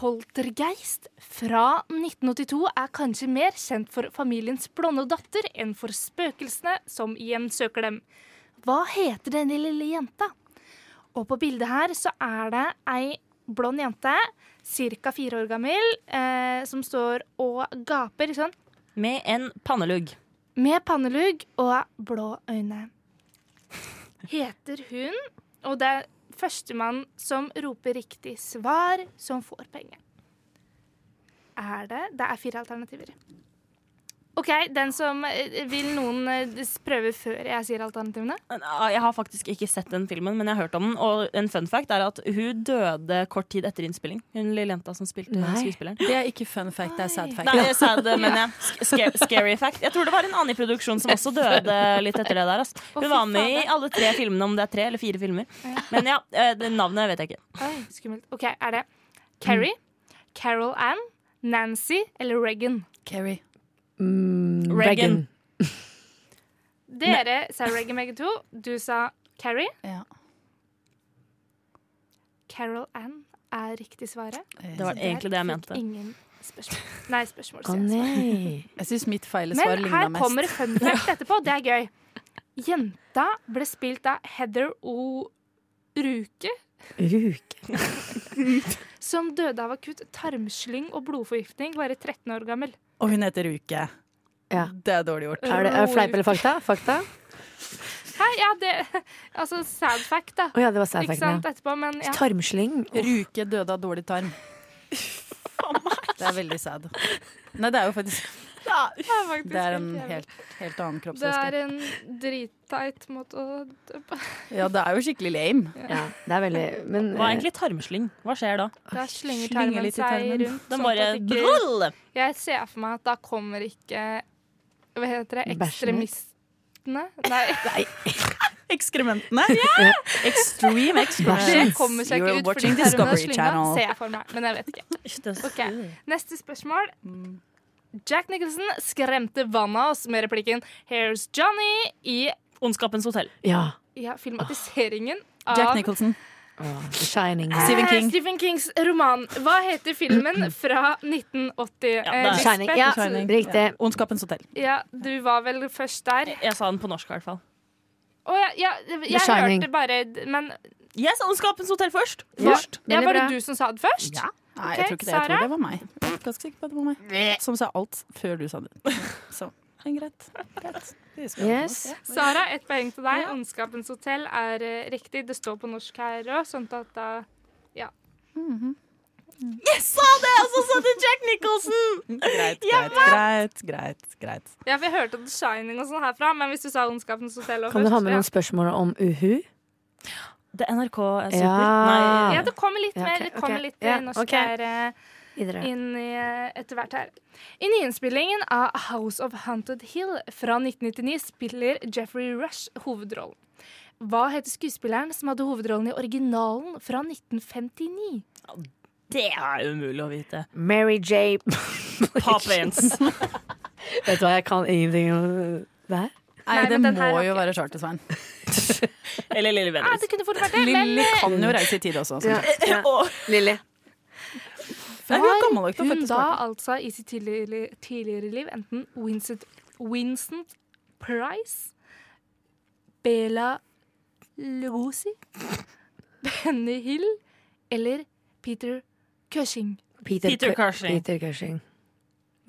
[SPEAKER 5] Poltergeist fra 1982 er kanskje mer kjent for familiens blonde datter enn for spøkelsene som hjemsøker dem. Hva heter den lille jenta? Og på bildet her så er det ei blond jente, ca. fire år gammel, eh, som står og gaper sånn.
[SPEAKER 4] Med en pannelugg.
[SPEAKER 5] Med pannelugg og blå øyne. Heter hun Og det er førstemann som roper riktig svar, som får penger. Er det Det er fire alternativer. OK, den som eh, Vil noen eh, prøve før jeg sier alternativene?
[SPEAKER 4] Ah, Jeg har faktisk ikke sett den filmen, men jeg har hørt om den. Og en fun fact er at hun døde kort tid etter innspilling. Hun lille jenta som spilte
[SPEAKER 7] Nei.
[SPEAKER 4] skuespilleren.
[SPEAKER 7] Det er ikke fun fact, det er sad fact.
[SPEAKER 4] Nei, sad, men jeg. Sk- sca- Scary fact. Jeg tror det var en annen i produksjonen som også døde litt etter det der. ass. Hun var med i alle tre filmene, om det er tre eller fire filmer. Men ja, eh, det navnet vet jeg ikke.
[SPEAKER 5] Oi, skummelt. OK, er det Carrie, Carol Ann, Nancy eller Regan?
[SPEAKER 7] Carrie.
[SPEAKER 6] Mm,
[SPEAKER 4] Reagan.
[SPEAKER 6] Reagan.
[SPEAKER 5] Dere sa Regan begge to. Du sa Carrie. Carol Ann er riktig svaret.
[SPEAKER 4] Det var
[SPEAKER 5] Så
[SPEAKER 4] egentlig det jeg mente.
[SPEAKER 5] Fikk ingen spørsmål. Nei, spørsmål.
[SPEAKER 7] Å,
[SPEAKER 5] sier jeg.
[SPEAKER 7] nei. Jeg syns mitt feile svar
[SPEAKER 5] Men
[SPEAKER 7] ligna
[SPEAKER 5] her
[SPEAKER 7] mest.
[SPEAKER 5] kommer fun fact etterpå. Det er gøy. Jenta ble spilt av Heather O. Ruke,
[SPEAKER 6] Ruke.
[SPEAKER 5] som døde av akutt tarmslyng og blodforgiftning, bare 13 år gammel.
[SPEAKER 7] Og hun heter Ruke.
[SPEAKER 6] Ja.
[SPEAKER 7] Det er dårlig gjort.
[SPEAKER 6] Er det er fleip eller fakta? Fakta?
[SPEAKER 5] Hei, ja, det Altså, sad fact, da.
[SPEAKER 6] Å ja, det var sad
[SPEAKER 5] Ikke
[SPEAKER 6] facten, ja.
[SPEAKER 5] sant, etterpå, men ja.
[SPEAKER 6] Tarmslyng.
[SPEAKER 7] Ruke døde av dårlig tarm. Det er veldig sad. Nei, det er jo faktisk
[SPEAKER 5] Ja, det er faktisk
[SPEAKER 7] Det er en
[SPEAKER 5] jævlig.
[SPEAKER 7] helt, helt annen
[SPEAKER 5] Det er
[SPEAKER 7] kroppsvæske.
[SPEAKER 5] en dritteit måte å dø på.
[SPEAKER 7] Ja, det er jo skikkelig lame.
[SPEAKER 6] Ja, det er veldig men,
[SPEAKER 4] Hva er egentlig tarmslyng? Hva skjer da?
[SPEAKER 5] Da slenger
[SPEAKER 7] Slynger
[SPEAKER 5] tarmen
[SPEAKER 7] litt i
[SPEAKER 5] seg
[SPEAKER 7] tarmen.
[SPEAKER 5] rundt.
[SPEAKER 4] Den
[SPEAKER 5] sånn
[SPEAKER 4] bare
[SPEAKER 5] at det ikke-
[SPEAKER 4] Brull!
[SPEAKER 5] Jeg ser for meg at da kommer ikke Hva heter det?
[SPEAKER 7] Bæsjen ut.
[SPEAKER 5] Ekstremistene? Nei.
[SPEAKER 7] Ekskrementene. Yeah! Extreme
[SPEAKER 5] Det
[SPEAKER 6] eh,
[SPEAKER 7] excrements.
[SPEAKER 5] kommer seg ikke
[SPEAKER 7] You're
[SPEAKER 5] ut fordi
[SPEAKER 7] watching
[SPEAKER 5] tarmen
[SPEAKER 7] Discovery
[SPEAKER 5] slynger, ser
[SPEAKER 7] Channel.
[SPEAKER 5] jeg for meg. Men jeg vet ikke. Ok, Neste spørsmål.
[SPEAKER 7] Mm.
[SPEAKER 5] Jack Nicholson skremte vannet av oss med replikken 'Here's Johnny' i
[SPEAKER 4] Ondskapens hotell.
[SPEAKER 6] Ja.
[SPEAKER 5] ja, filmatiseringen av
[SPEAKER 7] Ah. Jack Nicholson.
[SPEAKER 6] Å, The Shining.
[SPEAKER 5] Eh, Stephen Kings roman. Hva heter filmen fra 1980?
[SPEAKER 4] Ja,
[SPEAKER 5] Eh,
[SPEAKER 4] det er-
[SPEAKER 5] Lisbeth?
[SPEAKER 4] Shining.
[SPEAKER 6] Ja,
[SPEAKER 7] Shining.
[SPEAKER 6] riktig.
[SPEAKER 7] Ondskapens hotell.
[SPEAKER 5] Ja, du var vel først der.
[SPEAKER 4] Jeg sa den på norsk i hvert fall.
[SPEAKER 5] Å ja, ja, jeg
[SPEAKER 6] Shining.
[SPEAKER 5] hørte bare d- Men
[SPEAKER 4] Jeg sa Ondskapens hotell først.
[SPEAKER 5] først. Ja,
[SPEAKER 6] veldig
[SPEAKER 5] var det
[SPEAKER 6] bra.
[SPEAKER 5] du som sa det først?
[SPEAKER 4] Ja.
[SPEAKER 7] Nei,
[SPEAKER 5] Ok,
[SPEAKER 7] jeg tror ikke det. Jeg
[SPEAKER 5] Sara?
[SPEAKER 7] tror det var meg. Jeg er Ganske sikker på at det var meg. Som sa alt før du sa det. Så men greit. greit. Vi skal holde
[SPEAKER 6] Yes.
[SPEAKER 7] oss, ja.
[SPEAKER 5] Sara, ett poeng til deg. Ondskapens hotell er eh, riktig. Det står på norsk her òg, sånn at da Ja.
[SPEAKER 4] Jeg sa det! Og så sa du Jack Nicholson!
[SPEAKER 7] Mm, Greit, greit, greit, greit, greit.
[SPEAKER 5] Ja, for Jeg hørte The Shining og sånn herfra, men hvis du sa Ondskapens hotell også
[SPEAKER 6] Kan du ha
[SPEAKER 5] først,
[SPEAKER 6] med noen spørsmål om Uhu?
[SPEAKER 4] Det er NRK eh, Super.
[SPEAKER 6] Ja.
[SPEAKER 4] Nei.
[SPEAKER 5] Ja, det kommer litt
[SPEAKER 6] Ja,
[SPEAKER 5] mer.
[SPEAKER 6] ok,
[SPEAKER 5] Det kommer
[SPEAKER 6] ok.
[SPEAKER 5] litt
[SPEAKER 6] Ja,
[SPEAKER 5] eh, norsk
[SPEAKER 6] ok.
[SPEAKER 5] her. eh,
[SPEAKER 6] Videre.
[SPEAKER 5] inn i, eh, etter hvert her. I nyinnspillingen av House of Haunted Hill fra 1999 spiller Jeffrey Rush hovedrollen. Hva heter skuespilleren som hadde hovedrollen i originalen fra 1959?
[SPEAKER 4] Det er umulig å vite.
[SPEAKER 6] Mary J.
[SPEAKER 4] Poppins.
[SPEAKER 6] Vet du hva, jeg kan ingenting om det her.
[SPEAKER 7] Nei,
[SPEAKER 5] Nei,
[SPEAKER 7] det
[SPEAKER 5] men den her
[SPEAKER 7] må
[SPEAKER 5] har
[SPEAKER 7] jo
[SPEAKER 5] ikke-
[SPEAKER 7] være Charter-Svein.
[SPEAKER 4] Eller Lille
[SPEAKER 5] Ja,
[SPEAKER 4] Bendriss.
[SPEAKER 5] Ah, det kunne fort vært det, men
[SPEAKER 7] Lilly kan jo reise i tid også.
[SPEAKER 6] Ja,
[SPEAKER 7] Sånn.
[SPEAKER 6] ja. Lilly.
[SPEAKER 7] Nei, hun er gammel
[SPEAKER 5] var
[SPEAKER 7] nok til å
[SPEAKER 5] hun
[SPEAKER 7] fødte
[SPEAKER 5] da
[SPEAKER 7] Spartan.
[SPEAKER 5] altså i sitt tidligere, tidligere liv enten Vincent, Vincent Price, Bela Lugosi, Benny Hill eller Peter Cushing?
[SPEAKER 6] Peter,
[SPEAKER 4] Peter
[SPEAKER 6] Cu-
[SPEAKER 4] Cushing.
[SPEAKER 6] Peter Cushing.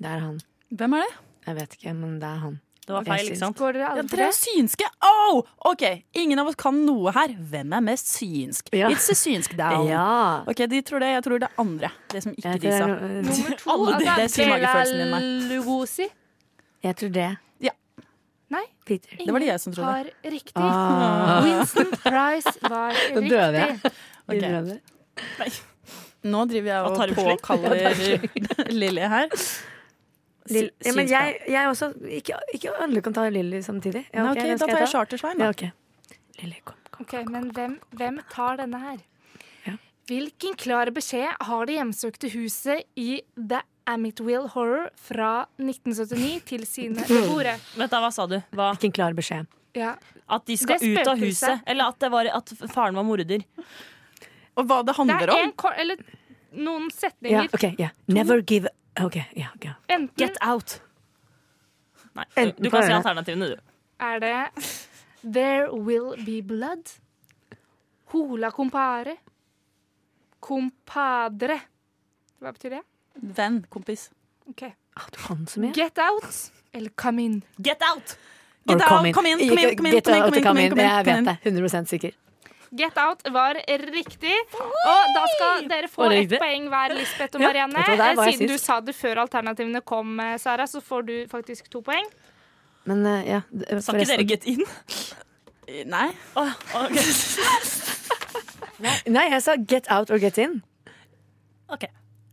[SPEAKER 6] Det er han.
[SPEAKER 7] Hvem er det?
[SPEAKER 6] Jeg vet ikke, men det er han.
[SPEAKER 4] Det var feil, ikke sant?
[SPEAKER 5] Går dere
[SPEAKER 7] Ja,
[SPEAKER 5] alle for
[SPEAKER 7] dere er synske! Oh! OK, ingen av oss kan noe her. Hvem er mest synsk?
[SPEAKER 6] Ja.
[SPEAKER 7] It's a synsk down.
[SPEAKER 6] Ja.
[SPEAKER 7] OK, de tror det. Jeg tror det er andre. Det som ikke
[SPEAKER 6] Jeg
[SPEAKER 7] de
[SPEAKER 6] tror,
[SPEAKER 7] sa.
[SPEAKER 6] det er noe-
[SPEAKER 5] Nummer to,
[SPEAKER 7] Alle de- det er
[SPEAKER 5] altså
[SPEAKER 7] svimagefølelsen din,
[SPEAKER 5] Bela Lugosi.
[SPEAKER 6] jeg tror det.
[SPEAKER 7] Ja.
[SPEAKER 5] Nei.
[SPEAKER 6] Peter.
[SPEAKER 7] Det var det jeg som trodde.
[SPEAKER 5] Har riktig.
[SPEAKER 6] Ah.
[SPEAKER 5] Vincent Price var
[SPEAKER 6] Nå døde jeg.
[SPEAKER 5] riktig.
[SPEAKER 7] Ok.
[SPEAKER 6] Innrømmer.
[SPEAKER 7] Nå driver jeg
[SPEAKER 4] Og
[SPEAKER 7] og
[SPEAKER 4] tarmslyng.
[SPEAKER 7] påkaller Lilly her.
[SPEAKER 6] Lill-
[SPEAKER 4] Sy-
[SPEAKER 6] ja, men
[SPEAKER 4] syns
[SPEAKER 6] jeg, jeg også Ikke, ikke alle kan ta Lilly samtidig. Ja,
[SPEAKER 7] Nei,
[SPEAKER 6] ok,
[SPEAKER 7] ok,
[SPEAKER 6] hvem
[SPEAKER 7] da
[SPEAKER 6] skal
[SPEAKER 7] tar jeg
[SPEAKER 6] ta?
[SPEAKER 7] Chartersveien, da.
[SPEAKER 6] Ja, ok.
[SPEAKER 5] Ok, Men hvem, hvem tar denne her? Hvilken klar beskjed har det hjemsøkte huset i The Amityville Horror fra 1979 til sine beboere?
[SPEAKER 4] Vent da, hva sa du? Hva?
[SPEAKER 6] Hvilken klar beskjed?
[SPEAKER 5] Ja.
[SPEAKER 4] At de skal
[SPEAKER 5] Det
[SPEAKER 4] ut av
[SPEAKER 5] spøkelset.
[SPEAKER 4] huset. Eller at, det var, at faren var morder.
[SPEAKER 7] Og hva det
[SPEAKER 5] Det er en, ko- eller noen setninger.
[SPEAKER 6] Ja, ok, ja. Never give Ok, ja. ok.
[SPEAKER 5] Enten
[SPEAKER 4] Get out. Nei, du, du kan si alternativene, du.
[SPEAKER 5] er det There Will Be Blood, Hola Compare, Compadre Hva betyr det?
[SPEAKER 7] Venn, kompis.
[SPEAKER 5] Ok.
[SPEAKER 6] Han som er
[SPEAKER 5] Get Out eller Come In?
[SPEAKER 4] Get Out!
[SPEAKER 6] Or come in.
[SPEAKER 5] Kom inn, kom inn,
[SPEAKER 6] Ikke-
[SPEAKER 5] kom inn,
[SPEAKER 6] get
[SPEAKER 5] kom inn,
[SPEAKER 6] out
[SPEAKER 5] kom inn,
[SPEAKER 6] or come
[SPEAKER 5] kom inn,
[SPEAKER 6] in.
[SPEAKER 5] kom inn,
[SPEAKER 6] Jeg
[SPEAKER 5] kom
[SPEAKER 6] vet
[SPEAKER 5] inn.
[SPEAKER 6] det. 100 sikker.
[SPEAKER 5] Get Out var riktig. Og da skal dere få
[SPEAKER 6] Var det
[SPEAKER 5] ett
[SPEAKER 6] riktig?
[SPEAKER 5] poeng hver, Lisbeth og
[SPEAKER 6] Ja,
[SPEAKER 5] Marianne. Eh,
[SPEAKER 6] vet du hva, der var jeg
[SPEAKER 5] Siden du
[SPEAKER 6] sist.
[SPEAKER 5] sa det før alternativene kom, eh, Sara, så får du faktisk to poeng.
[SPEAKER 6] Men eh, ja
[SPEAKER 4] Sa ikke dere get in?
[SPEAKER 7] Eh, Nei.
[SPEAKER 6] Nei, jeg sa get out or get in.
[SPEAKER 4] Ok.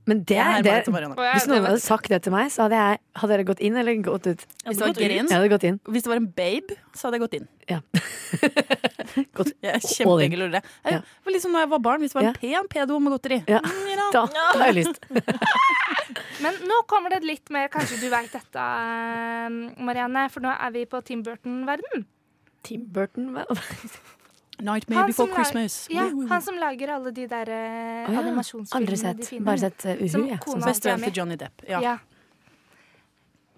[SPEAKER 6] Men det,
[SPEAKER 7] Jeg hermer
[SPEAKER 6] det,
[SPEAKER 7] etter Marianne. Å, ja,
[SPEAKER 6] Hvis
[SPEAKER 7] det
[SPEAKER 6] noen
[SPEAKER 7] var-
[SPEAKER 6] hadde sagt det til meg, så hadde jeg Hadde dere gått inn eller gått ut?
[SPEAKER 7] Hvis det var
[SPEAKER 6] Jeg
[SPEAKER 7] grins.
[SPEAKER 6] hadde gått inn.
[SPEAKER 7] Hvis det var en babe, så hadde jeg gått inn.
[SPEAKER 6] Ja.
[SPEAKER 7] Jeg er
[SPEAKER 6] All in.
[SPEAKER 7] kjempeenkel å gjøre det. Jeg- Det var liksom når jeg var barn, hvis det var en pen pedo med godteri. Mm, ja.
[SPEAKER 6] Da har jeg lyst.
[SPEAKER 5] Men nå kommer det litt mer Kanskje du veit dette, eh, Marianne, for nå er vi på Tim Burton-verden.
[SPEAKER 6] Tim Burton hva?
[SPEAKER 7] Nightmare
[SPEAKER 5] Han som
[SPEAKER 7] Before
[SPEAKER 5] lag-
[SPEAKER 7] Christmas.
[SPEAKER 5] Ja,
[SPEAKER 7] Woo, woo, woo.
[SPEAKER 5] han som lager alle de der eh,
[SPEAKER 6] Å ja,
[SPEAKER 5] animasjonsfilmene.
[SPEAKER 6] aldri sett.
[SPEAKER 5] de fine.
[SPEAKER 6] Bare sett, eh, Uhu,
[SPEAKER 5] Som
[SPEAKER 6] jeg, som
[SPEAKER 5] kona
[SPEAKER 6] sagt.
[SPEAKER 5] alltid er
[SPEAKER 6] Bestevenn til
[SPEAKER 5] med.
[SPEAKER 6] Johnny Depp, ja.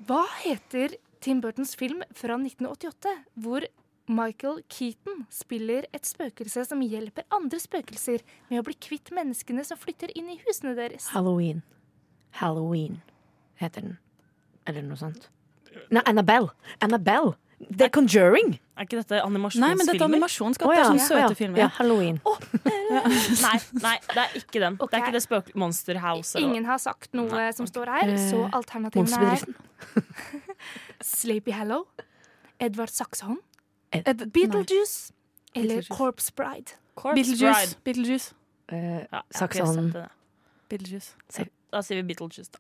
[SPEAKER 5] Hva heter Tim Burtons film fra 1988 hvor Michael Keaton spiller et spøkelse som hjelper andre spøkelser med å bli kvitt menneskene som flytter inn i husene deres?
[SPEAKER 6] Halloween. Halloween heter den. Eller noe sånt. Nei, Annabelle. Annabelle. The Conjuring.
[SPEAKER 4] Er ikke dette animasjonsfilmer?
[SPEAKER 7] Nei, men dette er animasjonsskatt.
[SPEAKER 6] Å,
[SPEAKER 7] Det er
[SPEAKER 6] ja.
[SPEAKER 7] sånne
[SPEAKER 6] Å, ja.
[SPEAKER 7] søte filmer.
[SPEAKER 6] Ja, Halloween.
[SPEAKER 4] Nei, nei, det er ikke den. Det er ikke det spøk Monster House. eller-
[SPEAKER 5] Ingen har sagt noe som står her, så
[SPEAKER 4] Eh,
[SPEAKER 5] alternativene er Sleepy Hallow, Edvard Saxon, Beetlejuice eller Corpse Bride.
[SPEAKER 7] Beetlejuice. Beetlejuice.
[SPEAKER 6] Eh,
[SPEAKER 4] Ja, jeg har ikke
[SPEAKER 6] Saksehånden.
[SPEAKER 4] sett det.
[SPEAKER 7] Beetlejuice.
[SPEAKER 4] Da sier vi Beetlejuice, da.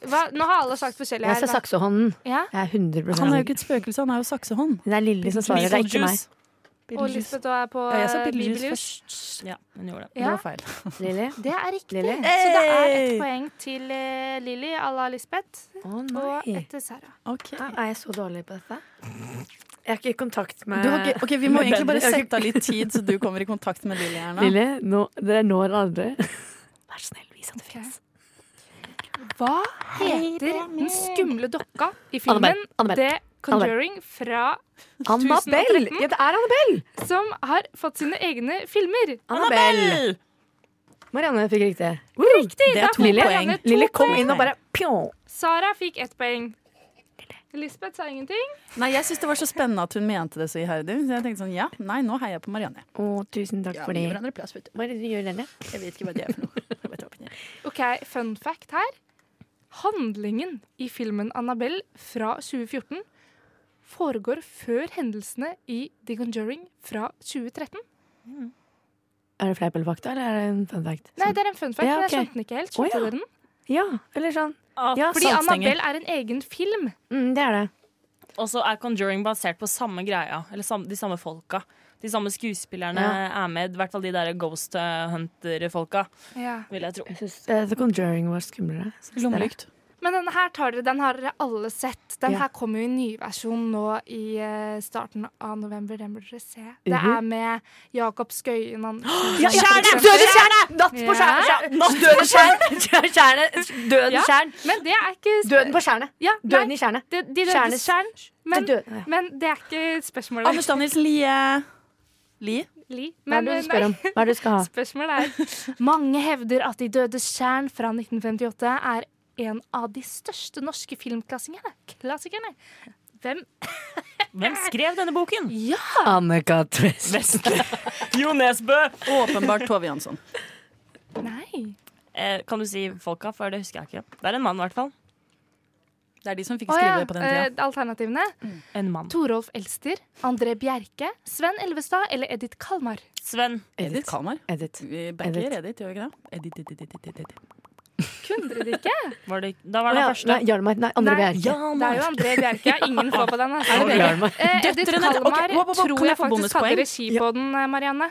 [SPEAKER 5] Hva? Nå har alle sagt forskjellig
[SPEAKER 6] Jeg
[SPEAKER 5] her.
[SPEAKER 6] sa
[SPEAKER 5] hva?
[SPEAKER 6] saksehånden.
[SPEAKER 5] Ja.
[SPEAKER 6] Jeg er 100
[SPEAKER 7] Han er jo ikke et spøkelse, han er jo saksehånd.
[SPEAKER 6] Det er Lilly som svarer, det er ikke meg.
[SPEAKER 5] Og Lisbeth er på
[SPEAKER 7] Ja, jeg sa
[SPEAKER 5] eh,
[SPEAKER 7] Beetlejuice
[SPEAKER 4] først. Ja, hun gjorde det.
[SPEAKER 5] Ja.
[SPEAKER 7] Det var feil.
[SPEAKER 6] Lilly?
[SPEAKER 5] Det er riktig.
[SPEAKER 6] Lilly?
[SPEAKER 5] Så det er et poeng til eh, Lilly à la Lisbeth. og
[SPEAKER 6] nei.
[SPEAKER 5] et til Sara.
[SPEAKER 6] Ja, Er jeg så dårlig på dette? Jeg er ikke i kontakt med
[SPEAKER 7] Du har ikke, ok, Vi må
[SPEAKER 6] med
[SPEAKER 7] egentlig
[SPEAKER 6] Bendy.
[SPEAKER 7] bare
[SPEAKER 6] Jeg er
[SPEAKER 7] sette av litt tid, så du kommer i kontakt med Lilly her
[SPEAKER 6] ikke-
[SPEAKER 7] nå.
[SPEAKER 6] Lilly, nå, det er nå eller aldri. Vær så snill, vis at det fins.
[SPEAKER 5] Hva heter den skumle dokka i filmen
[SPEAKER 6] Annabelle, Annabelle,
[SPEAKER 5] The Conjuring fra
[SPEAKER 6] Annabelle!
[SPEAKER 5] 2013?
[SPEAKER 6] Ja, det er Annabelle!
[SPEAKER 5] Som har fått sine egne filmer.
[SPEAKER 6] Annabelle! Marianne fikk riktig.
[SPEAKER 5] Riktig!
[SPEAKER 6] Det
[SPEAKER 5] da
[SPEAKER 6] er to
[SPEAKER 5] får Marianne
[SPEAKER 6] poeng.
[SPEAKER 5] to
[SPEAKER 6] Lilly kom
[SPEAKER 5] poeng.
[SPEAKER 6] inn og bare pjong.
[SPEAKER 5] Sara fikk ett poeng. Lisbeth sa ingenting.
[SPEAKER 7] Nei, Jeg syns det var så spennende at hun mente det så iherdig. Så jeg tenkte sånn, ja, nei, nå heier jeg på Marianne.
[SPEAKER 6] Å, tusen takk
[SPEAKER 7] Ja,
[SPEAKER 6] for
[SPEAKER 7] vi gir
[SPEAKER 6] det.
[SPEAKER 7] hverandre plass, vet du.
[SPEAKER 6] Hva er det du gjør, Lilly?
[SPEAKER 7] Jeg vet ikke hva det er for noe.
[SPEAKER 5] OK, fun fact her. Handlingen i filmen Annabelle fra 2014 foregår før hendelsene i The Conjuring fra 2013.
[SPEAKER 6] Er det fleip eller fakta, eller er det en fun fact?
[SPEAKER 5] Nei, det er en fun fact,
[SPEAKER 6] Ja,
[SPEAKER 5] men jeg
[SPEAKER 6] ok.
[SPEAKER 5] skjønte den ikke helt. Skjønte
[SPEAKER 6] Å, ja.
[SPEAKER 5] dere den?
[SPEAKER 6] Ja, eller sånn. Ja,
[SPEAKER 5] Fordi Annabelle er en egen film.
[SPEAKER 6] Mm, det er det.
[SPEAKER 4] Og så er Conjuring basert på samme greia. Eller sam, de samme folka. De samme skuespillerne
[SPEAKER 6] Ja.
[SPEAKER 4] er med. I hvert fall de der Ghost eh, Hunter-folka, vil jeg tro.
[SPEAKER 6] Eh, The Conjuring var skumlere. synes dere?
[SPEAKER 5] Men denne her tar dere, den har dere alle sett. Den
[SPEAKER 6] Ja.
[SPEAKER 5] her kommer jo i nyversjon nå i eh, starten av november. Den burde dere se. Det
[SPEAKER 6] Mhm.
[SPEAKER 5] er med Jakob Skøyen Andersen.
[SPEAKER 6] Ja, ja,
[SPEAKER 5] Skjerne!
[SPEAKER 6] Døde stjerne! Natt
[SPEAKER 5] Ja.
[SPEAKER 6] på skjerne! skjerne- Natt døde stjerne! Skjerne- skjerne! Døden
[SPEAKER 5] Ja,
[SPEAKER 6] skjern!
[SPEAKER 5] Men det er ikke
[SPEAKER 6] Døden på skjernet.
[SPEAKER 5] Ja,
[SPEAKER 6] Døden
[SPEAKER 5] nei,
[SPEAKER 6] i skjernet.
[SPEAKER 5] De, de dødes
[SPEAKER 6] Skjernes-
[SPEAKER 5] skjern. Men,
[SPEAKER 6] Det døde- ja.
[SPEAKER 5] men det er ikke spørsmålet.
[SPEAKER 7] Anders Danielsen Lie. Lie?
[SPEAKER 5] Li. eh,
[SPEAKER 6] Hva er det du spør om? Hva er det du skal ha?
[SPEAKER 5] Spørsmålet er Mange hevder at De dødes tjern fra 1958 er en av de største norske filmklassikerne. Klassikerne. Hvem?
[SPEAKER 4] Hvem skrev denne boken?
[SPEAKER 5] Ja!
[SPEAKER 6] Anne-Kat. West.
[SPEAKER 4] Jo Nesbø!
[SPEAKER 7] Åpenbart Tove Jansson.
[SPEAKER 5] Nei.
[SPEAKER 4] Eh, kan du si folka, for det husker jeg ikke. Det er en mann, i hvert fall.
[SPEAKER 7] Det er de som fikk
[SPEAKER 5] Å ja,
[SPEAKER 7] skrive på den tida.
[SPEAKER 5] eh, alternativene.
[SPEAKER 4] En mann.
[SPEAKER 5] Torolf Elster, André Bjerke, Sven Elvestad eller Edith Kalmar.
[SPEAKER 4] Sven.
[SPEAKER 7] Edith Kalmar.
[SPEAKER 6] Edith.
[SPEAKER 7] Vi backer Edith, gjør vi ikke det? Edith, Edith, Edith, Edith, Edith.
[SPEAKER 5] Kunne dere det ikke?
[SPEAKER 4] Var det, da var det
[SPEAKER 6] Å ja,
[SPEAKER 4] første.
[SPEAKER 6] nei, Hjalmar. Nei, André
[SPEAKER 5] Nei,
[SPEAKER 6] Bjerke.
[SPEAKER 5] Det er jo André Bjerke. Ingen får på den.
[SPEAKER 6] Er det Bjerke? Hjalmar.
[SPEAKER 5] Eh, Edith
[SPEAKER 6] Døtrene-
[SPEAKER 5] Kalmar
[SPEAKER 6] Ok, wow, wow, wow,
[SPEAKER 5] tror
[SPEAKER 6] kan jeg
[SPEAKER 5] jeg
[SPEAKER 6] få
[SPEAKER 5] faktisk
[SPEAKER 6] bonuspoeng?
[SPEAKER 5] hadde regi på den, eh, Marianne.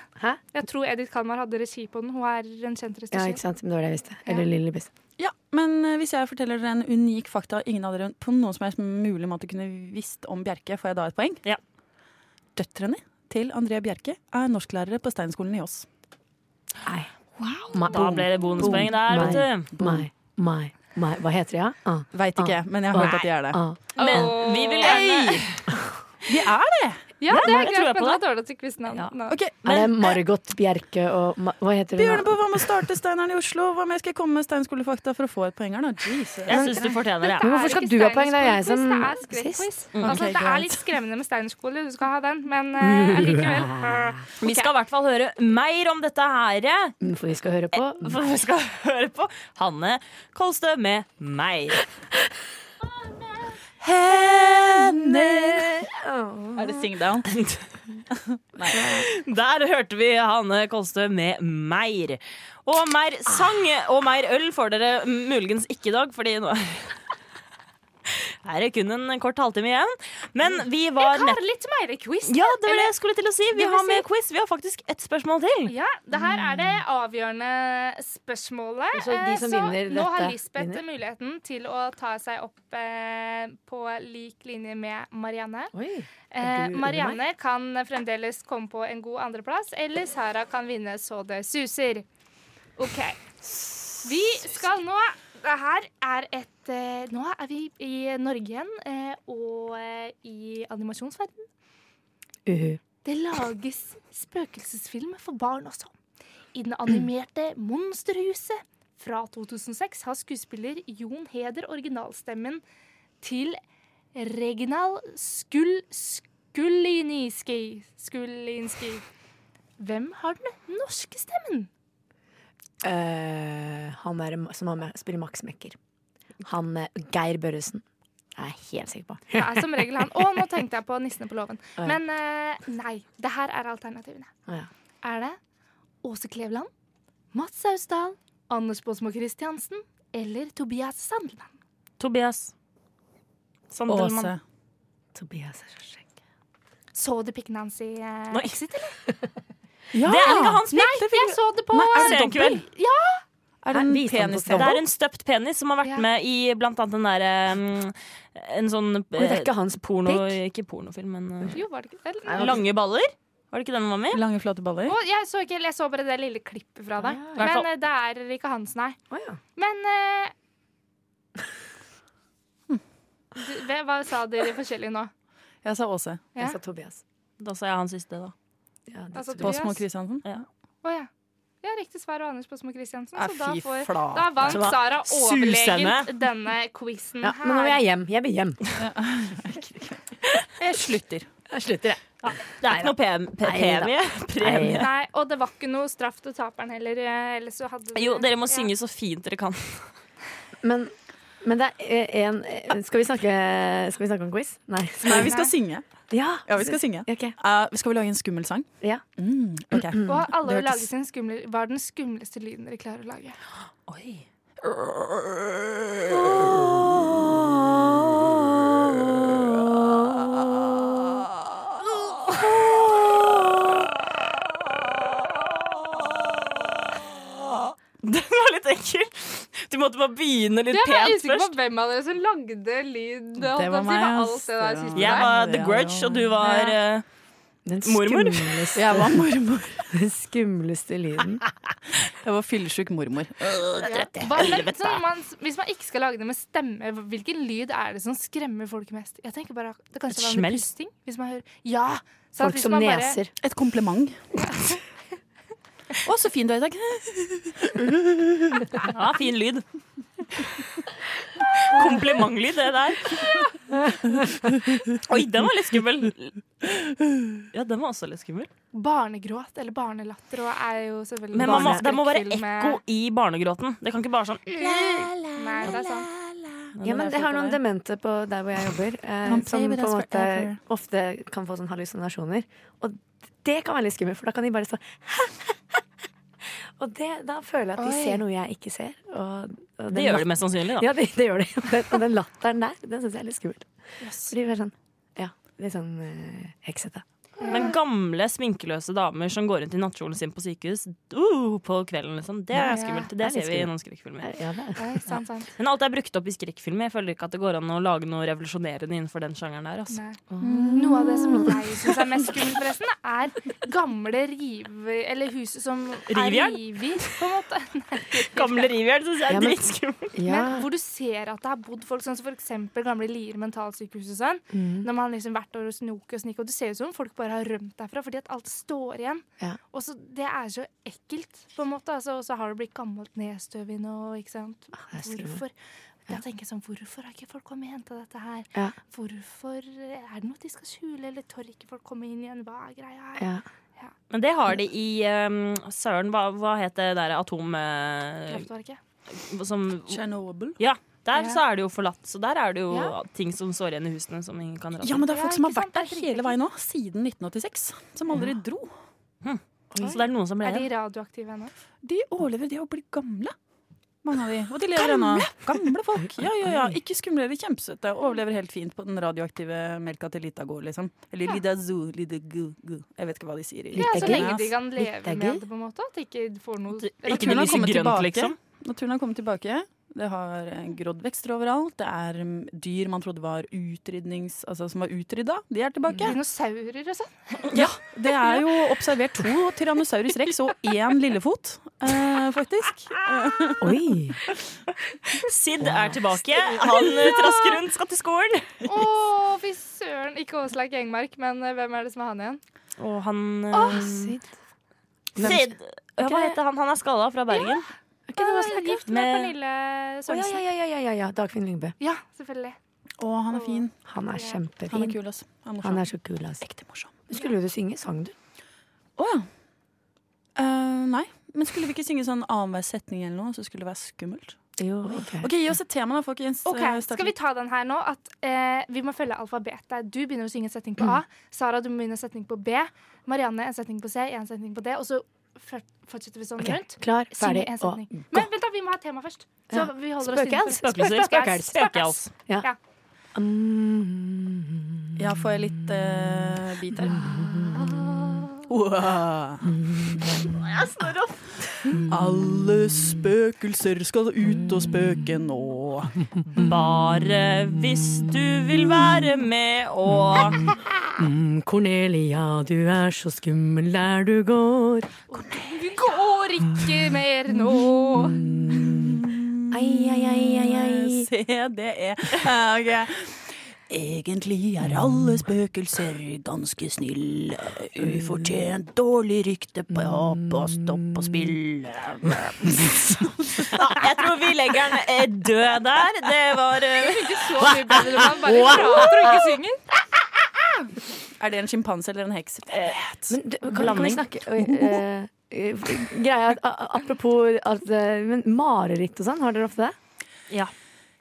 [SPEAKER 5] Jeg tror Edith Kalmar hadde regi på den. Hun er en kjent
[SPEAKER 6] Ja,
[SPEAKER 5] regissør.
[SPEAKER 6] ikke sant. Men det var det jeg visste. Eller Lille Biss.
[SPEAKER 7] Ja, men eh, hvis jeg forteller dere en unik fakta ingen av dere på noen som helst mulig måte kunne visst om Bjerke, får jeg da et poeng? Døtrene til André Bjerke er norsklærere på Steinskolen i Ås.
[SPEAKER 6] Ma-
[SPEAKER 4] Da ble det bonuspoeng der,
[SPEAKER 6] Mai,
[SPEAKER 4] vet du.
[SPEAKER 6] Mai, mai, mai. Hva heter de, ja? Ah,
[SPEAKER 7] Veit ikke,
[SPEAKER 6] ah,
[SPEAKER 7] men jeg har hørt
[SPEAKER 6] ah,
[SPEAKER 7] at de er det.
[SPEAKER 6] ah.
[SPEAKER 4] Men vi vil gjerne
[SPEAKER 7] Vi er det!
[SPEAKER 5] Ja, det
[SPEAKER 4] Nei,
[SPEAKER 5] er
[SPEAKER 4] jeg tror
[SPEAKER 5] greit,
[SPEAKER 4] jeg
[SPEAKER 5] men det
[SPEAKER 4] på
[SPEAKER 5] var dårlig at du ikke visste navnet.
[SPEAKER 6] er det Margot Bjerke og Ma Hva heter hun?
[SPEAKER 7] Bjørne på hva med å starte Steineren i Oslo? Hva med skal jeg komme med steinskolefakta for å få et poeng her, da? Jesus.
[SPEAKER 4] Jeg syns du fortjener det.
[SPEAKER 6] Men hvorfor skal du ha poeng? Det er jeg som
[SPEAKER 5] Det er skrekkquiz.
[SPEAKER 7] Mm.
[SPEAKER 5] Altså,
[SPEAKER 7] Ok,
[SPEAKER 5] det er
[SPEAKER 7] greit.
[SPEAKER 5] litt skremmende med steinerskole, du skal ha den, men eh, allikevel.
[SPEAKER 4] Vi skal i hvert fall høre mer om dette her.
[SPEAKER 6] Mm, For vi skal høre på
[SPEAKER 4] For vi skal høre på Hanne Kolstø med meg.
[SPEAKER 7] Hender Er det sing down?
[SPEAKER 4] Der hørte vi Hanne Kolstø med Meir. Og mer sang og mer øl får dere muligens ikke i dag, fordi nå er det kun en kort halvtime igjen. Men vi var
[SPEAKER 5] Jeg
[SPEAKER 4] nett...
[SPEAKER 5] har litt mer quiz.
[SPEAKER 4] Ja, det var det
[SPEAKER 5] Eller-
[SPEAKER 4] jeg skulle til å si. Vi
[SPEAKER 5] Det vil
[SPEAKER 4] har med
[SPEAKER 5] si-
[SPEAKER 4] quiz. Vi har faktisk ett spørsmål til.
[SPEAKER 5] Ja, det her er det avgjørende spørsmålet.
[SPEAKER 6] Så Altså, de
[SPEAKER 5] Eh,
[SPEAKER 6] som
[SPEAKER 5] så
[SPEAKER 6] vinner
[SPEAKER 5] nå har
[SPEAKER 6] dette,
[SPEAKER 5] Lisbeth
[SPEAKER 6] vinner?
[SPEAKER 5] muligheten til å ta seg opp eh, på lik linje med Marianne. Eh,
[SPEAKER 6] Er du under
[SPEAKER 5] Marianne kan fremdeles komme på en god andreplass, eller Sara kan vinne så det suser. OK. Vi skal nå Det her er et eh, Nå er vi i Norge igjen, eh, og eh, i animasjonsverden.
[SPEAKER 6] Uhu.
[SPEAKER 5] Det lages spøkelsesfilmer for barn også. I den animerte Monsterhuset fra 2006 har skuespiller Jon Heder originalstemmen til Reginald Skul... Skulinski. Skulinski. Hvem har den norske stemmen?
[SPEAKER 6] Eh, han er, som har med, spiller Max Mekker. Han eh, Geir Børresen. Jeg er helt sikker på.
[SPEAKER 5] Det er som regel han. Å, nå tenkte jeg på Nissene på låven.
[SPEAKER 6] Å, ja.
[SPEAKER 5] Men eh, nei, det her er alternativene.
[SPEAKER 6] Å, ja.
[SPEAKER 5] Er det Åse Kleveland, Mats Sausdal, Anders Båsmo Christiansen eller Tobias Sandeland?
[SPEAKER 4] Tobias. Sandelmann.
[SPEAKER 7] Åse.
[SPEAKER 6] Tobias er så skjegg.
[SPEAKER 5] Så du pikken hans i eh,
[SPEAKER 4] Nei.
[SPEAKER 5] Exit, eller?
[SPEAKER 7] Ja!
[SPEAKER 4] Det er ikke hans
[SPEAKER 5] Nei, jeg så det på
[SPEAKER 7] Nei, er det
[SPEAKER 4] Se en
[SPEAKER 7] dobbel?
[SPEAKER 4] kveld.
[SPEAKER 5] Ja!
[SPEAKER 7] Er det en
[SPEAKER 6] Vis den på
[SPEAKER 7] penis
[SPEAKER 4] Det
[SPEAKER 6] Dobbel?
[SPEAKER 4] er en støpt penis som har vært
[SPEAKER 5] Ja.
[SPEAKER 4] med i blant annet den derre En sånn
[SPEAKER 6] det er ikke hans
[SPEAKER 4] porno
[SPEAKER 6] pikk?
[SPEAKER 4] Ikke pornofilm, men eh,
[SPEAKER 5] Jo, var det ikke eller-
[SPEAKER 4] Lange baller? Var det ikke den den var med i?
[SPEAKER 7] Lange, flate baller?
[SPEAKER 5] Å, jeg, så ikke, jeg så bare det lille klippet fra deg.
[SPEAKER 4] hvert fall.
[SPEAKER 5] Men eh, det er ikke hans, nei.
[SPEAKER 6] Å, ja.
[SPEAKER 5] Men eh, du, hva- Hva sa dere forskjellig nå?
[SPEAKER 7] Jeg sa Åse.
[SPEAKER 5] Ja.
[SPEAKER 6] Jeg sa Tobias.
[SPEAKER 4] Da sa jeg han siste, da.
[SPEAKER 6] Ja, det
[SPEAKER 5] Altså,
[SPEAKER 6] tror jeg.
[SPEAKER 7] Båsmo
[SPEAKER 5] Tobias?
[SPEAKER 7] Christiansen?
[SPEAKER 5] Å ja. Ja, riktig svar og Anders Båsmo Christiansen.
[SPEAKER 7] Ja,
[SPEAKER 5] Så da,
[SPEAKER 7] fy
[SPEAKER 5] får,
[SPEAKER 7] flate.
[SPEAKER 5] da vant
[SPEAKER 4] Det var
[SPEAKER 5] Sara overlegent
[SPEAKER 4] susende.
[SPEAKER 5] denne quizen
[SPEAKER 6] ja,
[SPEAKER 5] her.
[SPEAKER 6] men nå vil jeg hjem. Jeg vil hjem.
[SPEAKER 7] Jeg slutter.
[SPEAKER 6] Jeg slutter, jeg.
[SPEAKER 4] Det er ikke noe PM premie. premie.
[SPEAKER 6] Nei.
[SPEAKER 5] Nei, og det var ikke noe straff til taperen heller. eh, Ellers så hadde
[SPEAKER 4] Jo, dere må
[SPEAKER 5] Ja.
[SPEAKER 4] synge så fint dere kan.
[SPEAKER 6] Men, men det er en Skal vi snakke, skal vi snakke om quiz? Nei.
[SPEAKER 7] Nei, vi skal synge.
[SPEAKER 6] Ja,
[SPEAKER 7] Ja, vi skal synge.
[SPEAKER 6] Ok.
[SPEAKER 7] Eh, skal vi lage en skummel sang?
[SPEAKER 6] Ja.
[SPEAKER 7] Mm, ok.
[SPEAKER 5] Og alle
[SPEAKER 7] Det
[SPEAKER 5] vil
[SPEAKER 7] hørtes-
[SPEAKER 5] lage sin skumle Hva er den skumleste lyden dere klarer å lage?
[SPEAKER 4] Oi. Den var litt ekkel. Du måtte bare begynne litt
[SPEAKER 5] Jeg er
[SPEAKER 4] pent
[SPEAKER 5] usikker på
[SPEAKER 4] først.
[SPEAKER 5] hvem av dere som lagde lyd. Det
[SPEAKER 7] var
[SPEAKER 5] var
[SPEAKER 7] meg,
[SPEAKER 5] meg,
[SPEAKER 7] ass.
[SPEAKER 5] alt det der
[SPEAKER 7] Det
[SPEAKER 5] siste
[SPEAKER 7] var-
[SPEAKER 4] Jeg
[SPEAKER 5] der.
[SPEAKER 4] var The Grudge, og du var eh,
[SPEAKER 6] Den
[SPEAKER 4] Mormor?
[SPEAKER 6] skumleste,
[SPEAKER 7] Jeg var mormor.
[SPEAKER 6] den skumleste lyden.
[SPEAKER 7] Jeg var fyllesjuk mormor.
[SPEAKER 5] Hva, men, sånn, man, hvis man ikke skal lage det med stemme, hvilken lyd er det som skremmer folk mest? Jeg tenker bare Det kan
[SPEAKER 4] Et
[SPEAKER 5] være
[SPEAKER 4] smell.
[SPEAKER 5] en pusting. Hvis man hører Ja! sant,
[SPEAKER 6] Folk
[SPEAKER 5] hvis
[SPEAKER 6] som
[SPEAKER 5] man bare-
[SPEAKER 6] neser.
[SPEAKER 7] Et kompliment. Å, så fin du er i dag.
[SPEAKER 4] Ja, fin lyd. Komplimentlyd, det der. Oi, den var litt skummel. Ja, den var også litt skummel.
[SPEAKER 5] Barnegråt eller barnelatter og er jo selvfølgelig
[SPEAKER 4] Men man må, det må være
[SPEAKER 5] barneskrekkfilm med-
[SPEAKER 4] ekko i barnegråten. Det kan ikke bare sånn
[SPEAKER 5] Nei, det er sant.
[SPEAKER 6] Ja, men jeg har noen demente på der hvor jeg jobber, eh,
[SPEAKER 7] Don't play
[SPEAKER 6] som
[SPEAKER 7] with
[SPEAKER 6] på en
[SPEAKER 7] us
[SPEAKER 6] måte
[SPEAKER 7] forever.
[SPEAKER 6] ofte kan få sånne hallusinasjoner. Og det kan være litt skummelt, for da kan de bare stå Og det, da føler jeg at de
[SPEAKER 4] Oi.
[SPEAKER 6] ser noe jeg ikke ser. Og, og
[SPEAKER 4] Det
[SPEAKER 6] den
[SPEAKER 4] gjør
[SPEAKER 6] lat-
[SPEAKER 4] de mest sannsynlig, da.
[SPEAKER 6] Ja, det, det gjør de. Og den- Og den latteren der, den syns jeg er litt skummel. For de blir sånn, ja, litt sånn eh, heksete.
[SPEAKER 4] Men gamle, sminkeløse damer som går rundt i nattkjolen sin på sykehus uh, på kvelden, liksom. Det
[SPEAKER 6] Ja,
[SPEAKER 4] er skummelt. Det,
[SPEAKER 6] det er litt
[SPEAKER 4] ser vi i
[SPEAKER 6] skummelt.
[SPEAKER 4] noen skrekkfilmer.
[SPEAKER 6] Ja, det er.
[SPEAKER 5] sant, sant.
[SPEAKER 4] Men alt er brukt opp i skrekkfilmer. Jeg føler ikke at det går an å lage noe revolusjonerende innenfor den sjangeren der. Altså.
[SPEAKER 5] Noe av det som jeg syns er mest skummelt, forresten, er gamle rive... Eller hus som er
[SPEAKER 4] Rivjern?
[SPEAKER 5] rivet, på en måte.
[SPEAKER 4] Gamle rivjern syns jeg
[SPEAKER 5] Ja,
[SPEAKER 4] er
[SPEAKER 5] men-
[SPEAKER 4] dritskummelt.
[SPEAKER 5] Men hvor du ser at det har bodd folk, sånn som for eksempel gamle Lier mentalsykehus og sånn.
[SPEAKER 6] Mm.
[SPEAKER 5] Når man har liksom vært over og snoket og snikket, og det ser ut som om folk bare har rømt derfra fordi at alt står igjen.
[SPEAKER 6] Ja.
[SPEAKER 5] Og så Det er så ekkelt, på en måte. Altså, og så har det blitt gammelt nedstøv i noe, ikke sant.
[SPEAKER 6] Ah, det er skummelt.
[SPEAKER 5] Hvorfor? Da tenker jeg sånn, Hvorfor har ikke folk kommet og henta dette her?
[SPEAKER 6] Ja.
[SPEAKER 5] Hvorfor eh, Er det noe de skal skjule, eller tør ikke folk komme inn igjen? Hva er greia her?
[SPEAKER 6] Ja.
[SPEAKER 4] Men det har de i um, Søren, hva, hva het det der atom... eh,
[SPEAKER 5] Kraftverket.
[SPEAKER 4] som,
[SPEAKER 7] Chernobyl?
[SPEAKER 4] Ja. Der
[SPEAKER 5] Ja.
[SPEAKER 4] så er det jo forlatt. Så der er det jo
[SPEAKER 7] Ja.
[SPEAKER 4] ting som står igjen i husene som ingen kan dra
[SPEAKER 7] Ja,
[SPEAKER 4] til.
[SPEAKER 7] men det er folk som har vært der hele veien nå, siden 1986. Som aldri dro.
[SPEAKER 4] Så det er noen som ble
[SPEAKER 5] Er de
[SPEAKER 4] igjen.
[SPEAKER 5] radioaktive ennå?
[SPEAKER 7] De overlever det å bli gamle. Mange av de. Og de lever ennå. Gamle folk. Ja, ja, ja. Ikke skumle eller kjempesøte. Overlever helt fint på den radioaktive melka til lita gå, liksom. Eller
[SPEAKER 5] Ja.
[SPEAKER 7] lida zoo, lida gu, gu. Jeg vet ikke hva de sier. i-
[SPEAKER 5] Ja, så lenge de
[SPEAKER 7] Yes.
[SPEAKER 5] kan leve med det, på en måte. At de ikke får noe
[SPEAKER 7] Naturen har kommet tilbake. Naturen har kommet tilbake. Det har eh, grodd vekster overalt. Det er mm, dyr man trodde var utrydnings... Altså som var utrydda. De er tilbake.
[SPEAKER 5] Mm. Dinosaurer og sånn.
[SPEAKER 7] Ja, det er jo observert to Tyrannosaurus rex og én lillefot, eh, faktisk.
[SPEAKER 6] Oi!
[SPEAKER 4] Sid er tilbake. Han eh, trasker rundt, skal til skolen.
[SPEAKER 5] Å, fy søren! Ikke Åslaug Engmark, men eh, hvem er det som er han igjen?
[SPEAKER 4] Og han eh,
[SPEAKER 6] Ah,
[SPEAKER 5] Åh,
[SPEAKER 4] Sid.
[SPEAKER 5] Hvem-
[SPEAKER 4] Ja, Hva heter han? Han er skalla fra Bergen.
[SPEAKER 5] Ah, Er ikke det Åslaug gift med
[SPEAKER 4] Med-
[SPEAKER 5] Pernille
[SPEAKER 6] Å, ja,
[SPEAKER 5] Sørensen?
[SPEAKER 6] ja, ja, ja, ja, ja, ja. Dagfinn Lyngbø.
[SPEAKER 5] Ja, selvfølgelig.
[SPEAKER 7] Å, han er fin.
[SPEAKER 6] Han er kjempefin.
[SPEAKER 7] Han er kul, ass. Han er morsom.
[SPEAKER 6] Han er så kul, ass.
[SPEAKER 7] Ekte morsom.
[SPEAKER 6] Skulle du synge? Sang du?
[SPEAKER 7] Å ja. Eh, nei. Men skulle vi ikke synge sånn annenhver setning eller noe, så skulle det være skummelt?
[SPEAKER 6] Jo, ok.
[SPEAKER 7] OK, gi oss et tema, da, folkens. Eh,
[SPEAKER 5] Ok, Skal vi ta den her nå? At eh, Vi må følge alfabetet. Du begynner å synge en setning på A. Sara, du må begynne en setning på B. Marianne, en setning på C, en setning på D. Og så før- fortsetter vi sånn
[SPEAKER 6] Ok,
[SPEAKER 5] rundt.
[SPEAKER 6] klar,
[SPEAKER 5] Synge
[SPEAKER 6] ferdig
[SPEAKER 5] en
[SPEAKER 6] og
[SPEAKER 5] setning. Men vent, da, vi må ha et tema først. Så
[SPEAKER 6] Ja.
[SPEAKER 5] vi holder
[SPEAKER 6] Spøkels?
[SPEAKER 5] oss innenfor-
[SPEAKER 6] Spøkelser, spøkels, spøkels. Ja. Mm.
[SPEAKER 5] Ja.
[SPEAKER 7] Ja, får jeg litt eh, bit her?
[SPEAKER 4] Jeg snurrer opp.
[SPEAKER 7] Alle spøkelser skal ut og spøke nå.
[SPEAKER 4] Bare hvis du vil være med og
[SPEAKER 6] Mm, Cornelia, du er så skummel der du går.
[SPEAKER 5] Går ikke mer nå.
[SPEAKER 6] Ai, ai, ai, ai, ai.
[SPEAKER 7] Se, det er eh, ok. Egentlig er alle spøkelser ganske snille. Ufortjent dårlig rykte på opp og stopp og spille.
[SPEAKER 4] ja, Jeg tror vi legger den eh, død der. Det var eh,
[SPEAKER 5] Så mye bedre når man bare prater og ikke synger.
[SPEAKER 7] Er det en sjimpanse eller en heks?
[SPEAKER 5] Eh,
[SPEAKER 6] Men du, kan, kan vi
[SPEAKER 4] Blanding.
[SPEAKER 6] snakke oi, eh, eh, Greia er at a- Apropos at, eh, men mareritt og sånn, har dere ofte det?
[SPEAKER 4] Ja.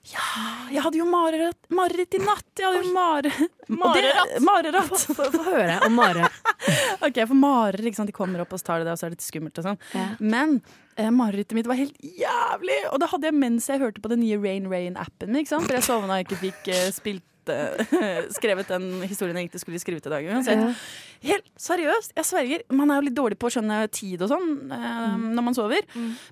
[SPEAKER 7] Jeg hadde jo mareritt, mareritt i natt. Jeg hadde jo mare... Og det-
[SPEAKER 4] Mareratt.
[SPEAKER 7] Mareratt.
[SPEAKER 6] Få få høre om mare.
[SPEAKER 7] Ok, for marer, ikke sant, de kommer opp og så tar de det, og så er det litt skummelt og sånn. Men eh, marerittet mitt var helt jævlig! Og det hadde jeg mens jeg hørte på den nye Rain Rain-appen, ikke sant? For jeg sovna og ikke fikk eh, spilt eh, skrevet den historien jeg egentlig skulle skrive til i dag. Uansett. Helt seriøst, jeg sverger. Man er jo litt dårlig på å skjønne tid og sånn eh, når man sover.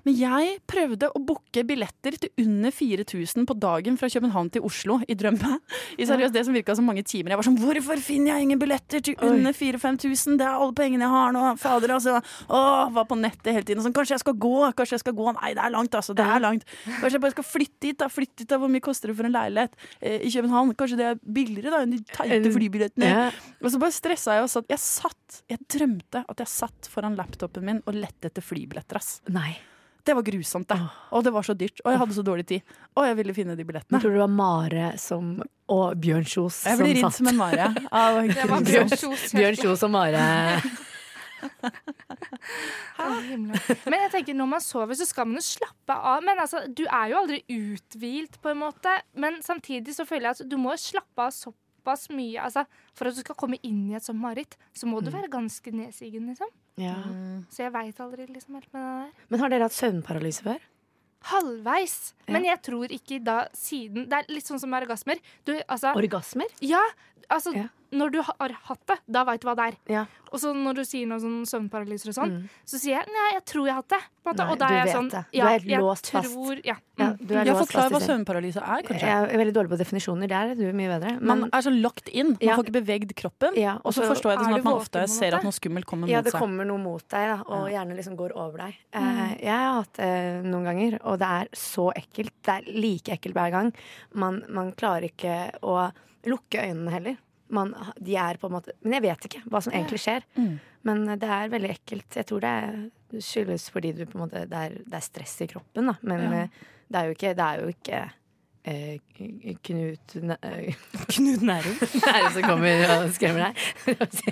[SPEAKER 7] Men jeg prøvde å booke billetter til under 4000 på dagen fra København til Oslo i drømme. I seriøst, det som virka som mange timer. Jeg var sånn Hvorfor finner jeg ingen billetter til under 4000-5000? Det er alle pengene jeg har nå. Fader, altså. Åh, var på nettet hele tiden. og Sånn, kanskje jeg skal gå, kanskje jeg skal gå. Nei, det er langt, altså. Det er langt. Kanskje jeg bare skal flytte hit, da. Flytte hit, da. Hvor mye koster det for en leilighet eh, i København? Kanskje det er billigere, da, enn de teite flybillettene.
[SPEAKER 6] Ja.
[SPEAKER 7] Og så bare stressa jeg og satt. Jeg satt, jeg drømte at jeg satt foran laptopen min og lette etter flybilletter, ass.
[SPEAKER 6] Nei.
[SPEAKER 7] Det var grusomt, det. Og det var så dyrt. Og jeg hadde så dårlig tid. Og jeg ville finne de
[SPEAKER 6] Men
[SPEAKER 7] billettene.
[SPEAKER 6] tror du det var Mare som og Bjørn Kjos
[SPEAKER 7] Jeg
[SPEAKER 6] som
[SPEAKER 7] ble ridd
[SPEAKER 6] satt?
[SPEAKER 7] som en mare. Ja, det
[SPEAKER 5] Det
[SPEAKER 7] var
[SPEAKER 5] var
[SPEAKER 7] grusomt.
[SPEAKER 5] Bjørn Kjos.
[SPEAKER 6] Bjørn Kjos og Mare.
[SPEAKER 5] Å, himmelen. Men jeg tenker når man sover, så skal man jo slappe av. Men altså, du er jo aldri uthvilt, på en måte. Men samtidig så føler jeg at du må slappe av så såpass mye altså, For at du skal komme inn i et sånt mareritt, så må du
[SPEAKER 6] Mm.
[SPEAKER 5] være ganske nedsigen, liksom.
[SPEAKER 6] Ja.
[SPEAKER 5] Så jeg veit aldri liksom helt med det der.
[SPEAKER 6] Men har dere hatt søvnparalyse før?
[SPEAKER 5] Halvveis. Men jeg tror ikke da siden Det er litt sånn som med orgasmer. Du, altså,
[SPEAKER 6] Orgasmer?
[SPEAKER 5] Ja. Altså, når du ha- har hatt det, da veit du hva det er. Og så når du sier noe sånn søvnparalyser og sånn,
[SPEAKER 6] Mm.
[SPEAKER 5] så sier jeg nei, jeg tror jeg har hatt det. På en måte.
[SPEAKER 6] Nei,
[SPEAKER 5] og da
[SPEAKER 6] du
[SPEAKER 5] er jeg
[SPEAKER 6] vet
[SPEAKER 5] sånn
[SPEAKER 6] det. Du
[SPEAKER 5] ja,
[SPEAKER 6] er helt
[SPEAKER 5] jeg
[SPEAKER 6] låst fast.
[SPEAKER 5] Tror, ja. Mm.
[SPEAKER 6] Ja, du er
[SPEAKER 7] Jeg
[SPEAKER 6] låst
[SPEAKER 7] forklarer
[SPEAKER 6] fast i
[SPEAKER 7] Mm. hva
[SPEAKER 6] selv.
[SPEAKER 7] søvnparalyse er, kanskje.
[SPEAKER 6] Jeg er veldig dårlig på definisjoner. Der er du mye bedre.
[SPEAKER 7] Man er så lagt inn. Man
[SPEAKER 6] Ja.
[SPEAKER 7] får ikke bevegd kroppen.
[SPEAKER 6] Ja,
[SPEAKER 7] og så
[SPEAKER 6] og så
[SPEAKER 7] forstår jeg det
[SPEAKER 6] er
[SPEAKER 7] sånn
[SPEAKER 6] du
[SPEAKER 7] at man
[SPEAKER 6] våken på
[SPEAKER 7] ofte
[SPEAKER 6] en
[SPEAKER 7] ser
[SPEAKER 6] måte.
[SPEAKER 7] at noe skummelt kommer
[SPEAKER 6] ja,
[SPEAKER 7] mot
[SPEAKER 6] det
[SPEAKER 7] seg.
[SPEAKER 6] kommer noe mot deg, da, og gjerne liksom går over deg. Eh,
[SPEAKER 7] Mm.
[SPEAKER 6] jeg har hatt det noen ganger, og det er så ekkelt. Det er like ekkelt hver gang. Man, man klarer ikke å lukke øynene heller. Man, de er på en måte Men jeg vet ikke hva som egentlig skjer.
[SPEAKER 7] Mm.
[SPEAKER 6] Men det er veldig ekkelt. Jeg tror det er- skyldes fordi du på en måte det er, det er stress i kroppen, da. Men
[SPEAKER 7] Ja.
[SPEAKER 6] eh, det er jo ikke, det er jo ikke eh, Knut
[SPEAKER 4] Knut Nærum.
[SPEAKER 6] Nærum som kommer og skremmer deg.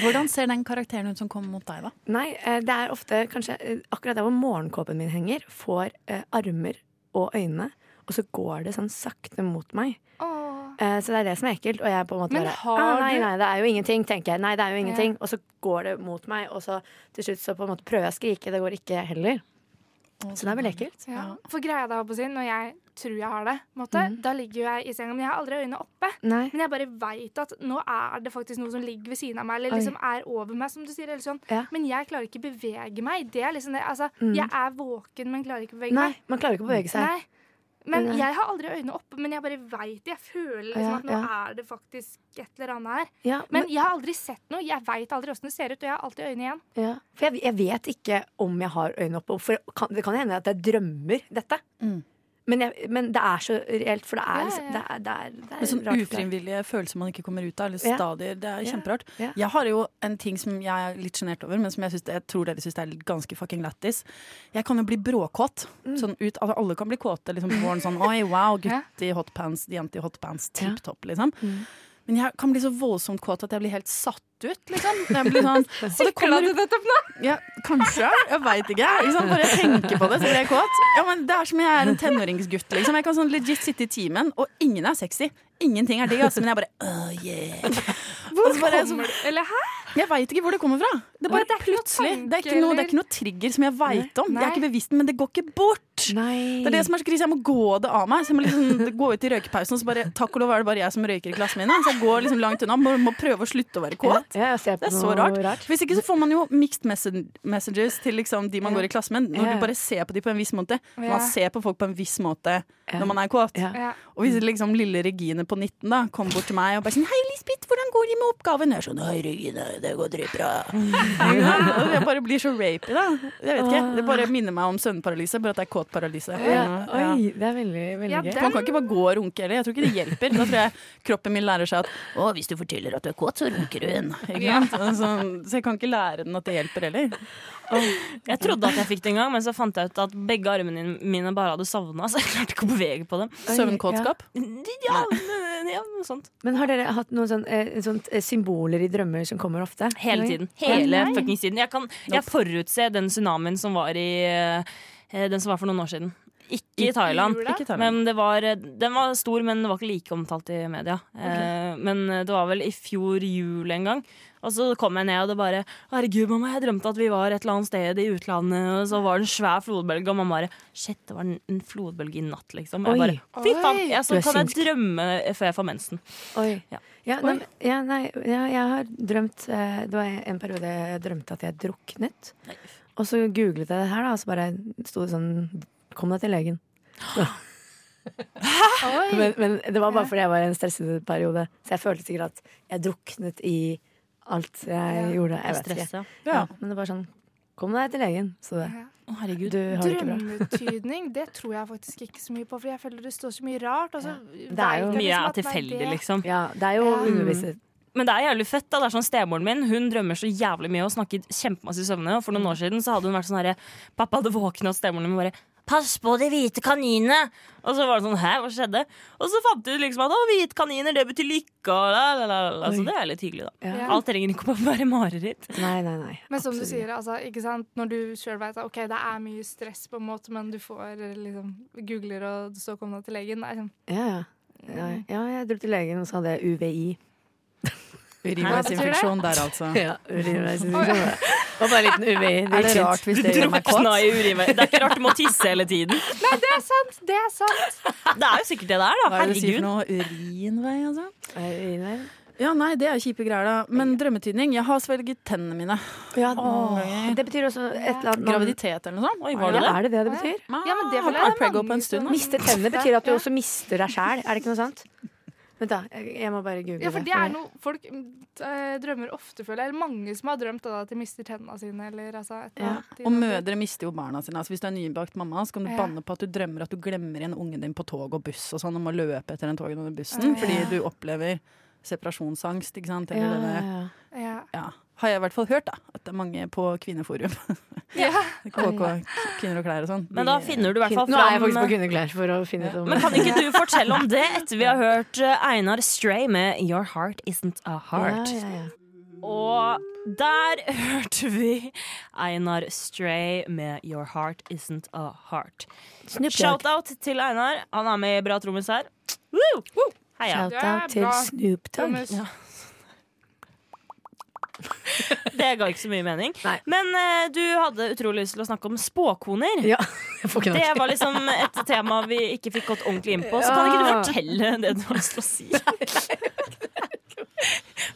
[SPEAKER 7] Hvordan ser den karakteren ut som kommer mot deg, da?
[SPEAKER 6] Nei, eh, det er ofte kanskje eh, akkurat der hvor morgenkåpen min henger, får eh, armer og øyne, og så går det sånn sakte mot meg. Eh, så det er det som er ekkelt. Og jeg på en måte
[SPEAKER 5] Men
[SPEAKER 6] bare
[SPEAKER 5] har
[SPEAKER 6] ah, nei,
[SPEAKER 5] du-
[SPEAKER 6] nei, det er jo ingenting, tenker jeg. Nei, det er jo ingenting.
[SPEAKER 5] Ja.
[SPEAKER 6] Og så går det mot meg, og så til slutt så på en måte prøver jeg å skrike, det går ikke heller. Så det er veldig ekkelt.
[SPEAKER 5] Ja. For greia da, holdt på å si, når jeg tror jeg har det, på en måte,
[SPEAKER 6] Mm.
[SPEAKER 5] da ligger jo jeg i senga, men jeg har aldri øynene oppe.
[SPEAKER 6] Nei.
[SPEAKER 5] Men jeg bare veit at nå er det faktisk noe som ligger ved siden av meg, eller
[SPEAKER 6] Oi.
[SPEAKER 5] liksom er over meg, som du sier. Eller sånn.
[SPEAKER 6] Ja.
[SPEAKER 5] Men jeg klarer ikke bevege meg. Det er liksom det. Altså,
[SPEAKER 6] Mm.
[SPEAKER 5] Jeg er våken, men klarer ikke bevege
[SPEAKER 6] Nei,
[SPEAKER 5] meg.
[SPEAKER 6] man klarer ikke å bevege seg.
[SPEAKER 5] Nei. Men
[SPEAKER 6] Nei.
[SPEAKER 5] jeg har aldri øynene oppe, men jeg bare veit det. Jeg føler liksom
[SPEAKER 6] Ja,
[SPEAKER 5] at nå
[SPEAKER 6] ja.
[SPEAKER 5] er det faktisk et eller annet her.
[SPEAKER 6] Ja,
[SPEAKER 5] men,
[SPEAKER 6] men-
[SPEAKER 5] jeg har aldri sett noe. Jeg veit aldri åssen det ser ut, og jeg har alltid øynene igjen.
[SPEAKER 6] Ja. For jeg, jeg vet ikke om jeg har øynene oppe. For kan, det kan hende at jeg drømmer dette.
[SPEAKER 7] Mm.
[SPEAKER 6] Men, jeg, men det er så reelt, for det er, liksom- Det er, det er, det er
[SPEAKER 7] Med sånn
[SPEAKER 6] rart.
[SPEAKER 7] ufrivillige følelser man ikke kommer ut av, eller
[SPEAKER 6] Ja.
[SPEAKER 7] stadier. Det er
[SPEAKER 6] Ja.
[SPEAKER 7] kjemperart.
[SPEAKER 6] Ja.
[SPEAKER 7] Jeg har jo en ting som jeg er litt sjenert over, men som jeg, synes, jeg tror dere syns er ganske fucking lættis. Jeg kan jo bli bråkåt.
[SPEAKER 6] Mm.
[SPEAKER 7] Sånn ut, altså alle kan bli kåte liksom, på våren sånn Oi, wow, gutt i hotpants, jente i hotpants, tipp topp, liksom.
[SPEAKER 6] Mm.
[SPEAKER 7] Men jeg kan bli så voldsomt kåt at jeg blir helt satt ut, liksom. Jeg blir sånn, og det kommer- Ja, kanskje. Jeg veit ikke. Liksom, bare jeg tenker på det, så blir jeg kåt. Ja, men det er som jeg er en tenåringsgutt. Liksom. Jeg kan sånn legit sitte i timen, og ingen er sexy. Ingenting er digg, altså, men jeg bare oh, yeah.
[SPEAKER 5] Hvor
[SPEAKER 7] Og så bare-
[SPEAKER 5] kommer det? Eller hæ?
[SPEAKER 7] Jeg veit ikke hvor det kommer fra. Det er bare plutselig. Det er ikke noe, det er ikke noe trigger som jeg veit om. Jeg er ikke bevisst, men det går ikke bort. Det er det som er så krise. Jeg må gå det av meg. Så jeg må liksom gå ut i røykepausen, og så bare takk og lov er det bare jeg som røyker i klassen min. Så jeg går liksom langt unna. Må, må prøve å slutte å være kåt.
[SPEAKER 6] Ja, jeg ser på
[SPEAKER 7] Det er så
[SPEAKER 6] noe
[SPEAKER 7] rart.
[SPEAKER 6] rart.
[SPEAKER 7] Hvis ikke så får man jo mixed messen- messages til liksom de man
[SPEAKER 6] Ja.
[SPEAKER 7] går i klasse med. Når
[SPEAKER 6] Ja.
[SPEAKER 7] du bare ser på de på en viss måte.
[SPEAKER 6] Ja.
[SPEAKER 7] Man ser på folk på en viss måte når man er kåt.
[SPEAKER 6] Ja.
[SPEAKER 7] Og hvis liksom lille Regine på 19 da kom bort til meg og bare sånn Hei, Lisbeth, hvordan går det med oppgaven? Jeg er sånn Hei, Regine, det går dritbra. Og jeg bare blir så rapey, da. Jeg vet ikke. Det bare minner meg om søvnparalyse, bare at det er kåtparalyse.
[SPEAKER 6] Ja.
[SPEAKER 7] Ja.
[SPEAKER 6] Oi, det er veldig, veldig
[SPEAKER 7] Ja,
[SPEAKER 6] gøy.
[SPEAKER 7] Man kan ikke bare gå og runke heller. Jeg tror ikke det hjelper. Da tror jeg kroppen min lærer seg at å, hvis du forteller at du er kåt, så runker hun. Ikke
[SPEAKER 4] Ja.
[SPEAKER 7] sant? Så, så jeg kan ikke lære den at det hjelper heller.
[SPEAKER 4] Jeg trodde at jeg fikk det en gang, men så fant jeg ut at begge armene mine bare hadde savna. Så jeg klarte ikke å bevege på dem.
[SPEAKER 7] Søvnkåtskap?
[SPEAKER 4] Ja, men- ja, noe sånt.
[SPEAKER 6] Men har dere hatt noen sånn, eh, sånt, eh, symboler i drømmer som kommer ofte?
[SPEAKER 4] Hele tiden. Hele fuckings tiden. Jeg kan jeg forutse den tsunamien som var i eh, Den som var for noen år siden. Ikke i
[SPEAKER 7] I
[SPEAKER 4] Thailand.
[SPEAKER 7] jula? Ikke i Thailand.
[SPEAKER 4] Men det var, eh, den var stor, men den var ikke like omtalt i media. Eh, Men det var vel i fjor jul en gang. Og så kom jeg ned, og det bare Herregud, mamma, jeg drømte at vi var et eller annet sted i utlandet, og så var det en svær flodbølge, og mamma bare Shit, det var en- en flodbølge i natt, liksom. Jeg
[SPEAKER 6] Oi.
[SPEAKER 4] bare Fy faen!
[SPEAKER 6] Oi.
[SPEAKER 4] Jeg,
[SPEAKER 6] Du
[SPEAKER 4] så
[SPEAKER 6] er
[SPEAKER 4] kan jeg
[SPEAKER 6] synsk.
[SPEAKER 4] drømme før jeg får mensen.
[SPEAKER 6] Oi.
[SPEAKER 4] Ja.
[SPEAKER 6] Ja, nei, men- ja, nei, ja, jeg har drømt eh, Det var en periode jeg drømte at jeg druknet. Og så googlet jeg det her, da, og så bare sto det sånn Kom deg til legen. Men, men det var bare fordi jeg var i en stressende periode. Så jeg følte sikkert at jeg druknet i alt jeg gjorde. Jeg vet
[SPEAKER 4] Stress,
[SPEAKER 6] ikke.
[SPEAKER 4] ja.
[SPEAKER 6] Ja, men det var sånn Kom deg til legen, så det. Du har det ikke bra.
[SPEAKER 5] Drømmetydning, det tror jeg faktisk ikke så mye på, for jeg føler det står så mye rart. Og så
[SPEAKER 6] Det er jo
[SPEAKER 4] Mye
[SPEAKER 5] vet jeg liksom
[SPEAKER 4] er
[SPEAKER 5] at, nei,
[SPEAKER 4] tilfeldig,
[SPEAKER 5] det-
[SPEAKER 4] liksom.
[SPEAKER 6] Ja, det er jo underbevisst.
[SPEAKER 4] Men det er jævlig fett. da, det er sånn Stemoren min hun drømmer så jævlig mye og snakker kjempemasse i søvne. Og for
[SPEAKER 6] Mm.
[SPEAKER 4] noen år siden så hadde hun vært sånn herre Pappa hadde våkna, og stemoren min bare Pass på de hvite kaninene! Og så var det sånn, hæ, hva skjedde? Og så fant hun liksom at å, hvite kaniner, det betyr lykke og la, la, la, la. Så
[SPEAKER 6] Oi.
[SPEAKER 4] det er litt hyggelig, da.
[SPEAKER 6] Ja.
[SPEAKER 4] Alt trenger ikke å være mareritt.
[SPEAKER 6] Nei, nei, nei.
[SPEAKER 5] Men som du
[SPEAKER 6] absolutt
[SPEAKER 5] sier, altså, ikke sant? når du sjøl veit at ok, det er mye stress, på en måte, men du får eh, liksom, googler og så kom deg til legen. Det er sånn,
[SPEAKER 6] Ja, ja. Ja, ja, jeg dro til legen og sa det. UVI.
[SPEAKER 7] Urinveisinfeksjon der, altså.
[SPEAKER 6] Ja, urinveisinfeksjon. ja. Og bare en liten UVI. Det er rart hvis
[SPEAKER 4] du
[SPEAKER 6] det gjør meg kåt.
[SPEAKER 4] drukna i urinvei. Det er ikke rart du må tisse hele tiden.
[SPEAKER 5] Nei, det er sant! Det er sant.
[SPEAKER 4] Det er jo sikkert det det er, da.
[SPEAKER 7] Hva er det du sier for
[SPEAKER 4] Herregud.
[SPEAKER 7] noe? Urinvei, altså?
[SPEAKER 6] Urinvei?
[SPEAKER 7] Ja, nei, det er jo kjipe greier, da. Men drømmetydning. Jeg har svelget tennene mine. Åh.
[SPEAKER 6] Det betyr også et eller annet
[SPEAKER 7] Graviditet eller noe sånt? Oi,
[SPEAKER 6] ja,
[SPEAKER 7] var det det?
[SPEAKER 6] Er det det det betyr?
[SPEAKER 5] Ja, men det
[SPEAKER 7] har
[SPEAKER 5] føler jeg
[SPEAKER 7] ikke
[SPEAKER 5] det
[SPEAKER 7] vært
[SPEAKER 5] er
[SPEAKER 7] preggo
[SPEAKER 5] mange
[SPEAKER 7] på en stund.
[SPEAKER 5] som-
[SPEAKER 7] da.
[SPEAKER 6] Miste tennene betyr at du også mister deg sjæl. Er det ikke noe sant? Vent, da. Jeg jeg må bare google
[SPEAKER 5] Ja, for det er noe folk mm, eh, drømmer ofte, føler jeg. Eller mange som har drømt da, at de mister tennene sine, eller altså et eller
[SPEAKER 7] Ja.
[SPEAKER 5] annet.
[SPEAKER 7] Og mødre mister jo barna sine. Altså, hvis du er nybakt mamma, så kan du
[SPEAKER 5] Ja.
[SPEAKER 7] banne på at du drømmer at du glemmer igjen ungen din på tog og buss og sånn, og må løpe etter den togen og den bussen
[SPEAKER 5] Ja.
[SPEAKER 7] fordi du opplever separasjonsangst, ikke sant? Eller
[SPEAKER 6] Ja,
[SPEAKER 7] det
[SPEAKER 6] ja, ja.
[SPEAKER 5] Ja.
[SPEAKER 7] Ja. Har jeg i hvert fall hørt, da. At det er mange på Kvinneforum. KK, Kvinner og klær og sånn.
[SPEAKER 4] Men da finner du i hvert fall
[SPEAKER 6] Nå er jeg
[SPEAKER 4] fram-
[SPEAKER 6] faktisk på kvinneklær for å finne ut om
[SPEAKER 4] Men kan ikke du fortelle om det etter vi har hørt eh, Einar Stray med 'Your Heart Isn't A Heart'?
[SPEAKER 6] Ja, ja, ja.
[SPEAKER 4] Og der hørte vi Einar Stray med 'Your Heart Isn't A Heart'.
[SPEAKER 6] Snoop Dogg.
[SPEAKER 4] Shout-out til Einar. Han er med i Bra trommis her. Woo! Heia.
[SPEAKER 6] Shout-out til Snoop Dogg.
[SPEAKER 4] Ja. Det ga ikke så mye mening. Men eh, du hadde utrolig lyst til å snakke om spåkoner.
[SPEAKER 6] Ja, jeg får ikke nok.
[SPEAKER 4] Det var liksom et tema vi ikke fikk gått ordentlig inn på. Så kan ikke du fortelle det du har lyst til å si?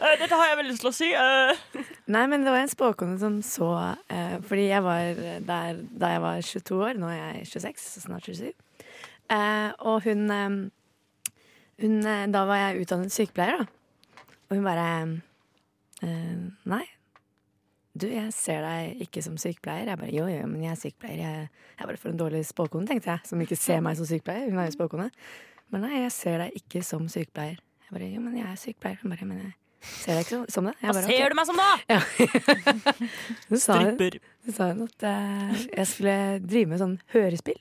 [SPEAKER 4] Eh, Dette har jeg veldig lyst til å si. eh.
[SPEAKER 6] Nei, men det var en spåkone som så eh, Fordi jeg var der da jeg var 22 år. Nå er jeg 26, så snart 27. Eh, og hun, eh, hun eh, Da var jeg utdannet sykepleier, da. Og hun bare eh, Nei. Du, jeg ser deg ikke som sykepleier. Jeg bare jo, jo, men jeg er sykepleier. Jeg, jeg er bare for en dårlig spåkone, tenkte jeg. Som ikke ser meg som sykepleier. Hun er jo spåkone. Men nei, jeg ser deg ikke som sykepleier. Jeg bare jo, men jeg er sykepleier. Hun bare men jeg ser deg ikke som- som det. Jeg
[SPEAKER 4] Hva
[SPEAKER 6] bare, ok.
[SPEAKER 4] ser du meg som, da?
[SPEAKER 6] Hun sa,
[SPEAKER 4] Stripper.
[SPEAKER 6] Hun sa hun at eh, jeg skulle drive med sånn hørespill.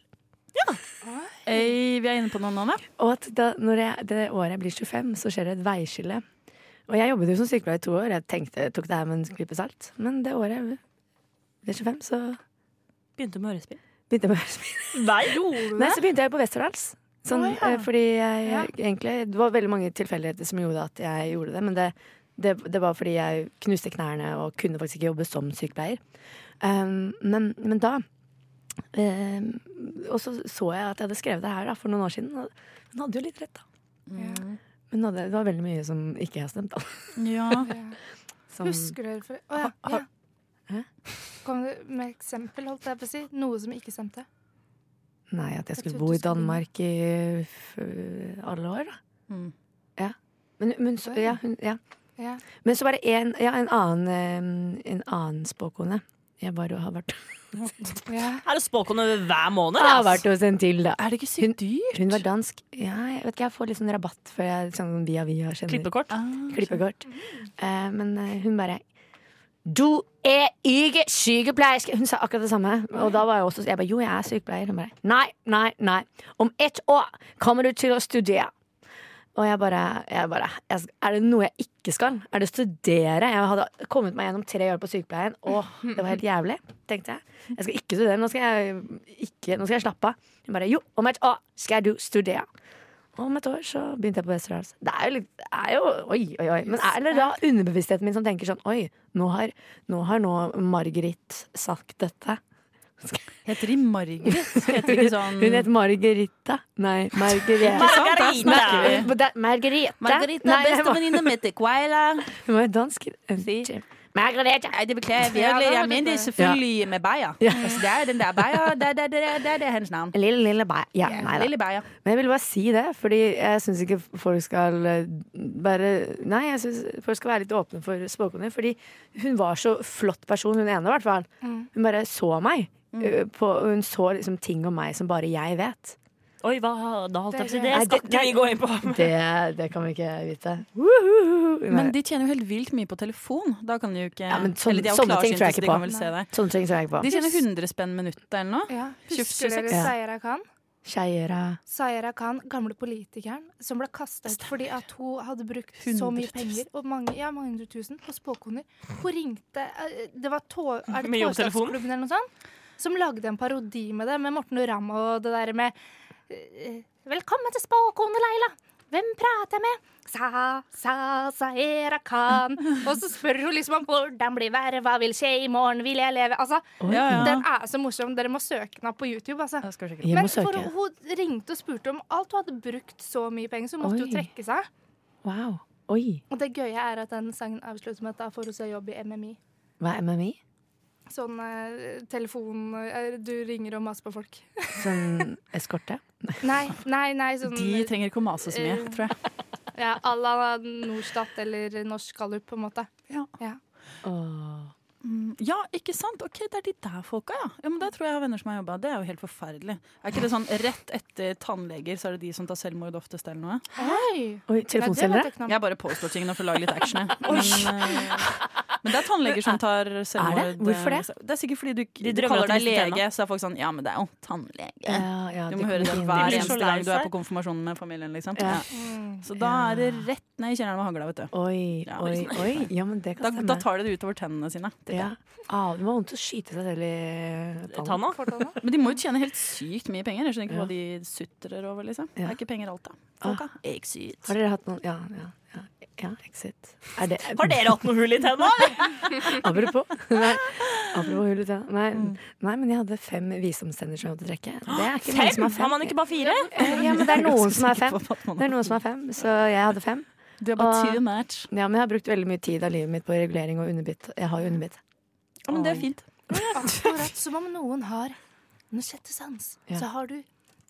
[SPEAKER 7] Øy, vi er inne på noe nå, da.
[SPEAKER 6] Og at da, når jeg, det året jeg blir 25, så skjer det et veiskille. Og jeg jobbet jo som sykepleier i to år. Jeg tenkte jeg tok det her med en klype salt. Men det året jeg ble 25, så
[SPEAKER 4] Begynte med hørespill.
[SPEAKER 6] begynte jeg med hørespill.
[SPEAKER 4] Nei, gjorde
[SPEAKER 6] Nei, så begynte jeg på Westerdals. Sånn,
[SPEAKER 4] Å, ja.
[SPEAKER 6] eh, Fordi jeg egentlig Det var veldig mange tilfeldigheter som gjorde at jeg gjorde det. Men det, det, det var fordi jeg knuste knærne og kunne faktisk ikke jobbe som sykepleier. Um, men, men da um, Og så så jeg at jeg hadde skrevet det her da, for noen år siden. Og hun hadde jo litt rett, da.
[SPEAKER 7] Mm.
[SPEAKER 6] Men nå hadde, det var veldig mye som ikke har stemt. Da.
[SPEAKER 7] Ja.
[SPEAKER 6] Som,
[SPEAKER 5] Husker dere for Å ja. ja. Kom du med eksempel, holdt jeg på å si? Noe som ikke stemte?
[SPEAKER 6] Nei, at jeg
[SPEAKER 5] Jeg trodde
[SPEAKER 6] skulle bo
[SPEAKER 5] du
[SPEAKER 6] i
[SPEAKER 5] skulle
[SPEAKER 6] Danmark i f- alle år, da.
[SPEAKER 7] Mm.
[SPEAKER 6] Ja. Men, men, så, ja, hun, ja.
[SPEAKER 5] Ja.
[SPEAKER 6] men så var det en, ja, en annen, eh, en annen spåkone. Jeg bare har vært,
[SPEAKER 5] ja.
[SPEAKER 4] Er det spåkone hver måned?
[SPEAKER 6] har
[SPEAKER 4] ass?
[SPEAKER 6] vært hos en til, da.
[SPEAKER 7] Er det ikke sykt dyrt?
[SPEAKER 6] Hun var dansk. Ja, jeg vet ikke, jeg får litt sånn rabatt før jeg sånn via via kjenner
[SPEAKER 4] Klippekort?
[SPEAKER 7] Ah.
[SPEAKER 6] Klippekort. Eh, men eh, hun bare Du er ikke sykepleierske! Hun sa akkurat det samme. Og da var jeg også Jeg bare jo, jeg er sykepleier. Hun bare nei, nei, nei. Om ett år kommer du til å studere. Og jeg bare, jeg bare jeg, Er det noe jeg ikke skal? Er det å studere? Jeg hadde kommet meg gjennom tre år på sykepleien. Åh, det var helt jævlig, tenkte jeg. Jeg skal ikke studere. Nå skal jeg, ikke, nå skal jeg slappe av. Hun bare jo, om et år skal du studere. Og om et år så begynte jeg på Westerdals. Det er jo litt det er jo, Oi, oi, oi. Men er det da underbevisstheten min som tenker sånn Oi, nå har nå, har nå Margrit sagt dette.
[SPEAKER 7] Heter de Margit? Heter de ikke sånn
[SPEAKER 6] Hun het Margarita. Nei, Margarita.
[SPEAKER 4] Margarita!
[SPEAKER 6] Nei, det- Margarita. Nei, jeg var-
[SPEAKER 7] mi til Kvaila.
[SPEAKER 6] Hun var jo dansk. Margarita.
[SPEAKER 7] Nei, det beklager jeg
[SPEAKER 5] Ja, det var litt det.
[SPEAKER 7] selvfølgelig med Beyer. Altså, det er den der Beyer. Det, det, det, det, det er hennes navn.
[SPEAKER 6] Lille, lille bæ... Ja, nei da.
[SPEAKER 7] Beyer.
[SPEAKER 6] Men jeg ville bare si det, fordi jeg syns ikke folk skal eh, bare Nei, jeg syns folk skal være litt åpne for spåkoner. Fordi hun var så flott person, hun ene i hvert fall.
[SPEAKER 7] Mm.
[SPEAKER 6] Hun bare så meg. eh, På, hun så liksom ting om meg som bare jeg vet.
[SPEAKER 4] Oi, hva? Da holdt jeg på å si det.
[SPEAKER 6] Nei,
[SPEAKER 4] Skal
[SPEAKER 6] det-
[SPEAKER 4] ikke vi gå inn på
[SPEAKER 6] Det, det kan vi ikke vite. Woohoo! Hun
[SPEAKER 7] Men
[SPEAKER 6] er-
[SPEAKER 7] de tjener jo helt vilt mye på telefon. Da kan de jo ikke
[SPEAKER 6] ja, men sånn,
[SPEAKER 7] Eller de er jo
[SPEAKER 6] sånne ting tror
[SPEAKER 7] klarsynte,
[SPEAKER 6] jeg
[SPEAKER 7] så
[SPEAKER 6] ikke
[SPEAKER 7] de kan vel
[SPEAKER 6] på.
[SPEAKER 7] se det.
[SPEAKER 6] Sånne ting tror jeg ikke
[SPEAKER 7] De
[SPEAKER 6] på.
[SPEAKER 7] tjener 100 spenn minuttet eller noe.
[SPEAKER 5] Ja. Husker
[SPEAKER 7] 26.
[SPEAKER 5] dere
[SPEAKER 6] Ja.
[SPEAKER 5] Sayera Khan?
[SPEAKER 6] Skeiera.
[SPEAKER 5] Sayera Khan, gamle politikeren, som ble kastet ut fordi at hun hadde brukt så mye penger
[SPEAKER 7] 100 000.
[SPEAKER 5] og mange, ja, mange hundre tusen på spåkoner. Hun ringte eh, Det var tå, er det
[SPEAKER 4] Med jobbtelefonen?
[SPEAKER 5] Tårstadsklubben eller noe sånt? Som lagde en parodi med det, med Morten og Ramm og det der med eh, Velkommen til spåkone, Leila! Hvem prater jeg med? Sa, sa, Sahera Khan. Og så spør hun liksom om hvordan blir været, hva vil skje i morgen, vil jeg leve? Altså,
[SPEAKER 6] Oi. Ja, ja.
[SPEAKER 5] Den er så morsom. Dere må søke den opp på YouTube. Altså.
[SPEAKER 6] det. Jeg må
[SPEAKER 5] Men for,
[SPEAKER 6] søke.
[SPEAKER 5] hun ringte og spurte om alt. Hun hadde brukt så mye penger, så hun måtte jo
[SPEAKER 6] Oi.
[SPEAKER 5] trekke seg.
[SPEAKER 6] Wow. Oi.
[SPEAKER 5] Og det gøye er at den sangen avslutter med at da får hun seg jobb i MMI.
[SPEAKER 6] Hva er MMI?
[SPEAKER 5] Sånn eh, telefon eh, Du ringer og maser på folk.
[SPEAKER 6] Sånn eskorte?
[SPEAKER 5] Nei, nei, nei sånn
[SPEAKER 7] De trenger ikke å mase så mye,
[SPEAKER 5] Eh,
[SPEAKER 7] tror jeg.
[SPEAKER 5] Ja, à la Norstat eller Norsk Gallup, på en måte.
[SPEAKER 7] Ja.
[SPEAKER 5] Ja.
[SPEAKER 7] Mm, Ja, ikke sant? Ok, det er de der folka, ja. ja men der tror jeg jeg har venner som har jobba. Det er jo helt forferdelig. Er ikke det sånn rett etter tannleger, så er det de som tar selvmord oftest, eller noe?
[SPEAKER 5] Hei!
[SPEAKER 6] Oi, telefonselgere?
[SPEAKER 7] Jeg bare påstår tingene for å lage litt action, jeg. Men, eh, men det er tannleger som tar selvmord.
[SPEAKER 6] Er det? Hvorfor det?
[SPEAKER 7] Det er sikkert fordi du,
[SPEAKER 6] De
[SPEAKER 7] du
[SPEAKER 6] drømmer
[SPEAKER 7] kaller
[SPEAKER 6] at
[SPEAKER 7] deg
[SPEAKER 6] de mister
[SPEAKER 7] lege, så er folk sånn Ja, men det er jo tannlege.
[SPEAKER 6] Ja, ja,
[SPEAKER 7] du
[SPEAKER 6] det
[SPEAKER 7] må høre det
[SPEAKER 6] kommer inn.
[SPEAKER 7] hver
[SPEAKER 6] De blir så
[SPEAKER 7] eneste
[SPEAKER 6] lei
[SPEAKER 7] gang du er
[SPEAKER 6] seg.
[SPEAKER 7] på konfirmasjonen med familien, liksom.
[SPEAKER 6] Ja.
[SPEAKER 7] Ja.
[SPEAKER 5] Mm.
[SPEAKER 7] Så da er det rett ned i kjelleren med hagla, vet du.
[SPEAKER 6] Oi,
[SPEAKER 7] Ja,
[SPEAKER 6] oi,
[SPEAKER 7] liksom.
[SPEAKER 6] oi. Ja, men det
[SPEAKER 7] Da,
[SPEAKER 6] kan
[SPEAKER 7] da tar de det utover tennene sine. tenker
[SPEAKER 6] ja.
[SPEAKER 7] jeg.
[SPEAKER 6] ah, Det var vondt å skyte seg selv i
[SPEAKER 4] Tanna?
[SPEAKER 7] Men de må jo tjene helt sykt mye penger. Jeg skjønner ikke hva de sutrer over. liksom Det er ikke penger alt, da.
[SPEAKER 6] Ah.
[SPEAKER 7] Folka. Exit.
[SPEAKER 6] Har dere hatt noen Ja, ja, ja, ja exit. Er det,
[SPEAKER 4] Har dere hatt noe hull i tenna?
[SPEAKER 6] Apropos. Nei, apropos hull i tenna. Nei, nei, men jeg hadde fem visdomstenner som jeg måtte trekke. Det er ikke mange
[SPEAKER 4] Fem?
[SPEAKER 6] som har fem. Eh,
[SPEAKER 4] Har man ikke bare fire?
[SPEAKER 6] Ja, men det er noen som er fem. Det er noen som er Ah. fem, så jeg hadde fem.
[SPEAKER 7] Du
[SPEAKER 4] er bare
[SPEAKER 7] too much.
[SPEAKER 6] Ja, men jeg har brukt veldig mye tid av livet mitt på regulering og underbitt. Jeg har jo underbitt.
[SPEAKER 7] Ja, men det er fint.
[SPEAKER 5] Akkurat som om noen har den sjette sans,
[SPEAKER 6] Ja.
[SPEAKER 5] så har du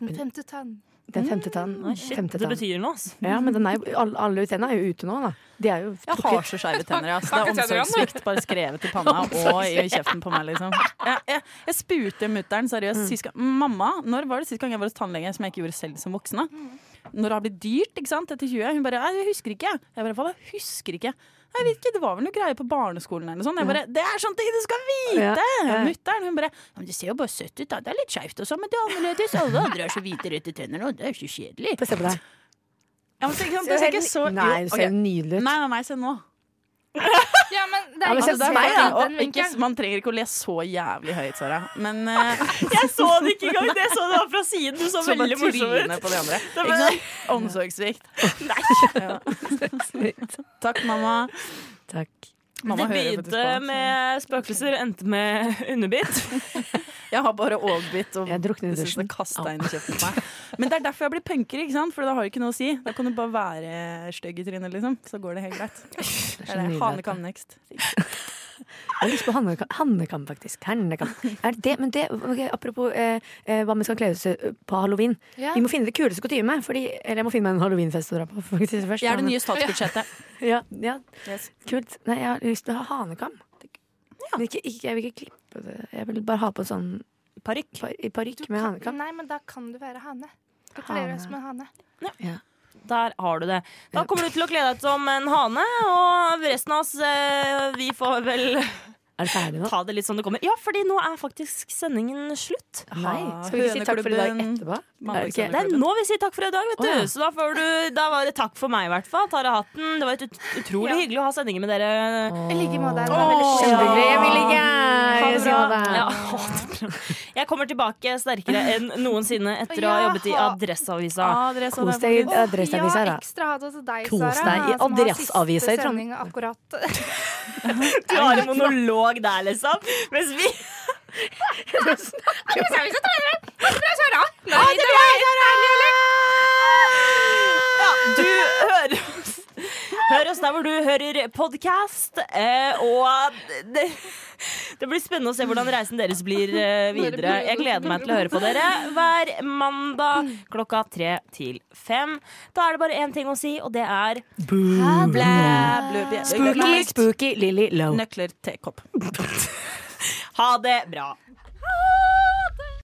[SPEAKER 5] den femte tann.
[SPEAKER 6] Den femte tann.
[SPEAKER 4] Oi, shit,
[SPEAKER 6] femte
[SPEAKER 4] det
[SPEAKER 6] tann.
[SPEAKER 4] betyr noe, ass.
[SPEAKER 6] Ja, men den er jo, alle, alle tennene er jo ute nå, da. De er jo
[SPEAKER 7] Jeg har så skeive tenner. Ja. Så det er omsorgssvikt bare skrevet i panna og i kjeften på meg. liksom Jeg, jeg, jeg spurte mutter'n seriøst sist gang Mamma, når var det sist gang jeg var hos tannlege som jeg ikke gjorde selv som voksen? da? Når det har blitt dyrt ikke sant, etter 20? Hun bare Nei, jeg husker ikke. Jeg bare, Hva da? Husker ikke? Nei, jeg vet ikke, Det var vel noe greier på barneskolen eller noe sånt. Jeg bare, Det er sånne ting du skal
[SPEAKER 6] Ja,
[SPEAKER 7] vite!
[SPEAKER 6] ja.
[SPEAKER 7] Mutter'n hun bare ja, men Det ser jo bare søtt ut, da. Det er litt skeivt og sånn, men det er annerledes. Alle andre har så hvite, røde tenner nå. Det er jo så kjedelig.
[SPEAKER 6] Få se på deg.
[SPEAKER 7] Ja, men, så, ikke sant, det ser ikke så jo,
[SPEAKER 6] Nei, du ser
[SPEAKER 7] ok.
[SPEAKER 6] jo nydelig ut.
[SPEAKER 7] Nei, nei, nei, se nå.
[SPEAKER 5] Ja, men det
[SPEAKER 7] Ja,
[SPEAKER 5] er
[SPEAKER 7] men
[SPEAKER 5] ikke
[SPEAKER 7] se på
[SPEAKER 5] så
[SPEAKER 7] meg, da.
[SPEAKER 5] fint,
[SPEAKER 7] Og
[SPEAKER 5] den
[SPEAKER 7] ikke,
[SPEAKER 5] vinkelen.
[SPEAKER 7] man trenger ikke å le så jævlig høyt, Sara. Men eh,
[SPEAKER 4] Jeg så det ikke engang! Jeg så det var fra siden. Du så,
[SPEAKER 7] så bare
[SPEAKER 4] veldig morsom
[SPEAKER 7] trynet
[SPEAKER 4] ut.
[SPEAKER 7] på de andre.
[SPEAKER 4] var-
[SPEAKER 7] Ikke sant? Omsorgssvikt. Takk, mamma.
[SPEAKER 6] Takk.
[SPEAKER 7] Mamma
[SPEAKER 4] det
[SPEAKER 7] hører faktisk
[SPEAKER 4] begynte
[SPEAKER 7] på.
[SPEAKER 4] med spøkelser, endte med underbitt.
[SPEAKER 7] Jeg har bare overbitt og
[SPEAKER 6] Jeg drukner i
[SPEAKER 7] synes
[SPEAKER 6] dusjen.
[SPEAKER 7] det kastet inn i kjeften på meg. Men det er derfor jeg blir punker, ikke sant? For da har du ikke noe å si. Da kan du bare være stygg i trynet, liksom. Så går det helt greit. Det er det.
[SPEAKER 6] nydelig,
[SPEAKER 7] Hane
[SPEAKER 6] dette.
[SPEAKER 7] kan next.
[SPEAKER 6] Jeg har lyst på hannekam, hannekam faktisk. Hernekam. Er det, men det, ok, apropos eh, eh, hva man skal kle seg eh, på halloween.
[SPEAKER 5] Ja.
[SPEAKER 6] Vi må finne det kuleste kutyme. Fordi, eller jeg må finne meg en halloweenfest å dra på faktisk, først.
[SPEAKER 7] Jeg er det
[SPEAKER 6] men-
[SPEAKER 7] nye statsbudsjettet.
[SPEAKER 6] Ja, ja.
[SPEAKER 7] Yes.
[SPEAKER 6] Kult. Nei, jeg har lyst til å ha hanekam. Men ikke, ikke, jeg vil ikke klippe det. Jeg vil bare ha på sånn
[SPEAKER 4] Parykk.
[SPEAKER 6] par, i parykk med hanekam.
[SPEAKER 5] Nei, men da kan du være hane. Gratulerer oss med hane.
[SPEAKER 4] Der har du det. Da kommer du til å kle deg ut som en hane, og resten av oss, eh, vi får vel
[SPEAKER 6] Er det ferdig nå?
[SPEAKER 4] ta det litt som det kommer. Ja, fordi nå er faktisk sendingen slutt.
[SPEAKER 6] Nei. Skal vi ikke si takk for i dag
[SPEAKER 7] Høneklubben.
[SPEAKER 6] etterpå?
[SPEAKER 7] Mandag
[SPEAKER 6] Er det ikke-
[SPEAKER 4] Det er nå vi sier takk for i dag, vet du.
[SPEAKER 6] Å, ja.
[SPEAKER 4] Så da, får du, da var det takk for meg, i hvert fall. Tara Hatten. Det var ut utrolig
[SPEAKER 5] Ja.
[SPEAKER 4] hyggelig å ha sendingen med dere.
[SPEAKER 5] I like måte. Det var veldig
[SPEAKER 6] Åh,
[SPEAKER 5] kjekt.
[SPEAKER 6] Kjempehyggelig. Jeg vil ikke
[SPEAKER 4] Ha det
[SPEAKER 6] si ha det.
[SPEAKER 4] bra. Ja, ha det bra. Jeg kommer tilbake sterkere enn noensinne etter å ha
[SPEAKER 5] Ja.
[SPEAKER 4] jobbet i Adresseavisa.
[SPEAKER 7] Ja, dere så det.
[SPEAKER 6] Kos deg i Adresseavisa,
[SPEAKER 5] Ja,
[SPEAKER 6] da.
[SPEAKER 5] ekstra ha det til deg,
[SPEAKER 6] Kos
[SPEAKER 5] Sara.
[SPEAKER 6] deg i
[SPEAKER 5] som har
[SPEAKER 6] Adresseavisa i
[SPEAKER 5] siste
[SPEAKER 6] Trondheim.
[SPEAKER 5] sending akkurat.
[SPEAKER 4] Du har en monolog der, liksom. Mens vi
[SPEAKER 5] Adresseavisa Trondheim! Ha det bra, Sara! Ha det bra, Sara!
[SPEAKER 4] Ja, du hører oss. Hør oss der hvor du hører podkast. Eh, og det, det blir spennende å se hvordan reisen deres blir eh, videre. Jeg gleder meg til å høre på dere hver mandag klokka tre til fem. Da er det bare én ting å si, og det er
[SPEAKER 7] Spooky.
[SPEAKER 6] Spooky, spooky, Lily Low.
[SPEAKER 7] Nøkler, tekopp.
[SPEAKER 4] ha det bra.